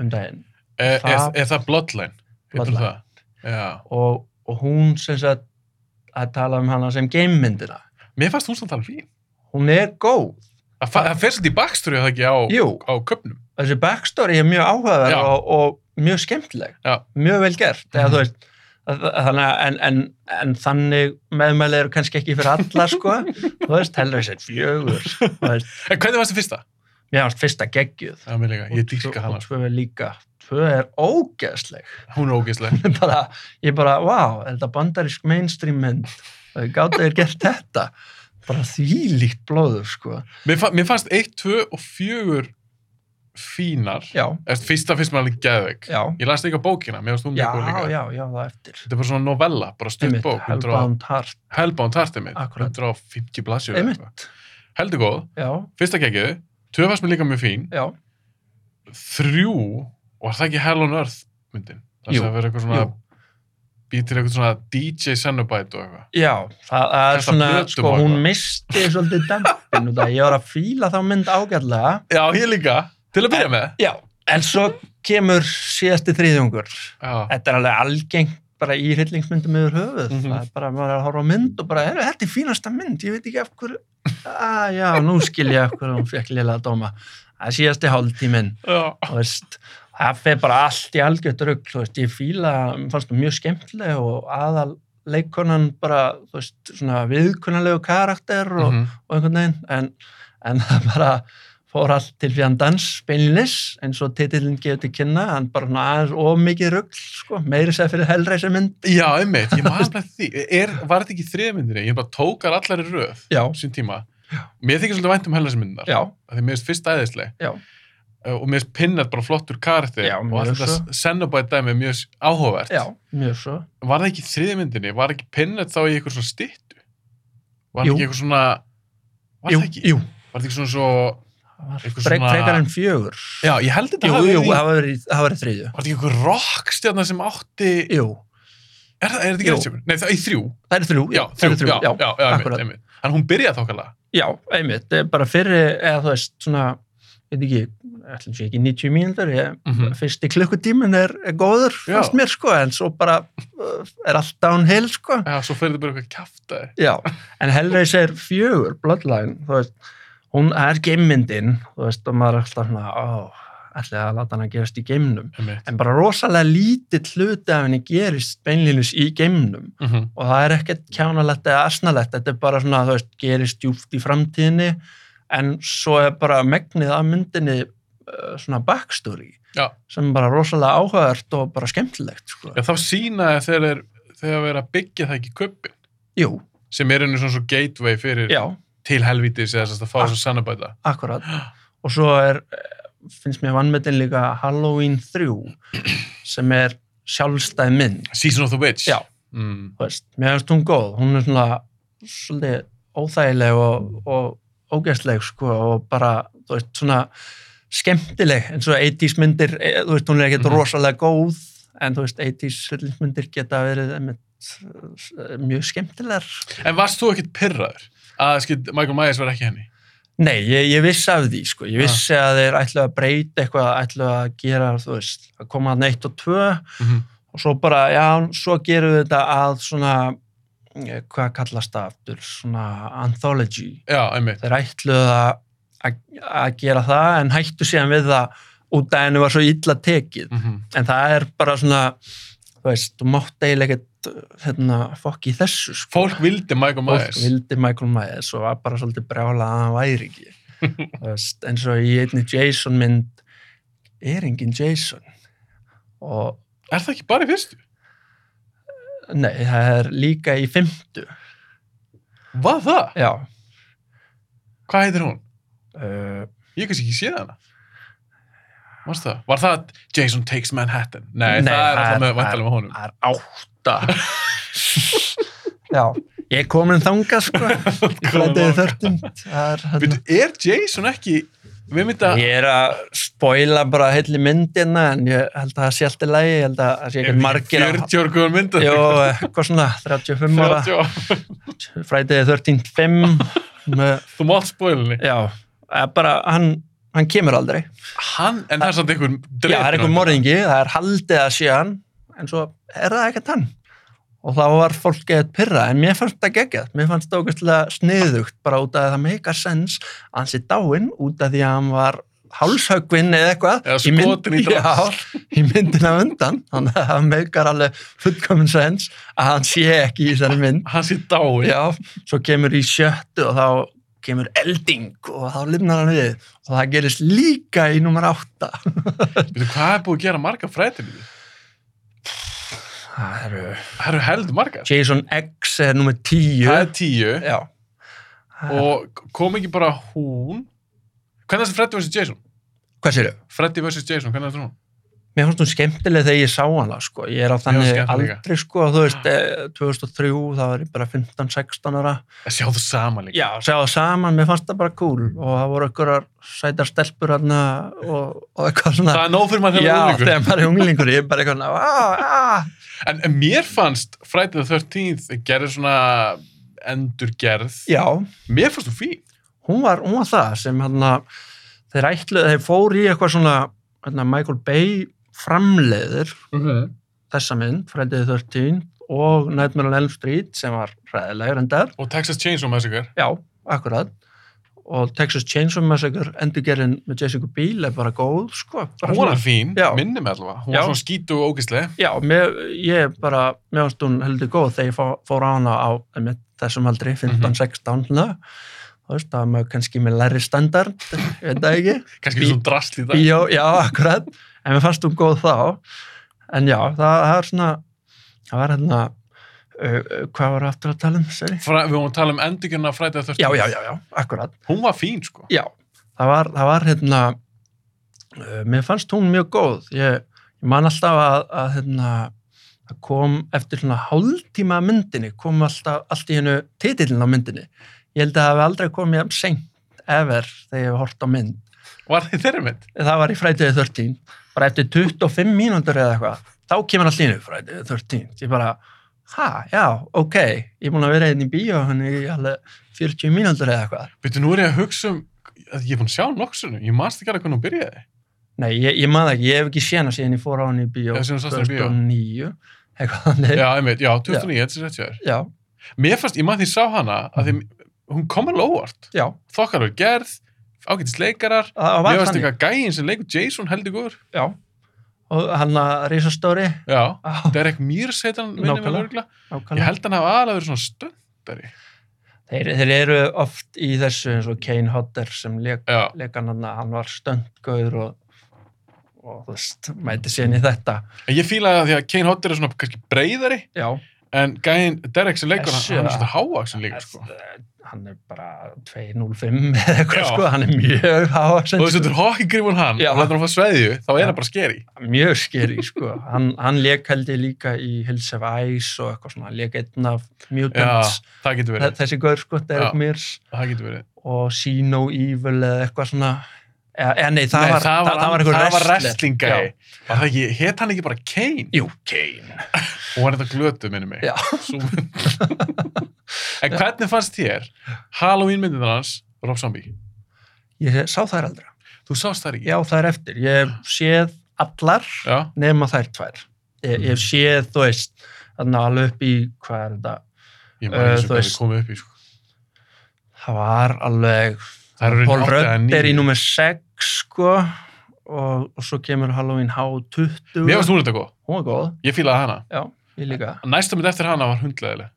A: um daginn
B: Er
A: Það-
B: E, er- er það Bloodline? Heitir
A: Bloodline.
B: það? Já.
A: og, og hún sem sagt að tala um hana sem gamemyndina
B: Mér fannst hún samt alveg fín.
A: hún er góð,
B: Það fa- það fer svolítið í backstory, er það ekki, á,
A: jú
B: á köpnum.
A: þessi backstory er mjög
B: Já.
A: áhugaverð og, og mjög skemmtileg,
B: Já.
A: mjög vel gert eða
B: Mhm.
A: þú veist að- að- þannig að en, en, en þannig meðmæli eru kannski ekki fyrir alla sko, þú veist, heldur þessi fjögur, þú veist,
B: En hvernig varst það fyrsta?
A: mér varst fyrsta geggjuð
B: Já, mér líka. Ég
A: Og tvö-
B: dýrka hana.
A: og
B: sko.
A: tvö er líka, tvö er ógeðsleg
B: Hún er ógeðsleg.
A: bara, ég bara, wow, er þetta bandarísk mainstream mynd, gátu þér gert þetta, bara þvílíkt blóður sko,
B: Mér, fa mér fannst 1, 2 og 4 fínar.
A: já,
B: Eftir fyrsta finnst mér alveg geðveik.
A: já
B: Ég las líka bókina, mér varst hún
A: já,
B: mjög góð líka.
A: já, já, það á eftir
B: Þetta er bara svona novella, bara stutt
A: einmitt,
B: bók.
A: Hellbound Heart,
B: Hellbound Heart, einmitt.
A: Akkúrat.
B: 150 blaðsjur. eða eitthvað.
A: einmitt
B: Heldur góð.
A: já,
B: Fyrsta geggið. Tvö fannst mér líka mjög fín.
A: já,
B: Þrjú, var það ekki Hell on Earth myndin? Það
A: Jú,
B: sem að vera eitthvað svona,
A: jú.
B: býr til eitthvað svona DJ Cenobite og eitthvað.
A: já, það það er
B: Kasta
A: svona,
B: plötum
A: sko,
B: og
A: hún
B: eitthvað.
A: misti svolítið dampin út af, ég var að fíla þá mynd ágætlega,
B: Já, ég líka. Til að byrja með.
A: já, en svo kemur síðasti þriðjungur,
B: Já.
A: þetta er alveg algengt bara í hryllingsmyndum yfir höfuð,
B: Mhm.
A: það er bara, maður er að horfa á mynd og bara, "Heyrðu, þetta er fínasta mynd, ég veit ekki af hverju, að já, nú skil ég af hverju hún fekk liðlega dóma, það er síðasti hálftíminn,
B: Já.
A: þú veist, það fer bara allt í algjört rugg, þú veist, ég fíla, mér fannst það mjög skemmtileg og aðal leikonan bara, þú veist, svona viðkunnalegu karakter og,
B: Mhm.
A: og einhvern veginn, en, en það bara fór allt til fjandans beinlinis, eins og titillin gefur til kynna, hann bara svona aðeins of mikið rugg, sko, meiri sér fyrir hellreisa mynd.
B: Já, einmitt, ég maður bara því. Er, var þetta ekki þriðmyndinni? Ég bara tókar allar í röð
A: Já,
B: á sín tíma. Mér þykir svolítið vænt um hellasmyndinar.
A: já,
B: Því mér finnst fyrst æðisleg.
A: Já.
B: Uh, Og mér finnst pinnat bara flottur karakter.
A: Já,
B: og
A: mjög
B: allt
A: svo.
B: þetta sennabæði dæmi er mjög áhugavert.
A: já, mjög svo.
B: Var það ekki í þriðmyndinni? Var ekki pinnat þá í eitthvað svona styttu? Var
A: Jú.
B: það ekki eitthvað svona... Var
A: jú,
B: það ekki?
A: jú,
B: Var það ekki svona svo...
A: það var
B: Eitthvað
A: frek,
B: svona-
A: frekar en fjögur.
B: Já, ég held þetta
A: jú,
B: hafi
A: jú,
B: verið í-
A: það var verið, það var verið þriðju.
B: Var þetta ekki eitthvað rockstjarna sem átti...
A: Jú,
B: Er, það- er þetta ekki
A: Jú.
B: Richard? Nei, það er í þrjú.
A: það eru þrjú,
B: Já,
A: það
B: þrjú,
A: eru þrjú,
B: já, já, já, einmitt,
A: akkurat.
B: einmitt. En hún byrjaði þókala.
A: Já, einmitt, eh, bara fyrir, eða þú veist, svona, veit ekki, ætlum sé ekki 90 mínútur, ég,
B: Mm
A: fyrsti klukkutímin er, er góður,
B: Já.
A: fannst mér, sko, en svo bara uh, er allt downhill, sko.
B: Já, svo fyrir þetta bara eitthvað kjaftaði.
A: Já, en Hellraiser fjögur, Bloodline, þú veist, hún það er geimmyndin, þú veist, og maður er alltaf svona, ó, ætlaði að láta hana gerast í geimnum.
B: Einmitt.
A: En bara rosalega lítill hluti af henni gerist beinlinus í geimnum
B: Mm -hmm.
A: og það er ekkert kjánalegt eða asnalegt, þetta er bara svona, þú veist, gerist djúft í framtíðinni en svo er bara megnið af myndinni uh, svona backstory
B: Já.
A: sem er bara rosalega áhugavert og bara skemmtilegt, sko.
B: Já, þá sínaði þegar þeir þegar verið að byggja það ekki köpin
A: Jú,
B: sem er einu svona svo gateway fyrir
A: já, Ah.
B: til helvítis eða þess að fá þess að sannabæta.
A: akkurat. Og svo er, eh, finnst mér vannmyndin líka Halloween 3 sem er sjálfstæð mynd,
B: Season of the Witch.
A: Já.
B: Mm.
A: þú veist, mér finnst hún góð, hún er svona svolítið óþægileg og, og ógæstleg, sko, og bara, þú veist, svona skemmtileg, eins og 80s myndir, eh, þú veist, hún er ekkert
B: Mhm.
A: rosalega góð, en þú veist, 80s hryllingsmyndir geta verið einmitt, eh, mjög skemmtilegar.
B: En varst þú ekkit pirraður að skil, Michael Myers var ekki henni?
A: Nei, ég, ég vissi af því, sko, ég vissi að þeir ætlu að breyta eitthvað, ætlu að gera, þú veist, að koma hann eitt og tvö,
B: Mm -hmm.
A: og svo bara, já, svo gerum við þetta að svona, eh, hvað kallast það aftur, svona anthology.
B: Já, einmitt.
A: Þeir ætluðu að- að að gera það en hættu síðan við það út af henni var svo illa tekið.
B: Mm -hmm.
A: En það er bara svona, þú þú veist, þú mátt eiginlega ekkert hérna, fokk í þessu sko.
B: Fólk vildi Michael Myers.
A: Fólk vildi Michael Myers og var bara svolítið brjála að hann væri ekki Þú veist, eins og í einni Jason mynd er engin Jason og
B: Er það ekki bara í fyrstu?
A: nei, það er líka í fymtu
B: Var það?
A: já
B: Hvað heitir hún?
A: uh,
B: Ég kannski ekki séð hana. Varst það? Var það Jason Takes Manhattan? Nei,
A: Nei,
B: það er
A: það er-
B: alltaf með vantalega með honum.
A: það er átta já, ég er komin þangað sko ég
B: Komin
A: glætið
B: þangað.
A: þörtund það er hérna
B: Veitu, er Jason ekki við mynda
A: Ég er að spoila bara heilli myndina en ég held að það sé allt í lagi ég held að það sé ekki margir að
B: 40 ára guðan mynda
A: Jó, eh, hvað svona, 35 ára
B: 30 ára,
A: frætiði 13.5 með-
B: þú mátt spólinni
A: já, eh, bara hann, hann kemur aldrei
B: hann, en það er samt einhver
A: já, það er einhver morðingi, það er haldið að sé hann en svo er það ekkert hann og þá var fólk geðið pyrra en mér fannst það geggjað, mér fannst það ógæstilega sniðugt bara út af að það meikar sens að hann sé dáinn út af því að hann var hálshöggvinn eða eitthvað
B: Eða
A: í mynd-
B: skotin í drasl.
A: já, í myndina á undan þannig að það meikar alveg fullkominn sens að hann sé ekki í þessari mynd
B: hann sé dáin
A: Já, svo kemur í sjöttu og þá kemur elding og þá limnar hann við og það gerist líka í nummer átta.
B: Veitu, hvað er búið að gera marga fræðiminni?
A: Það eru
B: það eru heldur margar sko.
A: Jason X er nummer tíu.
B: það er tíu
A: Já.
B: og kom ekki bara hún hvernig er það Freddy vs. Jason?
A: Hvað sér þau?
B: Freddy vs. Jason, hvernig er það hún?
A: Mér fannst hún skemmtileg þegar ég sá hana, sko. Ég er á þannig
B: skemmtileg líka.
A: aldrei, sko, þú veist, eh, 2003, þá var ég bara 15-16 ára.
B: að sjá það sama líka
A: Já, sjá það saman, mér fannst það bara cool og það voru einhverjar sætar stelpur hérna og, og eitthvað svona.
B: það er nóg fyrir maður
A: Já,
B: þegar maður
A: þegar maður
B: er unglingur.
A: er unglingur, ég er bara eitthvað, svona, "Ah, ah,
B: en, en mér fannst Friday the 13th gerði svona endurgerð
A: já,
B: mér fannst þú fín
A: hún var, hún var það sem hérna, þeir ætluðu, þeir fóru í eitthvað svona hérna, Michael Bay framleiður
B: okay.
A: þessa mynd, Friday the 13 og Nightmare on Elm Street sem var ræðilegur endar,
B: og Texas Chainsaw Massacre
A: já, akkurat og Texas Chainsaw Massacre endurgerinn með Jessica Biel er bara góð, sko bara
B: hún var fín,
A: Já.
B: minni mig allavega hún
A: Já.
B: var svona skítu og ógislega
A: Já, mér, ég bara, mér finnst hún heldur góð þegar ég fó, fór á hana á einmitt, þessum aldri,
B: Mhm.
A: 15-16 mm þú veist, það var maður kannski með læri standard, ég veit það ekki
B: kannski
A: Bí-
B: svona drast í dag
A: Bíó, já, akkurat en mér fannst hún góð þá en já, það, það er svona það var hérna uh, uh, hvað var aftur að tala um, seri?
B: Fra, við vorum að tala um endurgerðina af Friday the 13th
A: Já, já, já, já, akkurat
B: hún var fín sko
A: já, það var, það var hérna uh, mér fannst hún mjög góð ég, ég man alltaf að, að hérna það kom eftir svona hálftíma af myndinni kom alltaf allt í hennu titillin á myndinni ég held að það hafi aldrei komið jafn seint ever þegar ég hef hort á mynd
B: var þið þeirri mynd
A: það var í frætiði 13 bara eftir 25 mínútur eða eitthvað þá kemur allir innu frætiði 13 ég bara, ha, já, ok ég er búin að vera einn í bíó hann í alveg 40 mínútur eða eitthvað
B: veitu, nú er ég að hugsa um að ég er búin að sjá nokksunum ég manst ekki alveg hvernig hún byrjaði
A: nei, ég, ég maður ekki, ég hef ekki séð hana síðan ég fór á hann í bíó
B: Já, síðan þú sást hana í bíó.
A: 2009 eitthvað þannig
B: já, einmitt, já, 2009, þetta er rétt hjá þér
A: já,
B: mér fannst, ég mann því ég sá hana að því, hún kom alveg óvart
A: já,
B: þokkar er gerð, ágætis leikarar
A: það
B: mér
A: var
B: fannst
A: þannig
B: eitthvað gæinn sem leikur Jason heldur góður
A: já. og hann að risastóri
B: já,
A: á,
B: Derek Mears heit hann minnum
A: Nákvæmlega.
B: alveg örugglega. ég
A: nákvæmlega.
B: held hann hafa aðlega verið svona stöndari
A: þeir, þeir eru oft í þessu eins og Kane Hodder sem leik
B: já,
A: leikan hann að hann var stöndgöður og, og þú veist, mæti síðan í þetta.
B: en ég fílaði það því að Kane Hodder er svona kannski breyðari
A: Já,
B: en gæinn, Derek sem leikur hann,
A: Þessi,
B: hann er
A: ja.
B: svona hávaksin líka sko.
A: hann er bara 2.05 eða eitthvað
B: Já.
A: sko, hann er mjög
B: og
A: hávarsend,
B: þess að þú hokkir grífur hann
A: Já.
B: og hættir hann að fá sveðju, þá er
A: Já.
B: það bara skeri
A: mjög skeri sko. Hann, hann leik held ég líka í Hills of Ice og eitthvað svona, hann leik einn af
B: já,
A: Mutants,
B: það getur verið,
A: þessi gaur sko,
B: Já.
A: Derek Mears
B: það getur verið.
A: og See No Evil eða eitthvað svona. Eða, eða nei, það
B: Nei,
A: var, það, það var einhver
B: það var
A: wrestler.
B: wrestling guy.
A: Já.
B: var það ekki, hétt hann ekki bara Kane
A: Jú, Kane.
B: og hann er þetta glötu minni mig
A: Já.
B: Sú- en hvernig fannst þér Halloween myndin hans, Rob Zombie
A: Ég sá þær aldrei.
B: þú sást það ekki
A: Já, þær eftir. Ég hef séð allar.
B: já,
A: nema þær tvær ég, ég sé þú veist þannig alveg upp í hvað er þetta
B: ég
A: Eh,
B: maður eins og
A: þú
B: hvað
A: veist-
B: við komum upp í sko.
A: það var alveg
B: það eru
A: Paul
B: átta eða
A: Rudd er í
B: níu.
A: nummer 6 sko og, og svo kemur Halloween H20
B: Mér varst hún þetta góð.
A: hún var góð,
B: Ég fílaði hana.
A: já, ég líka
B: Næsta mynd eftir hana var hundleðileg.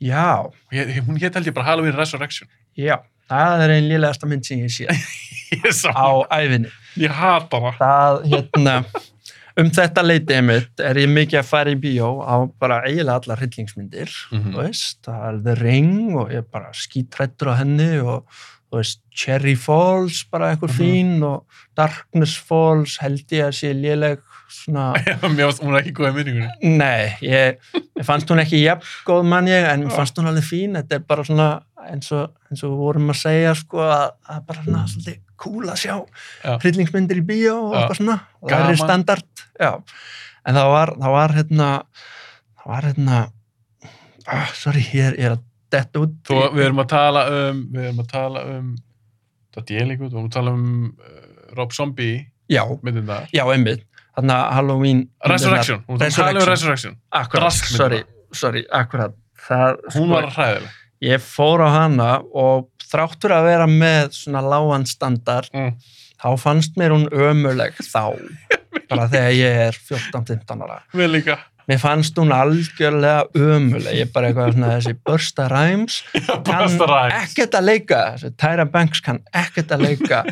A: já,
B: Hún hétt held ég bara Halloween Resurrection.
A: já, það er einn lélegasta mynd sem ég sé
B: Ég sá.
A: á æfinni
B: Ég hata hana.
A: það, hérna um þetta leitið mitt er ég mikið að fara í bíó á bara eiginlega allar hryllingsmyndir
B: Mhm.
A: þú veist, það er The Ring og ég er bara skítrættur á henni og þú veist, Cherry Falls bara einhver
B: Mhm.
A: fín og Darkness Falls held ég að sé léleg svona,
B: Mér varst hún var ekki góð í minningunni.
A: nei ég, ég fannst hún ekki jafn góð mann ég en mér fannst hún alveg fín, þetta er bara svona eins og, eins og við vorum að segja sko að það er bara svona svolítið cool að sjá
B: Já.
A: hryllingsmyndir í bíó og
B: Já.
A: eitthvað svona, það er
B: Gaman.
A: standard já, en það var það var hérna það var hérna ah, sorry, ég er, ég er að detta út
B: Þú,
A: í-
B: við erum að tala um, við erum að tala um, þetta er ég líka út, við erum að tala um uh, Rob Zombie
A: Já,
B: myndina.
A: já, einmitt. Þannig að Halloween...
B: Resurrection. Hún var að tala um
A: Resurrection.
B: Resurrection.
A: Akkurat,
B: Draskmyndina.
A: sorry, sorry, akkurat. Það, sko,
B: Hún var hræðileg.
A: Ég fór á hana og þráttur að vera með svona lágan standard,
B: Mm.
A: þá fannst mér hún ömuleg þá, bara þegar ég er 14-15 ára.
B: Við líka.
A: Mér fannst hún algjörlega ömuleg, ég bara eitthvað svona þessi Bursta Rhymes,
B: Basta ræð.
A: ekkert að leika, þessi Tyra Banks kann ekkert að leika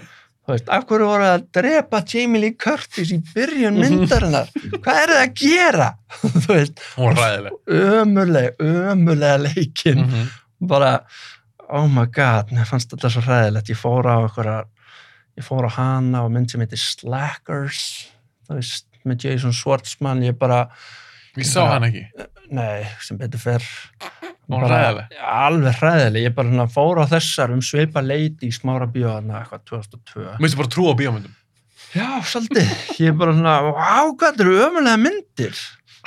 A: þú veist, af hverju voru að drepa Jamie Lee Curtis í byrjun myndarinnar hvað er það að gera þú veist,
B: Hún var hræðileg.
A: ömurleg, ömurlega leikin
B: Mhm.
A: bara, oh my god mér fannst þetta svo hræðilegt, ég fór á einhverja, ég fór á hana og mynd sem heitir Slackers þú veist, með Jason Schwartzman ég bara,
B: Ég sá hann ekki.
A: nei, sem betur fer
B: Hún var hræðileg.
A: alveg hræðileg, ég bara svona fór á þessar um sveipa leiti í smára bjóðana eitthvað 2002
B: Mér finnst bara trú á bíómyndum.
A: Já, svolítið. Ég er bara svona, vá, hvað þetta eru ömulega myndir?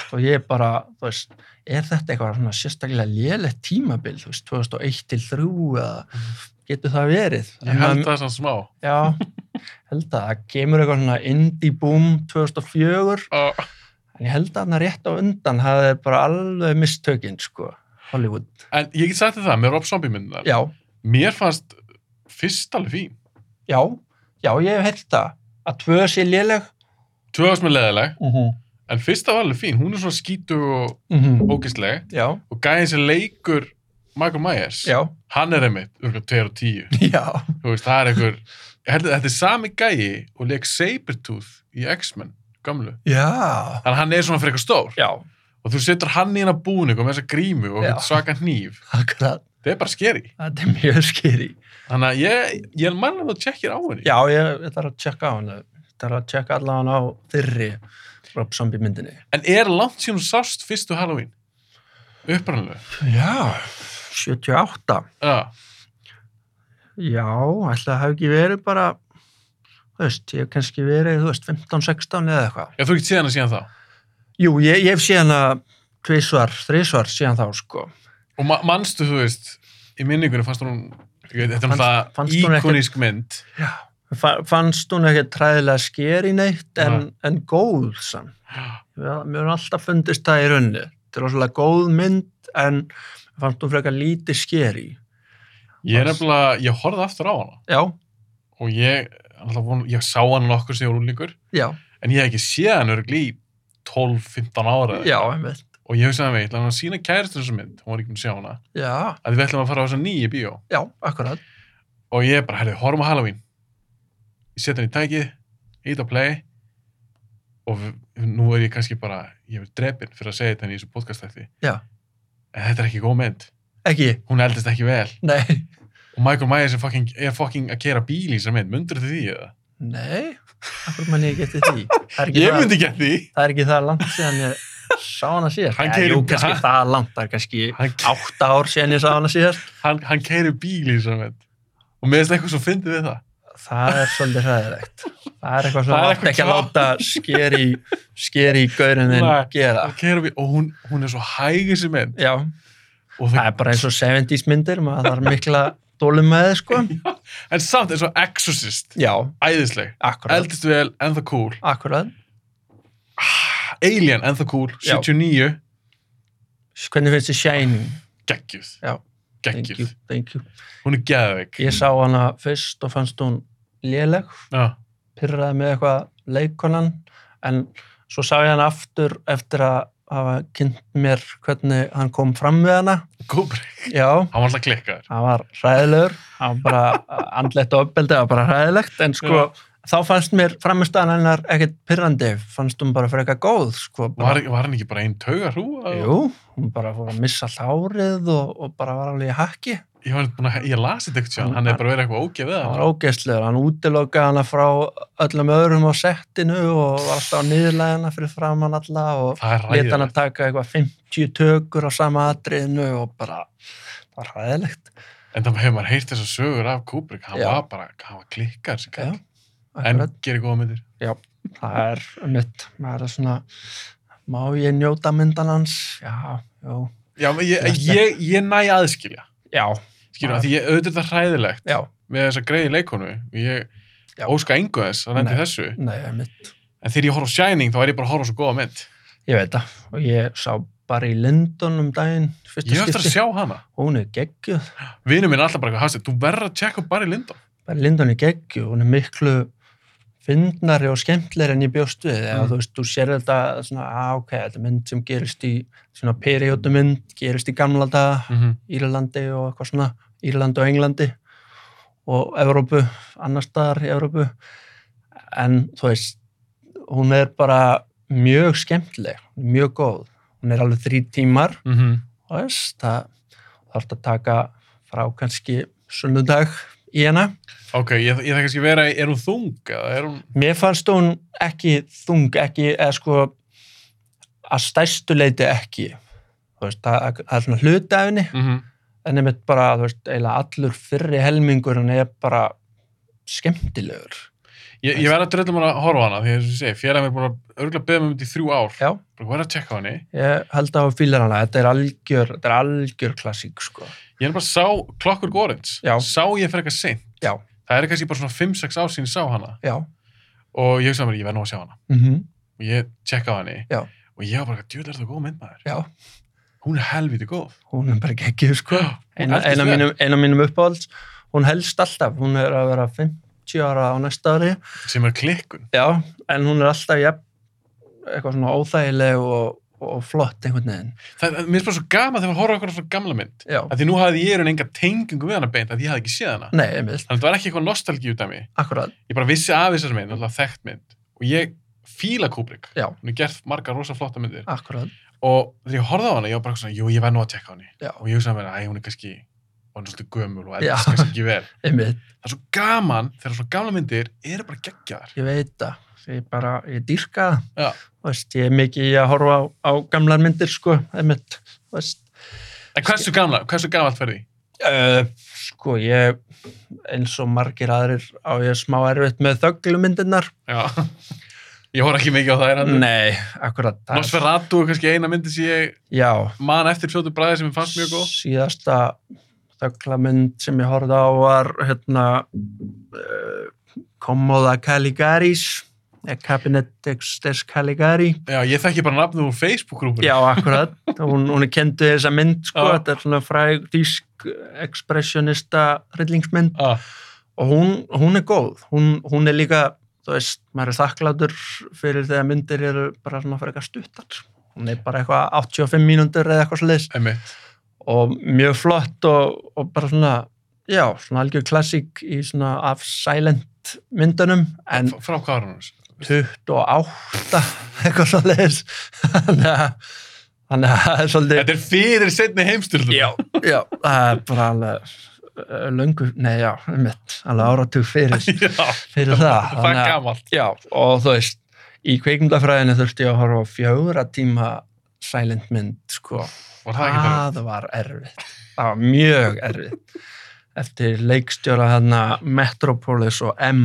A: Og ég er bara, þú veist, er þetta eitthvað svona sérstaklega lélegt tímabil, þú veist, 2001 til 3 eða getur það verið? En
B: Ég held
A: maður-
B: það svona smá.
A: Já, held að það kemur eitthvað svona indie boom 2004,
B: Uh,
A: en ég held að hann rétt á undan, það er bara alveg mistökin, sko, Hollywood.
B: en ég get sagt þér það með Rob Zombie myndina.
A: Já,
B: Mér fannst fyrst alveg fín.
A: já, já, ég hef heilt það, að tvö sé léleg.
B: Tvö árs með leðileg,
A: Mm -hmm.
B: en fyrsta var alveg fín. Hún er svona skítu og ógistleg
A: Mhm, Já,
B: og gæðin sem leikur Michael Myers.
A: já,
B: Hann er einmitt, örgulega 2 og 10.
A: já,
B: Þú veist, það er einhver... Ég held að þetta er sami gæi og leik Sabertooth í X-Men, gamlu.
A: já,
B: Þannig að hann er svona fyrir eitthvað stór.
A: já.
B: Og þú setur hann í hana búningu með þessa grímu og
A: Já.
B: einhvern svaka hníf.
A: Akkurat,
B: Það er bara skeri.
A: það er mjög skýri.
B: Þannig að ég, ég manna þú tjekkir á henni.
A: Já, ég, ég þarf að tjekka á hann. Ég þarf að tjekka allavega hann á þyrri Rob Zombie myndinni.
B: En er langt síðan þú sást fyrstu Halloween? Upprannilega.
A: Já, 78.
B: Já.
A: Já, ætli það hafi ekki verið bara, þú veist, ég hef kannski verið, þú veist, 15, 16 eða eitthvað.
B: Ég þú ekki séð hana síðan þá.
A: Jú, ég, ég hef síðan að tvísvar, þrísvar síðan þá, sko.
B: Og ma manstu, þú veist, í minningunni fannst hún, ég veit, þetta er
A: Fannst- fannst hún
B: náttúrulega
A: ekkert-
B: íkonísk mynd.
A: Já. Fa- Fannst hún ekki træðilega sker í neitt en, en góð samt? Já, mér hefur alltaf fundist það í raunni. Þetta er rosalega góð mynd en mér fannst hún frekar lítið skeri.
B: Ég er
A: Fannst-
B: nefnilega, ég horfði aftur á hana
A: Já,
B: og ég, alltaf, von- ég sá hana nokkur sem ég var úlingur,
A: já,
B: en ég hef ekki séð hana örgli í 12-15 ára. eða
A: já,
B: eitthvað.
A: einmitt.
B: Og ég hugsaði með, ég ætla hana að sína kæristun þessa mynd, hún var ekki búin að sjá hana,
A: Já,
B: að við ætlum að fara á þessa nýju bíó.
A: já, akkurat.
B: og ég bara, herri, horfum á Halloween ég setja hann í tækið ít á play og v- nú er ég kannski bara ég er drepinn fyrir að segja þetta í þessu podcastætti
A: Já.
B: en þetta er ekki góð mynd
A: Ekki,
B: hún eldist ekki vel
A: nei,
B: og Michael Myers er fucking, er fucking að kera bíl í þessar mynd mundur þið því eða?
A: nei, akkur mann ég geti því. Það er ekki,
B: ég
A: það,
B: myndi ekki að því
A: það, er ekki það langt síðan ég sá hana síðast.
B: Hann
A: Já,
B: keyrir-
A: jú, kannski
B: hann-
A: það langt, það er kannski
B: hann,
A: átta ár síðan ég sá hana síðast.
B: hann, hann keri bíl í þessar mynd og mér finnst eitthvað svo fyndið við það
A: Það er svolítið hræðilegt. Það er eitthvað sem
B: Það er
A: þú átt
B: eitthvað
A: ekki að
B: klá-
A: láta skeri, skeri í gaurinn þinn
B: Nei.
A: gera.
B: hann keyrir bíl, og hún, hún er svo hæg þessi mynd
A: Já,
B: og
A: Það
B: það,
A: er bara eins og 70s myndir, maður þarf mikla dólum með þið, sko.
B: en samt eins og Exorcist
A: Já,
B: æðisleg,
A: akkurat.
B: eldist vel, en það cool
A: Akkurat.
B: Alien, ennþá cool,
A: Já.
B: 79,
A: Hvernig finnst þið Shining?
B: geggjuð,
A: Já. Thank you,
B: geggjuð,
A: thank you.
B: hún er geðveik.
A: Ég sá hana fyrst og fannst hún léleg
B: Já,
A: pyrraði með eitthvað leikonan en svo sá ég hann aftur eftir að hafa kynnt mér hvernig hann kom fram við hana
B: Kubrick,
A: já,
B: hann var alltaf klikkaður
A: hann var hræðilegur hann var bara andlegt ofbeldi hann var bara hræðilegt en sko þá fannst mér framistæðan hennar ekkert pyrrandi fannst hún bara fyrir eitthvað góð sko,
B: var,
A: bara,
B: var hann ekki bara einn taugar hrúa?
A: jú, hún bara fór að missa hlárið og, og bara var alveg í hakki
B: Ég, var búin að, ég las þetta eitthvað sjálf, hann hefði bara verið eitthvað ógefið
A: hann
B: það.
A: var ógeðslegur, hann útilokaði hana frá öllum öðrum á settinu og var alltaf á niðurlæðina fyrir framann alla og
B: Það er
A: leta hann að
B: ræðilegt.
A: taka eitthvað 50 tökur á sama atriðinu og bara, það var hræðilegt
B: En það hefur maður heyrt þessar sögur af Kubrick, hann
A: Já.
B: var bara, hann var klikkaður sem kall.
A: Já,
B: En
A: Akkurat.
B: gerir góða myndir.
A: það er mitt, maður er svona má ég njóta myndan hans já, já,
B: Já, men ég,
A: Þetta-
B: ég, ég næ aðskilja.
A: já,
B: Skilur, að því ég auðvitað er það hræðilegt
A: já
B: með þessa greiði leikonu. Ég
A: Já.
B: óska engu þess að lendi
A: Nei.
B: þessu.
A: nei, mitt,
B: En þegar ég horf á Shining, þá er ég bara að horfa á svo góða mynd.
A: ég veit það og ég sá bara í Lindon um daginn fyrsta
B: Ég hef eftir að
A: skipti,
B: sjá hana.
A: hún er geggjuð
B: Vinur minn er alltaf bara eitthvað hafsið, þú verður að tjekka bara í Lindon.
A: bara Lindon er geggju, hún er miklu fyndnari og skemmtleri en ég bjóst við eða
B: Mm.
A: þú veist, þú sér þetta svona, að ok, þetta er mynd sem gerist í svona periódu mynd, gerist í gamla daga,
B: Mm -hmm.
A: Írlandi og eitthvað svona Írlandi og Englandi og Evrópu, annar staðar í Evrópu en þú veist hún er bara mjög skemmtleg, mjög góð hún er alveg þrý tímar þú veist, það þarf að taka frá kannski sunnudag í hana
B: Ok, ég, ég þarf kannski að vera, í- er hún þung? Eða er hún...
A: Mér fannst hún ekki þung, ekki, eða sko, að stærstu leiti ekki. Þú veist, það, það er svona hluti af henni,
B: Mm -hmm.
A: en einmitt bara, þú veist, eiginlega allur fyrri helmingurinn er bara skemmtilegur.
B: Ég, ég verð að drölla mér að horfa á hana, því að þess að segja, félagin er búin að örgulega beða mér um þetta í þrjú ár.
A: Já.
B: Bara verð að tjekka á henni.
A: Ég held að hún fýlar hana, þetta er algjör, þetta er algjör klassík, sko.
B: Ég er bara að sá Clockwork Orange.
A: Já.
B: Sá ég frekar seint.
A: Já.
B: Það er kannski bara svona 5-6 ár sín ég sá hana.
A: Já.
B: Og ég hugsaði mér, ég verð nú að sjá hana.
A: Mm
B: Og ég tjekka á henni.
A: Já.
B: Og ég var bara, djúðlega er það góð mynd maður.
A: Já,
B: Hún er helviti góð.
A: hún er bara geggið, sko.
B: Hún
A: Eina,
B: eldist
A: eina,
B: vel.
A: mínum, eina mínum uppáhalds, hún helst alltaf, hún er að vera 50 ára á næsta ári.
B: Sem er klikkun.
A: Já, en hún er alltaf jafn, eitthvað svona óþægileg og, og flott einhvern veginn.
B: Það, það- mér finnst bara svo gaman þegar maður horfa okkur á svona gamla mynd.
A: Já,
B: Af því nú hafði ég í raun enga tengingu við hana beint, af því ég hafði ekki séð hana.
A: nei, einmitt,
B: Þannig að það var ekki eitthvað nostalgi út af mig.
A: akkurat,
B: Ég bara vissi af þessar mynd, alltaf þekkt mynd. Og ég fíla Kubrick.
A: Já.
B: Hún er gert margar rosa flotta myndir.
A: akkurat,
B: Og þegar ég horfði á hana, ég var bara svona, jú, ég verð nú að tekka á henni.
A: Já.
B: Og ég hugsaði mér, æ, hún er kannski, hún er svolítið gömul og
A: Já.
B: eldast kannski ekki vel.
A: einmitt,
B: Það er svo gaman þegar svona gamla myndir eru bara geggjaðar.
A: ég veit það. Ég bara, ég dýrka það.
B: Já.
A: Þú Veist, ég er mikið í að horfa á, á gamlar myndir, sko, einmitt, þú veist.
B: En hversu gamla, hversu gamalt ferði?
A: Uh, sko, ég, eins og margir aðrir á ég smá erfitt með þögglumyndirnar.
B: Já. Ég horf ekki mikið á það er hann.
A: Nei, akkurat. það er-
B: Nosferatu er kannski eina myndi sem ég
A: Já,
B: man eftir fljótu bræði sem ég fannst mjög góð.
A: síðasta þögglamynd sem ég horfði á var hérna uh, Komoda Caligaris eða Cabinet Dexters Caligari
B: Já, ég þekki bara nafnum úr Facebook-grúpur.
A: já, akkurat, hún, hún er kendu þessa mynd sko,
B: Já.
A: þetta er svona fræg dísk expressionista rillingsmynd
B: Ah,
A: og hún, hún er góð, hún, hún er líka þú veist, maður er þakklátur fyrir þegar myndir eru bara svona fyrir eitthvað stuttar hún er bara eitthvað 85 mínútur eða eitthvað sliðis
B: einmitt.
A: og mjög flott og, og bara svona, já, svona algjör klassík í svona af silent myndunum, en
B: F- Frá hvað var hann hans?
A: 28 eitthvað svo leiðis þannig að þannig að það er svolítið
B: Þetta er fyrir setni heimstyrlum.
A: já, já, það er bara alveg eh, löngu, nei já, mitt alveg áratug fyrir,
B: Já,
A: fyrir það
B: það er
A: Ah, að-
B: gamalt.
A: já, og þú veist í kveikmyndafræðinu þurfti ég að horfa á fjögra tíma silent mynd, sko
B: Var það ekki það?
A: það var erfitt það var mjög erfitt eftir leikstjóra þarna Metropolis og M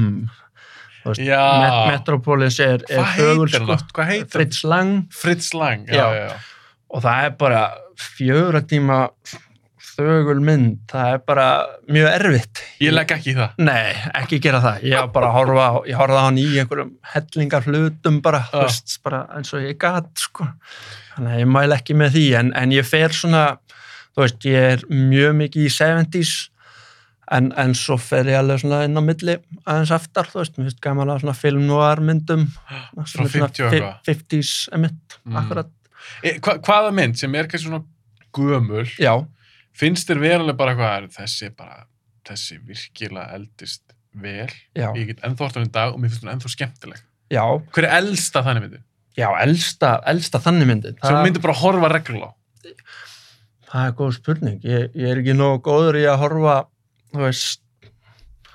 A: Met
B: Já.
A: Metropolis er, er
B: Ah. Hvað
A: þögul,
B: heitir hann?
A: sko,
B: aftur? Hvað heitir hann?
A: Fritz Lang
B: Fritz Lang, já,
A: Já.
B: já, já.
A: og það er bara fjögur tíma þögul mynd það er bara mjög erfitt
B: Ég legg ekki í það.
A: Nei, ekki gera það. Ég var bara að horfa á, ég horfði á hann í einhverjum hellingar hlutum bara, þú
B: Já.
A: veist, bara eins og ég gat, sko. Þannig að ég mæl ekki með því, en, en ég fer svona, þú veist, ég er mjög mikið í 70s, en, en svo fer ég alveg svona inn á milli aðeins aftar, þú veist, mér finnst gaman að svona filmnúar myndum
B: Frá 50 og eitthvað.
A: 50s emitt,
B: Mm.
A: akkurat
B: E, hva, hvaða mynd sem er kannski svona gömul,
A: já,
B: finnst þér verulega bara hvað er þessi bara, þessi virkilega eldist vel.
A: já,
B: Ég get ennþá orðan í dag og mér finnst hún ennþá skemmtileg.
A: já
B: Hver er elsta þannig myndin?
A: já, elsta, elsta þannig myndin
B: Sem myndir bara horfa reglulega á.
A: það er góð spurning, ég, ég er ekki nóg góður í að horfa, þú veist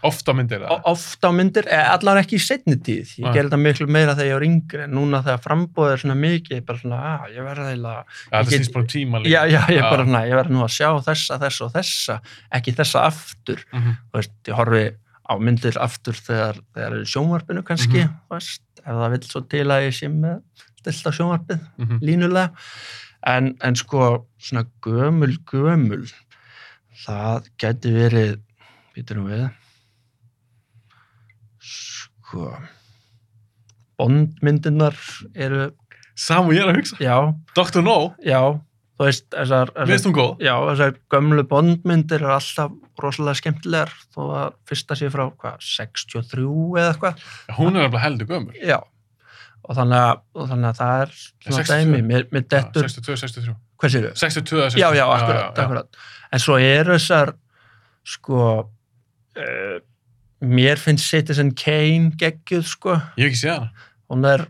B: Ofta myndir
A: o-
B: það.
A: oft á myndir, eh, allan ekki í setni tíð ég
B: Nei.
A: gerði þetta miklu meira þegar ég var yngri en núna þegar frambóðið er svona mikið ég er bara svona, að ég verði eiginlega
B: Ja,
A: ég
B: það
A: get-
B: snýst bara um tíma
A: já,
B: líka.
A: já, ég er bara
B: Já.
A: svona, ég verði nú að sjá þessa, þessa og þessa ekki þessa aftur,
B: Mhm.
A: þú veist, ég horfi á myndir aftur þegar, þegar er í sjónvarpinu kannski, þú veist, ef það vill svo til að ég sé með stilt á sjónvarpið
B: Mhm.
A: línulega en, en sko svona gömul gömul það gæti verið býtur nú við sko bondmyndinar eru
B: Sam og ég er að hugsa.
A: já,
B: Dr. No,
A: já þú veist, þessar,
B: mér
A: þessar
B: finnst hún góð.
A: já, þessar gömlu bondmyndir eru alltaf rosalega skemmtilegar þó að fyrsta sé frá hvað, 63 eða eitthvað
B: Já, Hún er alveg heldur gömur.
A: já, og þannig að, og þannig að það er svona
B: 62.
A: dæmi, mér, mér
B: Já,
A: dettur
B: 62, 63.
A: hvað séu
B: 62 eða 63.
A: já, já, akkurat, akkurat. En svo eru þessar, sko, uh, mér finnst Citizen Kane geggjuð, sko.
B: Ég hef ekki séð hana.
A: Hún er,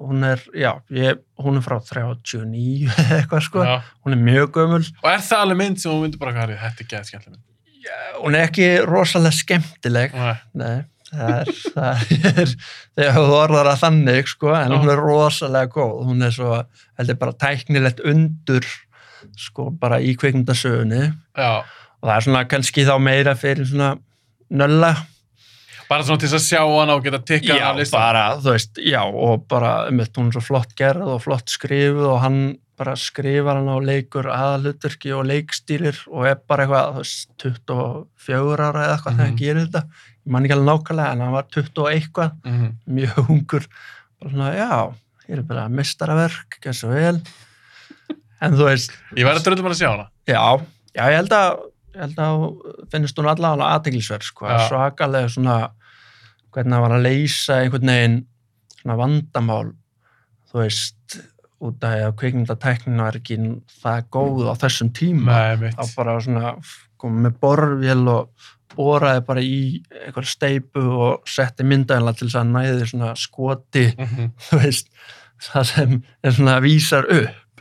A: hún er, já, ég, hún er frá 39 eða eitthvað, sko.
B: Já.
A: Hún er mjög gömul.
B: Og er það alveg mynd sem hún myndir bara hvað er þetta er geðið skemmtileg mynd?
A: Hún er ekki rosalega skemmtileg.
B: Nei.
A: Nei, það er, það er, þegar þú orðar að þannig, sko, en
B: Já.
A: hún er rosalega góð. Hún er svo, heldur bara tæknilegt undur, sko, bara í kveikmyndasögunni.
B: Já,
A: og það er svona kannski þá meira fyrir svona nölla
B: bara svona til þess að sjá hana og geta tikkað hana á listan.
A: bara, þú veist, já og bara, umveitt, hún er svo flott gerð og flott skrifuð og hann bara skrifar hann á leikur aðalutverki og leikstýrir og er bara eitthvað, þú veist, 24 ára eða eitthvað þegar
B: Mhm.
A: hann gerir þetta ég man ekki alveg nákvæmlega, en hann var 20 og eitthvað
B: Mhm.
A: mjög ungur bara svona, já, ég er bara mistaraverk, gerð svo vel en þú veist,
B: Ég verði að dröðum bara að sjá hana.
A: Já, já, ég held að, ég held að finnist hún allavega aðteglisverð, sko,
B: Já.
A: svakalega svona hvernig hann var að leysa einhvern veginn svona vandamál, þú veist, út af því að kveikmyndatæknin var ekki það góð á þessum tíma.
B: Nei,
A: Þá
B: mitt.
A: bara svona komið með borvél og boraði bara í einhver steipu og setti myndaðinlega til þess að næði svona skoti
B: Mhm.
A: þú veist, það sem er svona vísar upp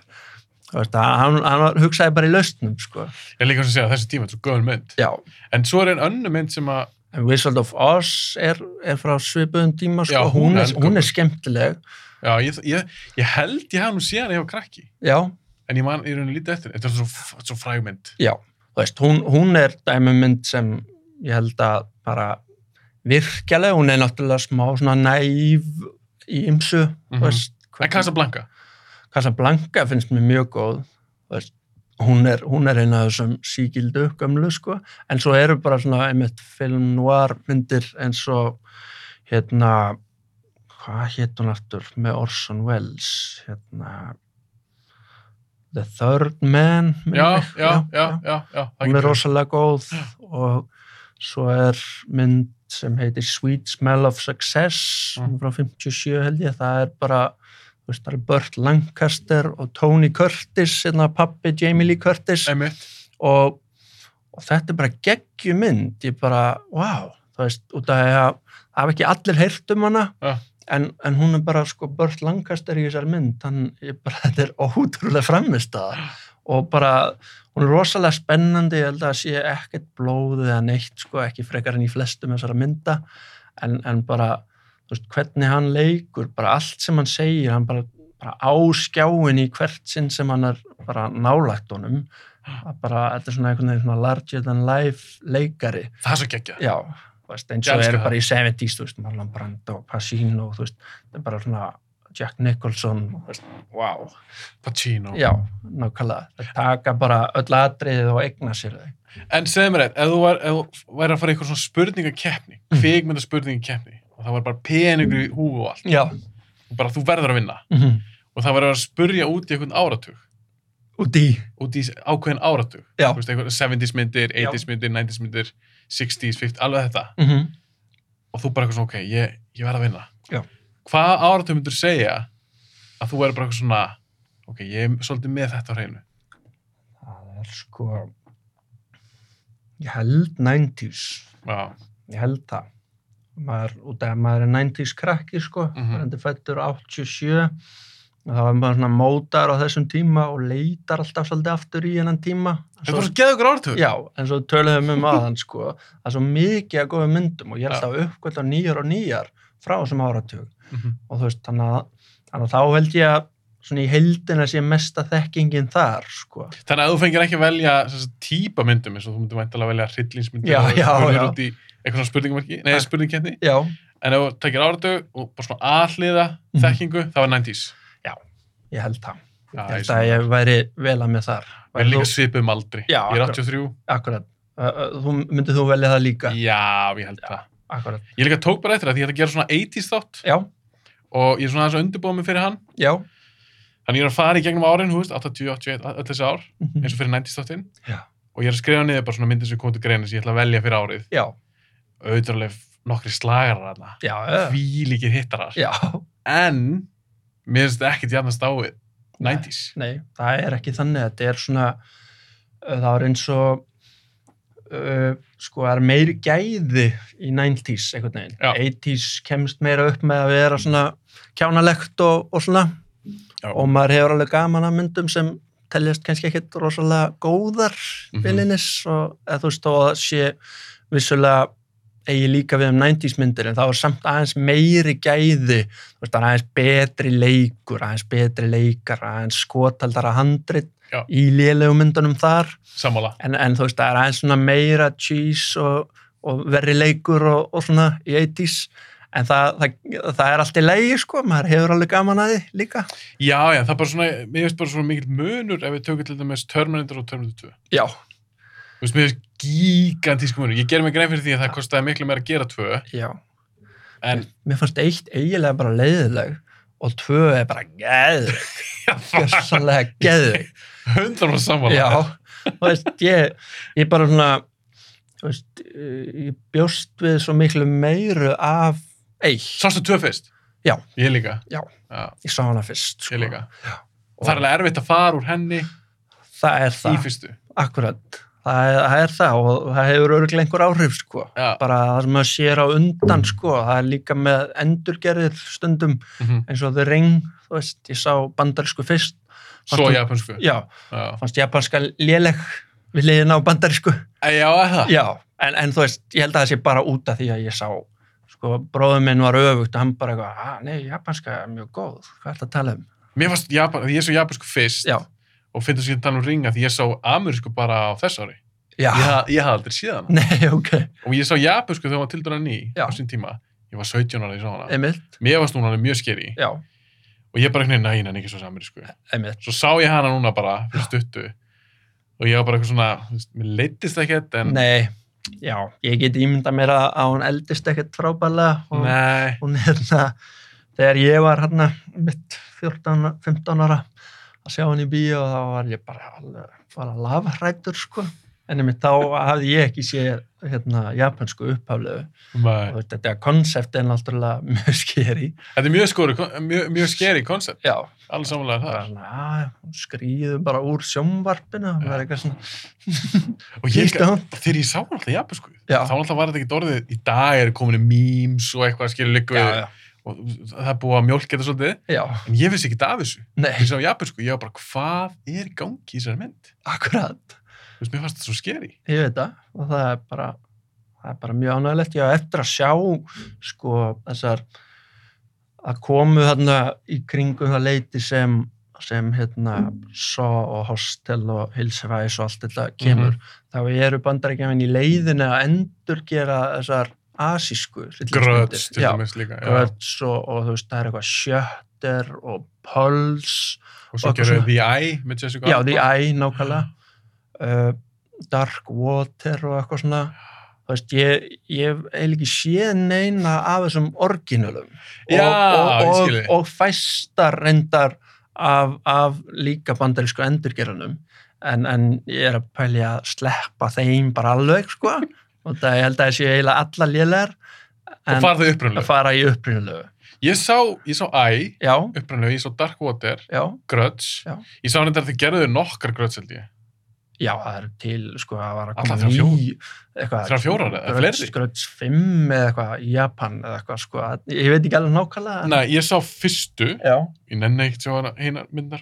A: þú veist, að hann, hann var- hugsaði bara í lausnum sko.
B: Ég er líka sem segja þessi tíma, þetta er svo gömur mynd.
A: já,
B: En svo er einn önnu mynd sem að,
A: en Wizard of Oz er, er frá svipuðum tíma sko.
B: Já, hún
A: hún,
B: er
A: er, hún
B: eldgömul.
A: er skemmtileg
B: já, ég, ég, ég held ég hafði nú séð hana hjá krakki.
A: já,
B: En ég man, ég raunin lítið eftir. henni. Þetta er svo, svo frægmynd.
A: já, þú veist hún, hún er dæmumynd sem ég held að bara virkjaleg hún er náttúrulega smá svona næv í ymsu
B: Mhm.
A: þú veist,
B: En Casablanca.
A: Casablanca finnst mér mjög góð þú veist, hún er, hún er eina af þessum sígildu gömlu sko en svo eru bara svona einmitt film noir myndir eins og hérna hvað hétt hún aftur með Orson Welles hérna The Third Man minnir
B: Já,
A: mig.
B: já, já, já, já. það
A: hún er
B: getur-
A: rosalega góð og svo er mynd sem heitir Sweet Smell of Success
B: Mm.
A: mm. frá 57 held ég það er bara, þú veist, það er Burt Lancaster og Tony Curtis hérna pappi Jamie Lee Curtis
B: Einmitt.
A: og, og þetta er bara geggjum mynd ég bara, wow þú veist, út af því að það hafa ekki allir heyrt um hana
B: Ja.
A: en, en hún er bara sko Burt Lancaster í þessar mynd hann, ég bara, þetta er ótrúlega framist og bara, hún er rosalega spennandi ég held að sé ekkert blóð eða neitt sko, ekki frekar en í flestum þessara mynda en, en bara þú veist, hvernig hann leikur, bara allt sem hann segir, hann bara, bara á skjáin í hvert sinn sem hann er bara nálægt honum að bara, þetta er svona einhvern veginn svona larger than life leikari,
B: Það er svo geggjað.
A: já þú veist, eins
B: Ég
A: og
B: elska
A: eru
B: það.
A: bara í 70s, þú veist, Marlon Brando Pacino, þú veist, þetta er bara svona Jack Nicholson, þú veist, wow
B: Pacino.
A: já, nákvæmlega, það taka bara öll atriðið og egna sér þau
B: En segðu mér eitt, ef þú væri, ef þú væri að fara í eitthvað svona spurningakeppni,
A: Mm.
B: kvikmynda spurningakeppni, og það var bara peningur í húfu og allt,
A: já,
B: og bara þú verður að vinna,
A: mhm,
B: og það væri að vera að spurja út í einhvern áratug,
A: út í
B: út í ákveðin áratug
A: Já.
B: Þú veist, eitthvað 70s myndir, 80s myndir, 90s myndir 60s, 50s, alveg þetta
A: mm
B: og þú bara eitthvað svona, ok, ég, ég verð að vinna
A: Já.
B: hvað áratug myndur segja að þú verður bara eitthvað svona ok, ég er svolítið með þetta á hreinu
A: það er sko ég held 90s
B: já,
A: ég held það maður, út af að maður er 90s krakki sko,
B: Mhm.
A: maður endur fættur 87 og þá er maður svona mótar á þessum tíma og leitar alltaf svolítið aftur í hennan tíma
B: þetta var svo geðugur áratug
A: Já, en svo töluðum við um aðan sko, það er svo mikið að góða myndum og ég er
B: Já.
A: alltaf uppkvölda nýjar og nýjar frá þessum áratug
B: Mhm.
A: og þú veist, þannig að, þannig að þá held ég að svona í heildina sé mesta þekkingin þar sko.
B: Þannig að þú fengir ekki að velja þess að típa myndum eins og þú myndir væntalega velja hryllingsmyndir
A: Já,
B: og
A: já,
B: spurnir
A: já.
B: út í eitthvað svona spurningamarki, nei,
A: Ha.
B: spurningkettni
A: Já,
B: en ef þú tekir áratug og bara svona aðliða
A: Mhm.
B: þekkingu, það var 90s
A: ég held það.
B: Já,
A: Ég held
B: svona-
A: að ég væri vel að með þar.
B: Við
A: Væri
B: erum líka
A: þú,
B: svipum aldri.
A: Já,
B: ég er
A: akkurat.
B: 83.
A: akkurat, Ö, ö, þú, myndið þú velja það líka?
B: Já, ég held það.
A: Akkurat,
B: Ég líka tók bara eftir það því ég ætla að gera svona 80s þátt
A: já,
B: og ég er svona aðeins að undirbúa mig fyrir hann.
A: já.
B: Þannig ég er að fara í gegnum árin, hú veist, 80, 81, öll þessi ár,
A: Mhm.
B: eins og fyrir 90s þáttin.
A: Já.
B: Og ég er að skrifa niður bara svona myndir sem kom til greina sem ég ætla að velja fyrir árið.
A: Já,
B: Auðvitaðlega nokkri slagarar þarna.
A: já, ö,
B: Hvílíkir hittarar.
A: já,
B: En, mér finnst þetta ekkert jafnast á við 90s.
A: Nei, það er ekki þannig. Þetta er svona, uh, það er eins og, uh, sko, það er meiri gæði í 90s einhvern veginn.
B: Já.
A: 80s kemst meira upp með að vera svona kjánalegt og, og svona.
B: Já.
A: Og maður hefur alveg gaman að myndum sem teljast kannski ekkit rosalega góðar mm
B: Mhm.
A: -hmm. og eða, þú veist, þó að það sé vissulega eigi líka við um 90s myndir en það var samt aðeins meiri gæði þú veist, það er aðeins betri leikur aðeins betri leikar, aðeins skotaldara handrit
B: Já.
A: í lélegu myndunum þar
B: Sammála.
A: en, en þú veist, það er aðeins svona meira cheese og, og verri leikur og, og svona í 80s en það, það, það er allt í leiði sko, maður hefur alveg gaman að því líka
B: Já, já, það er bara svona, mér finnst bara svona mikill munur ef við tökum til dæmis Terminator og Terminator 2.
A: Já,
B: Þú veist, mér finnst gigantísk munur. Ég ger mig grein fyrir því að það kostiði miklu meira að gera tvö,
A: já
B: en
A: Mér fannst eitt eiginlega bara leiðileg og tvö er bara geður gjössanlega geður
B: hundar var sammála.
A: Já, þú veist, ég, ég bara svona, þú veist, eh, ég bjóst við svo miklu meiru af eitt.
B: Sástu tvö fyrst?
A: Já.
B: Ég líka.
A: Já.
B: já
A: Ég sá hana fyrst, sko.
B: ég líka.
A: Og
B: Það er alveg erfitt að fara úr henni
A: það er
B: í
A: það,
B: fyrstu.
A: akkurat. Það er, það er það og það hefur örgulega einhver áhrif, sko.
B: Já.
A: Bara það sem maður sér á undan, sko, það er líka með endurgerðir stundum
B: Mhm.
A: eins og The Ring, þú veist, ég sá bandarísku fyrst. fannst
B: Svo
A: hún-
B: japansku. Já.
A: Já,
B: Já,
A: fannst japanska léleg við liðin á bandarísku.
B: Æ, já er það.
A: Já, en, en þú veist, ég held að það sé bara út af því að ég sá, sko, bróður minn var öfugt og hann bara eitthvað, að nei, japanska er mjög góð, hvað er það að tala um?
B: Mér fannst japan, því ég svo japansku fyrst
A: Já,
B: og finnst þess að ég tala um ringa því ég sá amerísku bara á þess ári.
A: já,
B: Ég, ha- ég hafði aldrei síðan.
A: Ah. nei, ok,
B: Og ég sá japansku þegar hún var tildurna ný
A: Já.
B: á sín tíma. Ég var 17 ára, ég sá hana.
A: einmitt,
B: Mér fannst hún alveg mjög skeri
A: já,
B: og ég bara einhvern veginn, næ, næ, ekki svo amerísku.
A: einmitt,
B: svo sá ég hana núna bara fyrir stuttu og ég var bara eitthvað svona, þú veist, mér leittist ekkert en
A: nei, já, ég get ímynda mér að, að hún eldist ekkert frábælega og
B: nei,
A: hún hérna, þegar ég var hérna mitt 14, 15 ára að sjá hann í bíó þá var ég bara alveg, bara lafrættur, sko, en einmitt þá hafði ég ekki séð, hérna, japansku upphaflegu
B: nei.
A: Og þetta er konsept en náttúrulega mjög skeri
B: þetta er mjög skori, mjög, mjög skeri koncept,
A: já,
B: alveg samanlega
A: bara
B: það
A: svona, að, hún skrýður bara úr sjómvarpinu það er eitthvað svona,
B: og ég,
A: please
B: líka-
A: don't
B: þegar ég sá hana alltaf japan sko,
A: Já.
B: þá alltaf var þetta ekki orðið í dag eru komin í memes og eitthvað skilur líka
A: já,
B: við
A: já,
B: og það er búið að mjólk þetta svolítið
A: já,
B: en ég vissi ekki af þessu,
A: nei,
B: ég sá japan sko ég var bara, hvað er í gangi í þessari mynd
A: akkurat
B: þú veist, mér fannst þetta svo skeri
A: ég veit það, og það er bara það er bara mjög ánægilegt, já, eftir að sjá sko, þessar að komu þarna í kringum það leiti sem sem hérna Saw og Hostel og Hilsefæs og allt þetta
B: Mhm.
A: kemur þá eru bandarækjafinn í leiðinu að endurgera þessar asísku
B: gröts til
A: já,
B: dæmis líka já.
A: gröts og, og þú veist það er eitthvað sjötter og pöls
B: og svo
A: og
B: gerðu
A: svona-
B: The Eye með Jessica
A: já
B: Alba.
A: því æ nákvæmlega uh, dark water og eitthvað svona þú veist ég, ég hef ekki séð neina af þessum orginulum
B: Já,
A: og,
B: ég
A: og,
B: skil
A: og,
B: þig.
A: og fæstar reyndar af, af líka bandarísku endurgeranum en, en ég er að pælja að sleppa þeim bara alveg sko og það ég held að það séu eiginlega alla lélegar
B: og
A: en
B: fara þau
A: að
B: upprunlega.
A: fara í upprýnulegu
B: Ég sá, ég sá Æ,
A: já,
B: upprunlega, ég sá Dark Water,
A: já,
B: Grudge.
A: Já.
B: Ég sá hann þetta að þið gerðu nokkar Grudge held ég.
A: já, það er til sko að var að
B: Allar
A: koma
B: þrjár
A: ný-
B: fjó-
A: eitthvað,
B: þrjár fjórar eða fleiri?
A: skröts 5 eða eitthvað í Japan eða eitthvað sko, ég veit ekki alveg nákvæmlega en-
B: Nei, ég sá fyrstu,
A: já,
B: ég nenni eitt sjá hana- hinar myndar.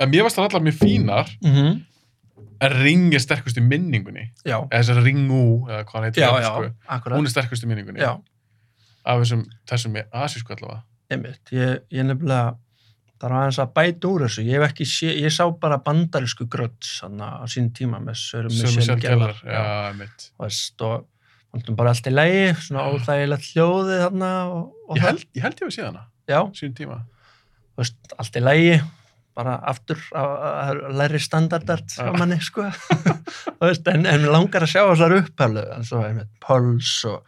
B: En mér varst það allar mjög fínar
A: mm
B: en Ring er sterkust í minningunni.
A: já,
B: Eða þessar Ringú, eða hvað hann heitir.
A: já, já,
B: á ensku.
A: akkurat
B: Hún er sterkust í minningunni.
A: já,
B: Af þessum, þessum með asísku allavega.
A: einmitt, ég, ég nefnilega þarf aðeins að bæta úr þessu ég hef ekki sé, ég sá bara bandarísku gröts á sín tíma með Sörum
B: Sömu
A: Michel Gellar
B: Selgelar, já, mitt.
A: og veist, og fannum bara allt í lægi svona
B: Já.
A: óþægilegt hljóðið þarna og, og
B: Ég
A: það.
B: held, ég held ég við séð hana,
A: já,
B: síðan tíma.
A: þú veist, allt í lægi bara aftur að að- að læri standardart á
B: Já.
A: manni, sko Þú veist, en, en mig langar að sjá þessar upphælu en svo er með Pulse og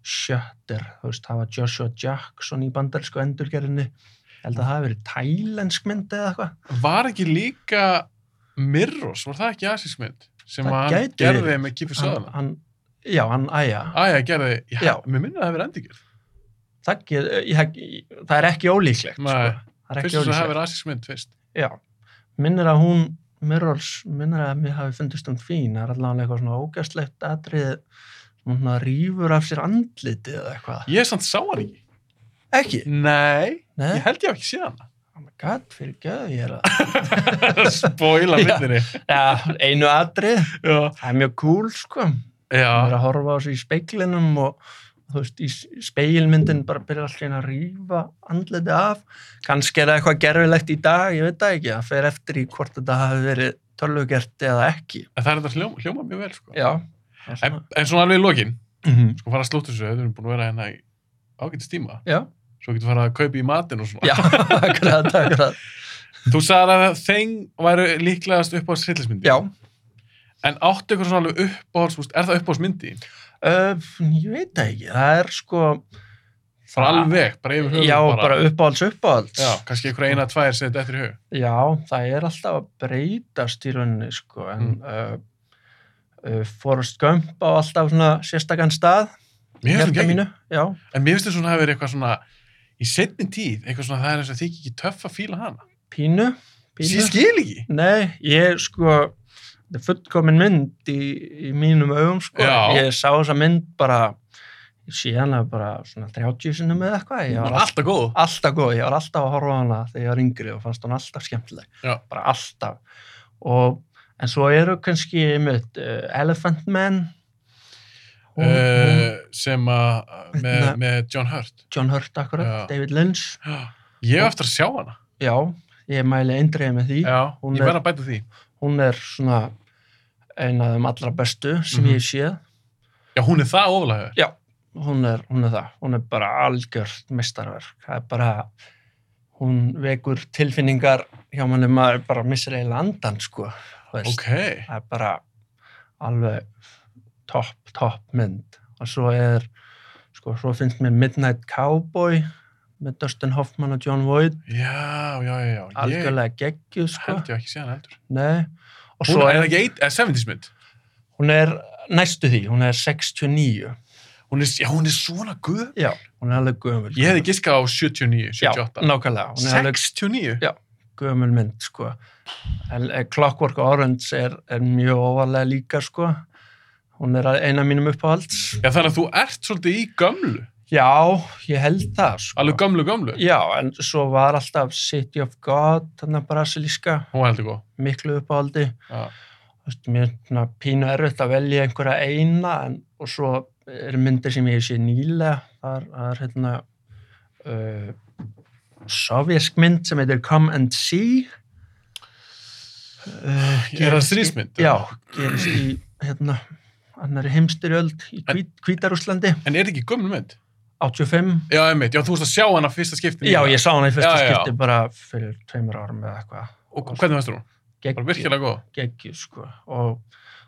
A: Shutter, þú veist, hafa Joshua Jackson í bandarísku endurgerinni Ég held að það hafi verið tælensk mynd eða eitthvað
B: Var ekki líka Mirros, var það ekki asísk mynd? Sem
A: Það
B: að hann
A: gæti
B: gerði
A: verið.
B: með Kiefer
A: Hann-
B: Sutherland.
A: hann- Já, hann æja
B: Æja, gerði, já,
A: Já.
B: mér minnir að það hefur endingur.
A: það, get, ég, það er ekki ólíklegt sko.
B: Nei.
A: það er
B: Fyrst
A: ekki
B: sem það
A: ólíklegt
B: hefur asísk mynd, fyrst.
A: Já, minnir að hún Mirrors, minnir að mér hafi fundist hún fín, það er allavega eitthvað svona ógæstlegt atrið, hún rýfur af sér andlitið eða eitthvað.
B: Ég samt sá hann ekki.
A: Ekki?
B: Nei,
A: Nei,
B: ég held ég hafi ekki séð hana.
A: oh my god, fyrir göðu ég er að...
B: Spoila
A: Já.
B: myndinni.
A: Já, einu atrið,
B: Já,
A: það er mjög cool sko, hún er
B: já,
A: að horfa á sig í speiklinum og þú veist, í s- speilmyndin bara byrjar allir að rýfa andlitið af, kannski er það eitthvað gerfilegt í dag, ég veit það ekki, það fer eftir í hvort þetta hafi verið tölvugert eða ekki.
B: en það er þetta hljóma, hljóma mjög vel, sko.
A: Já, það er
B: En,
A: svona.
B: en svona alveg í lokin,
A: Mhm.
B: sko fara að slóta þessu, við erum búin að vera hérna í ágætis tíma.
A: Já,
B: Svo getur fara að kaupa í matinn og svona.
A: já, akkurat, akkurat.
B: Þú sagði að Thing væri líklegast uppáhalds hryllismyndi.
A: Já,
B: En áttu ykkur svona alveg uppáhalds, þú veist, er það uppáhaldsmyndi?
A: öf, Eh, ég veit það ekki, það er sko...
B: Bara alveg, bara yfir höfuð
A: Já, bara, uppáhalds, uppáhalds.
B: Já, kannski ykkur eina, tvær setið eftir í hug.
A: Já, það er alltaf að breytast í rauninni, sko, en
B: Mm.
A: mm. uh, Forrest Gump á alltaf svona sérstakann stað. í
B: Mér
A: hjarta
B: finnst það ekki.
A: Hérna mínu, Já,
B: En mér finnst það svona að hafa verið eitthvað svona, í setni tíð, eitthvað svona það er eins og þykir ekki töff að fíla hana.
A: pínu, pínu.
B: Ég skil ekki.
A: Nei, ég sko, þetta er fullkomin mynd í, í mínum augum sko.
B: Já.
A: Ég sá þessa mynd bara, síðan að bara svona 30 sinnum eða eitthvað. Ég
B: Það
A: var
B: er alltaf góð.
A: alltaf góð, ég var alltaf að horfa á hana þegar ég var yngri og fannst hún alltaf skemmtileg
B: Já.
A: bara alltaf og, en svo eru kannski einmitt, uh, Elephant Man hún, hún,
B: Uh, sem að, með,
A: Hérna.
B: með John Hurt.
A: John Hurt akkurat,
B: já.
A: David Lynch
B: Ég hef eftir að sjá hana.
A: já, ég mæli eindriðið með því
B: Já,
A: hún
B: ég
A: er-
B: verð að bæta því.
A: hún er svona eina af þeim allra bestu sem
B: Mhm.
A: ég séð
B: Já, hún er það ofalega.
A: hún er, hún er það, hún er bara algjört mestarverk, það er bara hún vekur tilfinningar hjá manni maður bara missir eiginlega andan sko, þú veist
B: Ok.
A: það er bara alveg topp, topp mynd og svo er sko, svo finnst mér Midnight Cowboy með Dustin Hoffman og John Voight
B: Já, já, já, já. Ég
A: algjörlega geggjuð sko
B: held ég ekki séð hana heldur.
A: Nei. og
B: Hún
A: svo
B: er,
A: er,
B: ekki eitt, eða 70s mynd.
A: hún er næstu því, hún er 69
B: Hún er, já, hún er svona guð.
A: já, hún er alveg gömul sko.
B: Ég hefði giskað á 79,
A: já,
B: 78.
A: nákvæmlega, hún er alveg
B: 69?
A: gömul mynd sko en eh, Clockwork Orange er, er mjög óvarlega líka sko hún er eina af mínum uppáhalds
B: Já, þannig að þú ert svolítið í gömlu.
A: já, ég held það sko.
B: Alveg gömlu, gömlu.
A: Já, en svo var alltaf City of God, þannig að brasilíska,
B: Hún var heldur góð.
A: miklu uppáhaldi.
B: Já.
A: Þú veist, mér er svona pínu erfitt að velja einhverja eina en, og svo eru myndir sem ég sé nýlega. Það er, það er hérna uh, sovjesk mynd sem heitir Come and See. Uh,
B: Er það strísmynd?
A: Já, gerist í hérna annari heimstyrjöld í
B: En-
A: Hvít- Hvítarúslandi,
B: En er þetta ekki gömlu mynd?
A: 85.
B: Já, einmitt. Já, þú veist að sjá hana fyrsta skiptin. í
A: Já,
B: hana.
A: ég sá hana í fyrsta
B: Já, já.
A: skipti bara fyrir tveimur árum eða eitthvað.
B: Og hvernig veistur hún? Bara
A: geggju,
B: virkilega góð.
A: geggju sko og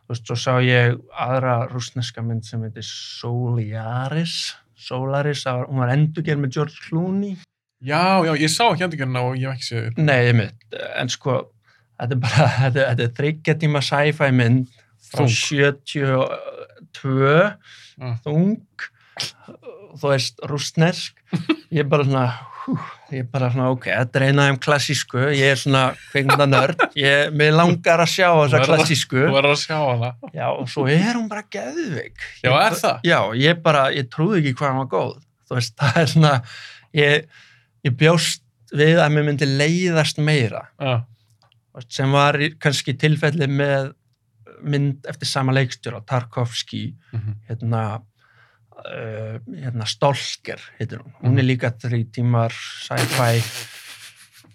A: þú veist, svo sá ég aðra rúsneska mynd sem heitir Solaris Solaris, það var, hún var endurgerð með George Clooney
B: Já, já, ég sá ekki endingarna og ég hef ekki séð upp.
A: Nei, ég en sko, þetta er bara, þetta, þetta er þryggja tíma sci-fi mynd frá
B: Þung.
A: 72,
B: Ah.
A: þung, þú veist, rústnesk. Ég er bara svona, hú, ég er bara svona, ok, þetta er eina af þeim klassísku, ég er svona kveikmyndanörd, ég, mig langar að sjá þessa
B: verður að-
A: klassísku.
B: Þú verður að sjá hana.
A: Já, og svo er hún bara geðvik.
B: Já,
A: Ég-
B: er það?
A: Já, ég bara, ég trúði ekki hvað hann var góð. Þú veist, það er svona, ég, ég bjóst við að mér myndi leiðast meira,
B: Já,
A: þú veist, sem var í- kannski tilfelli með mynd eftir sama leikstjóra, Tarkovski,
B: Mhm.
A: hérna, uh, hérna Stolker, heitir hún. Hún er
B: Mhm.
A: líka þrý tímar sci-fi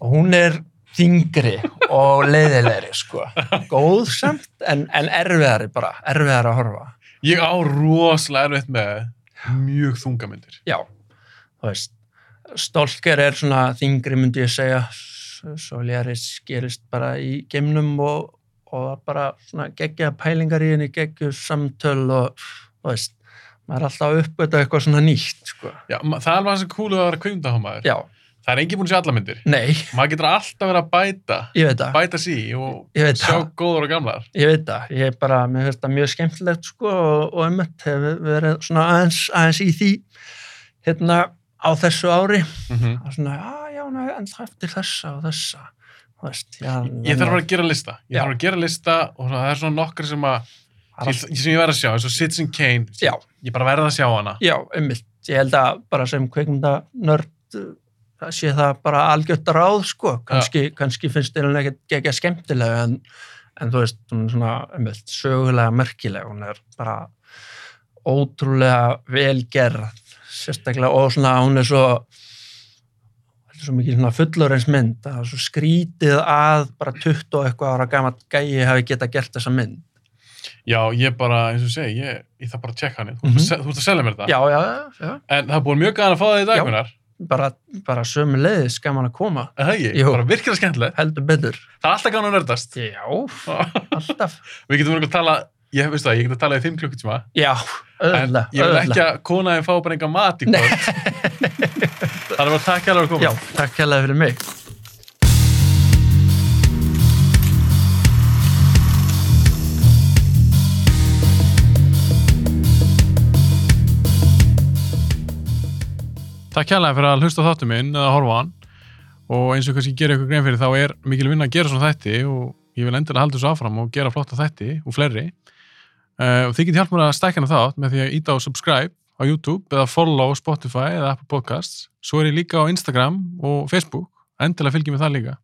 A: og hún er þingri og leiðilegri, sko. Góð samt, en, en erfiðari bara, erfiðari að horfa.
B: Ég á rosalega erfitt með mjög þungamyndir.
A: já, þú veist Stolker er svona þingri myndi ég segja Solaris gerist bara í geimnum og, og bara svona geggja pælingar í henni, geggju samtöl og þú veist, maður er alltaf að uppgöta eitthvað svona nýtt, sko
B: Já, ma- það er alveg þessi kúlu að vera kvimdahámaður.
A: já,
B: Það er engin búin að sjá alla myndir.
A: nei,
B: Maður getur alltaf verið að bæta,
A: ég veit það
B: bæta sí og
A: ég veit
B: sjá
A: það,
B: góður og gamlar.
A: ég veit það ég er bara, mér finnst það mjög skemmtilegt, sko og, og einmitt hefur verið svona aðeins, aðeins í því hérna á þessu ári
B: Mm
A: það er svona, já, já, nei, en það eftir þessa og þessa þú veist, já,
B: Ég þarf að vera að gera lista. Ég
A: Já.
B: þarf að gera lista og svona, það er svona nokkar sem, að,
A: Það er
B: sem, ég- sem ég verð að sjá, eins og Citizen Kane.
A: Já.
B: Ég bara verð að sjá hana.
A: Já, ummilt, ég held að bara sem kveikmynda nörd sé það bara algjört ráð, sko kannski, kannski finnst þér hún ekkert ekki skemmtilega en, en þú veist, hún er svona ummilt, sögulega merkileg hún er bara ótrúlega velgerð sérstaklega og svona hún er svo þetta er svo mikið svona fullorinsmynd það er svo skrítið að bara 20 og eitthvað ára gaman gæi hafi geta gert þessa mynd
B: Já, ég bara, eins og ég segi, ég, ég þarf bara að tjekka hann. Þú,
A: Mhm.
B: mm -hmm. þú ert að selja mér það.
A: Já, já, já,
B: En það er búin mjög gaman að fá það í
A: Já.
B: dag, minnar.
A: bara, bara sömu leiðis gaman að koma
B: Það er ekki,
A: Jú.
B: bara virkilega skemmtilegt.
A: heldur betur
B: Það er alltaf gaman að nördast.
A: Já, alltaf.
B: Við getum verið að tala, ég veist það, ég get að tala í fimm klukkutíma.
A: Já,
B: En
A: öðla,
B: ég vil ekki að konaðin fá bara enga mat í kvöld. það er bara takk alveg að koma.
A: Já, takk hérlega fyrir mig.
B: Takk hérlega fyrir að hlusta á þáttu minn eða horfa á hann og eins og kannski gera ykkur grein fyrir þá er mikil vinna að gera svona þætti og ég vil endilega halda þessu áfram og gera flotta þætti og fleiri uh, og þið getið hjálp mér að stækja hana þátt með því að íta á subscribe á YouTube eða follow á Spotify eða Apple Podcasts svo er ég líka á Instagram og Facebook endilega fylgjum við það líka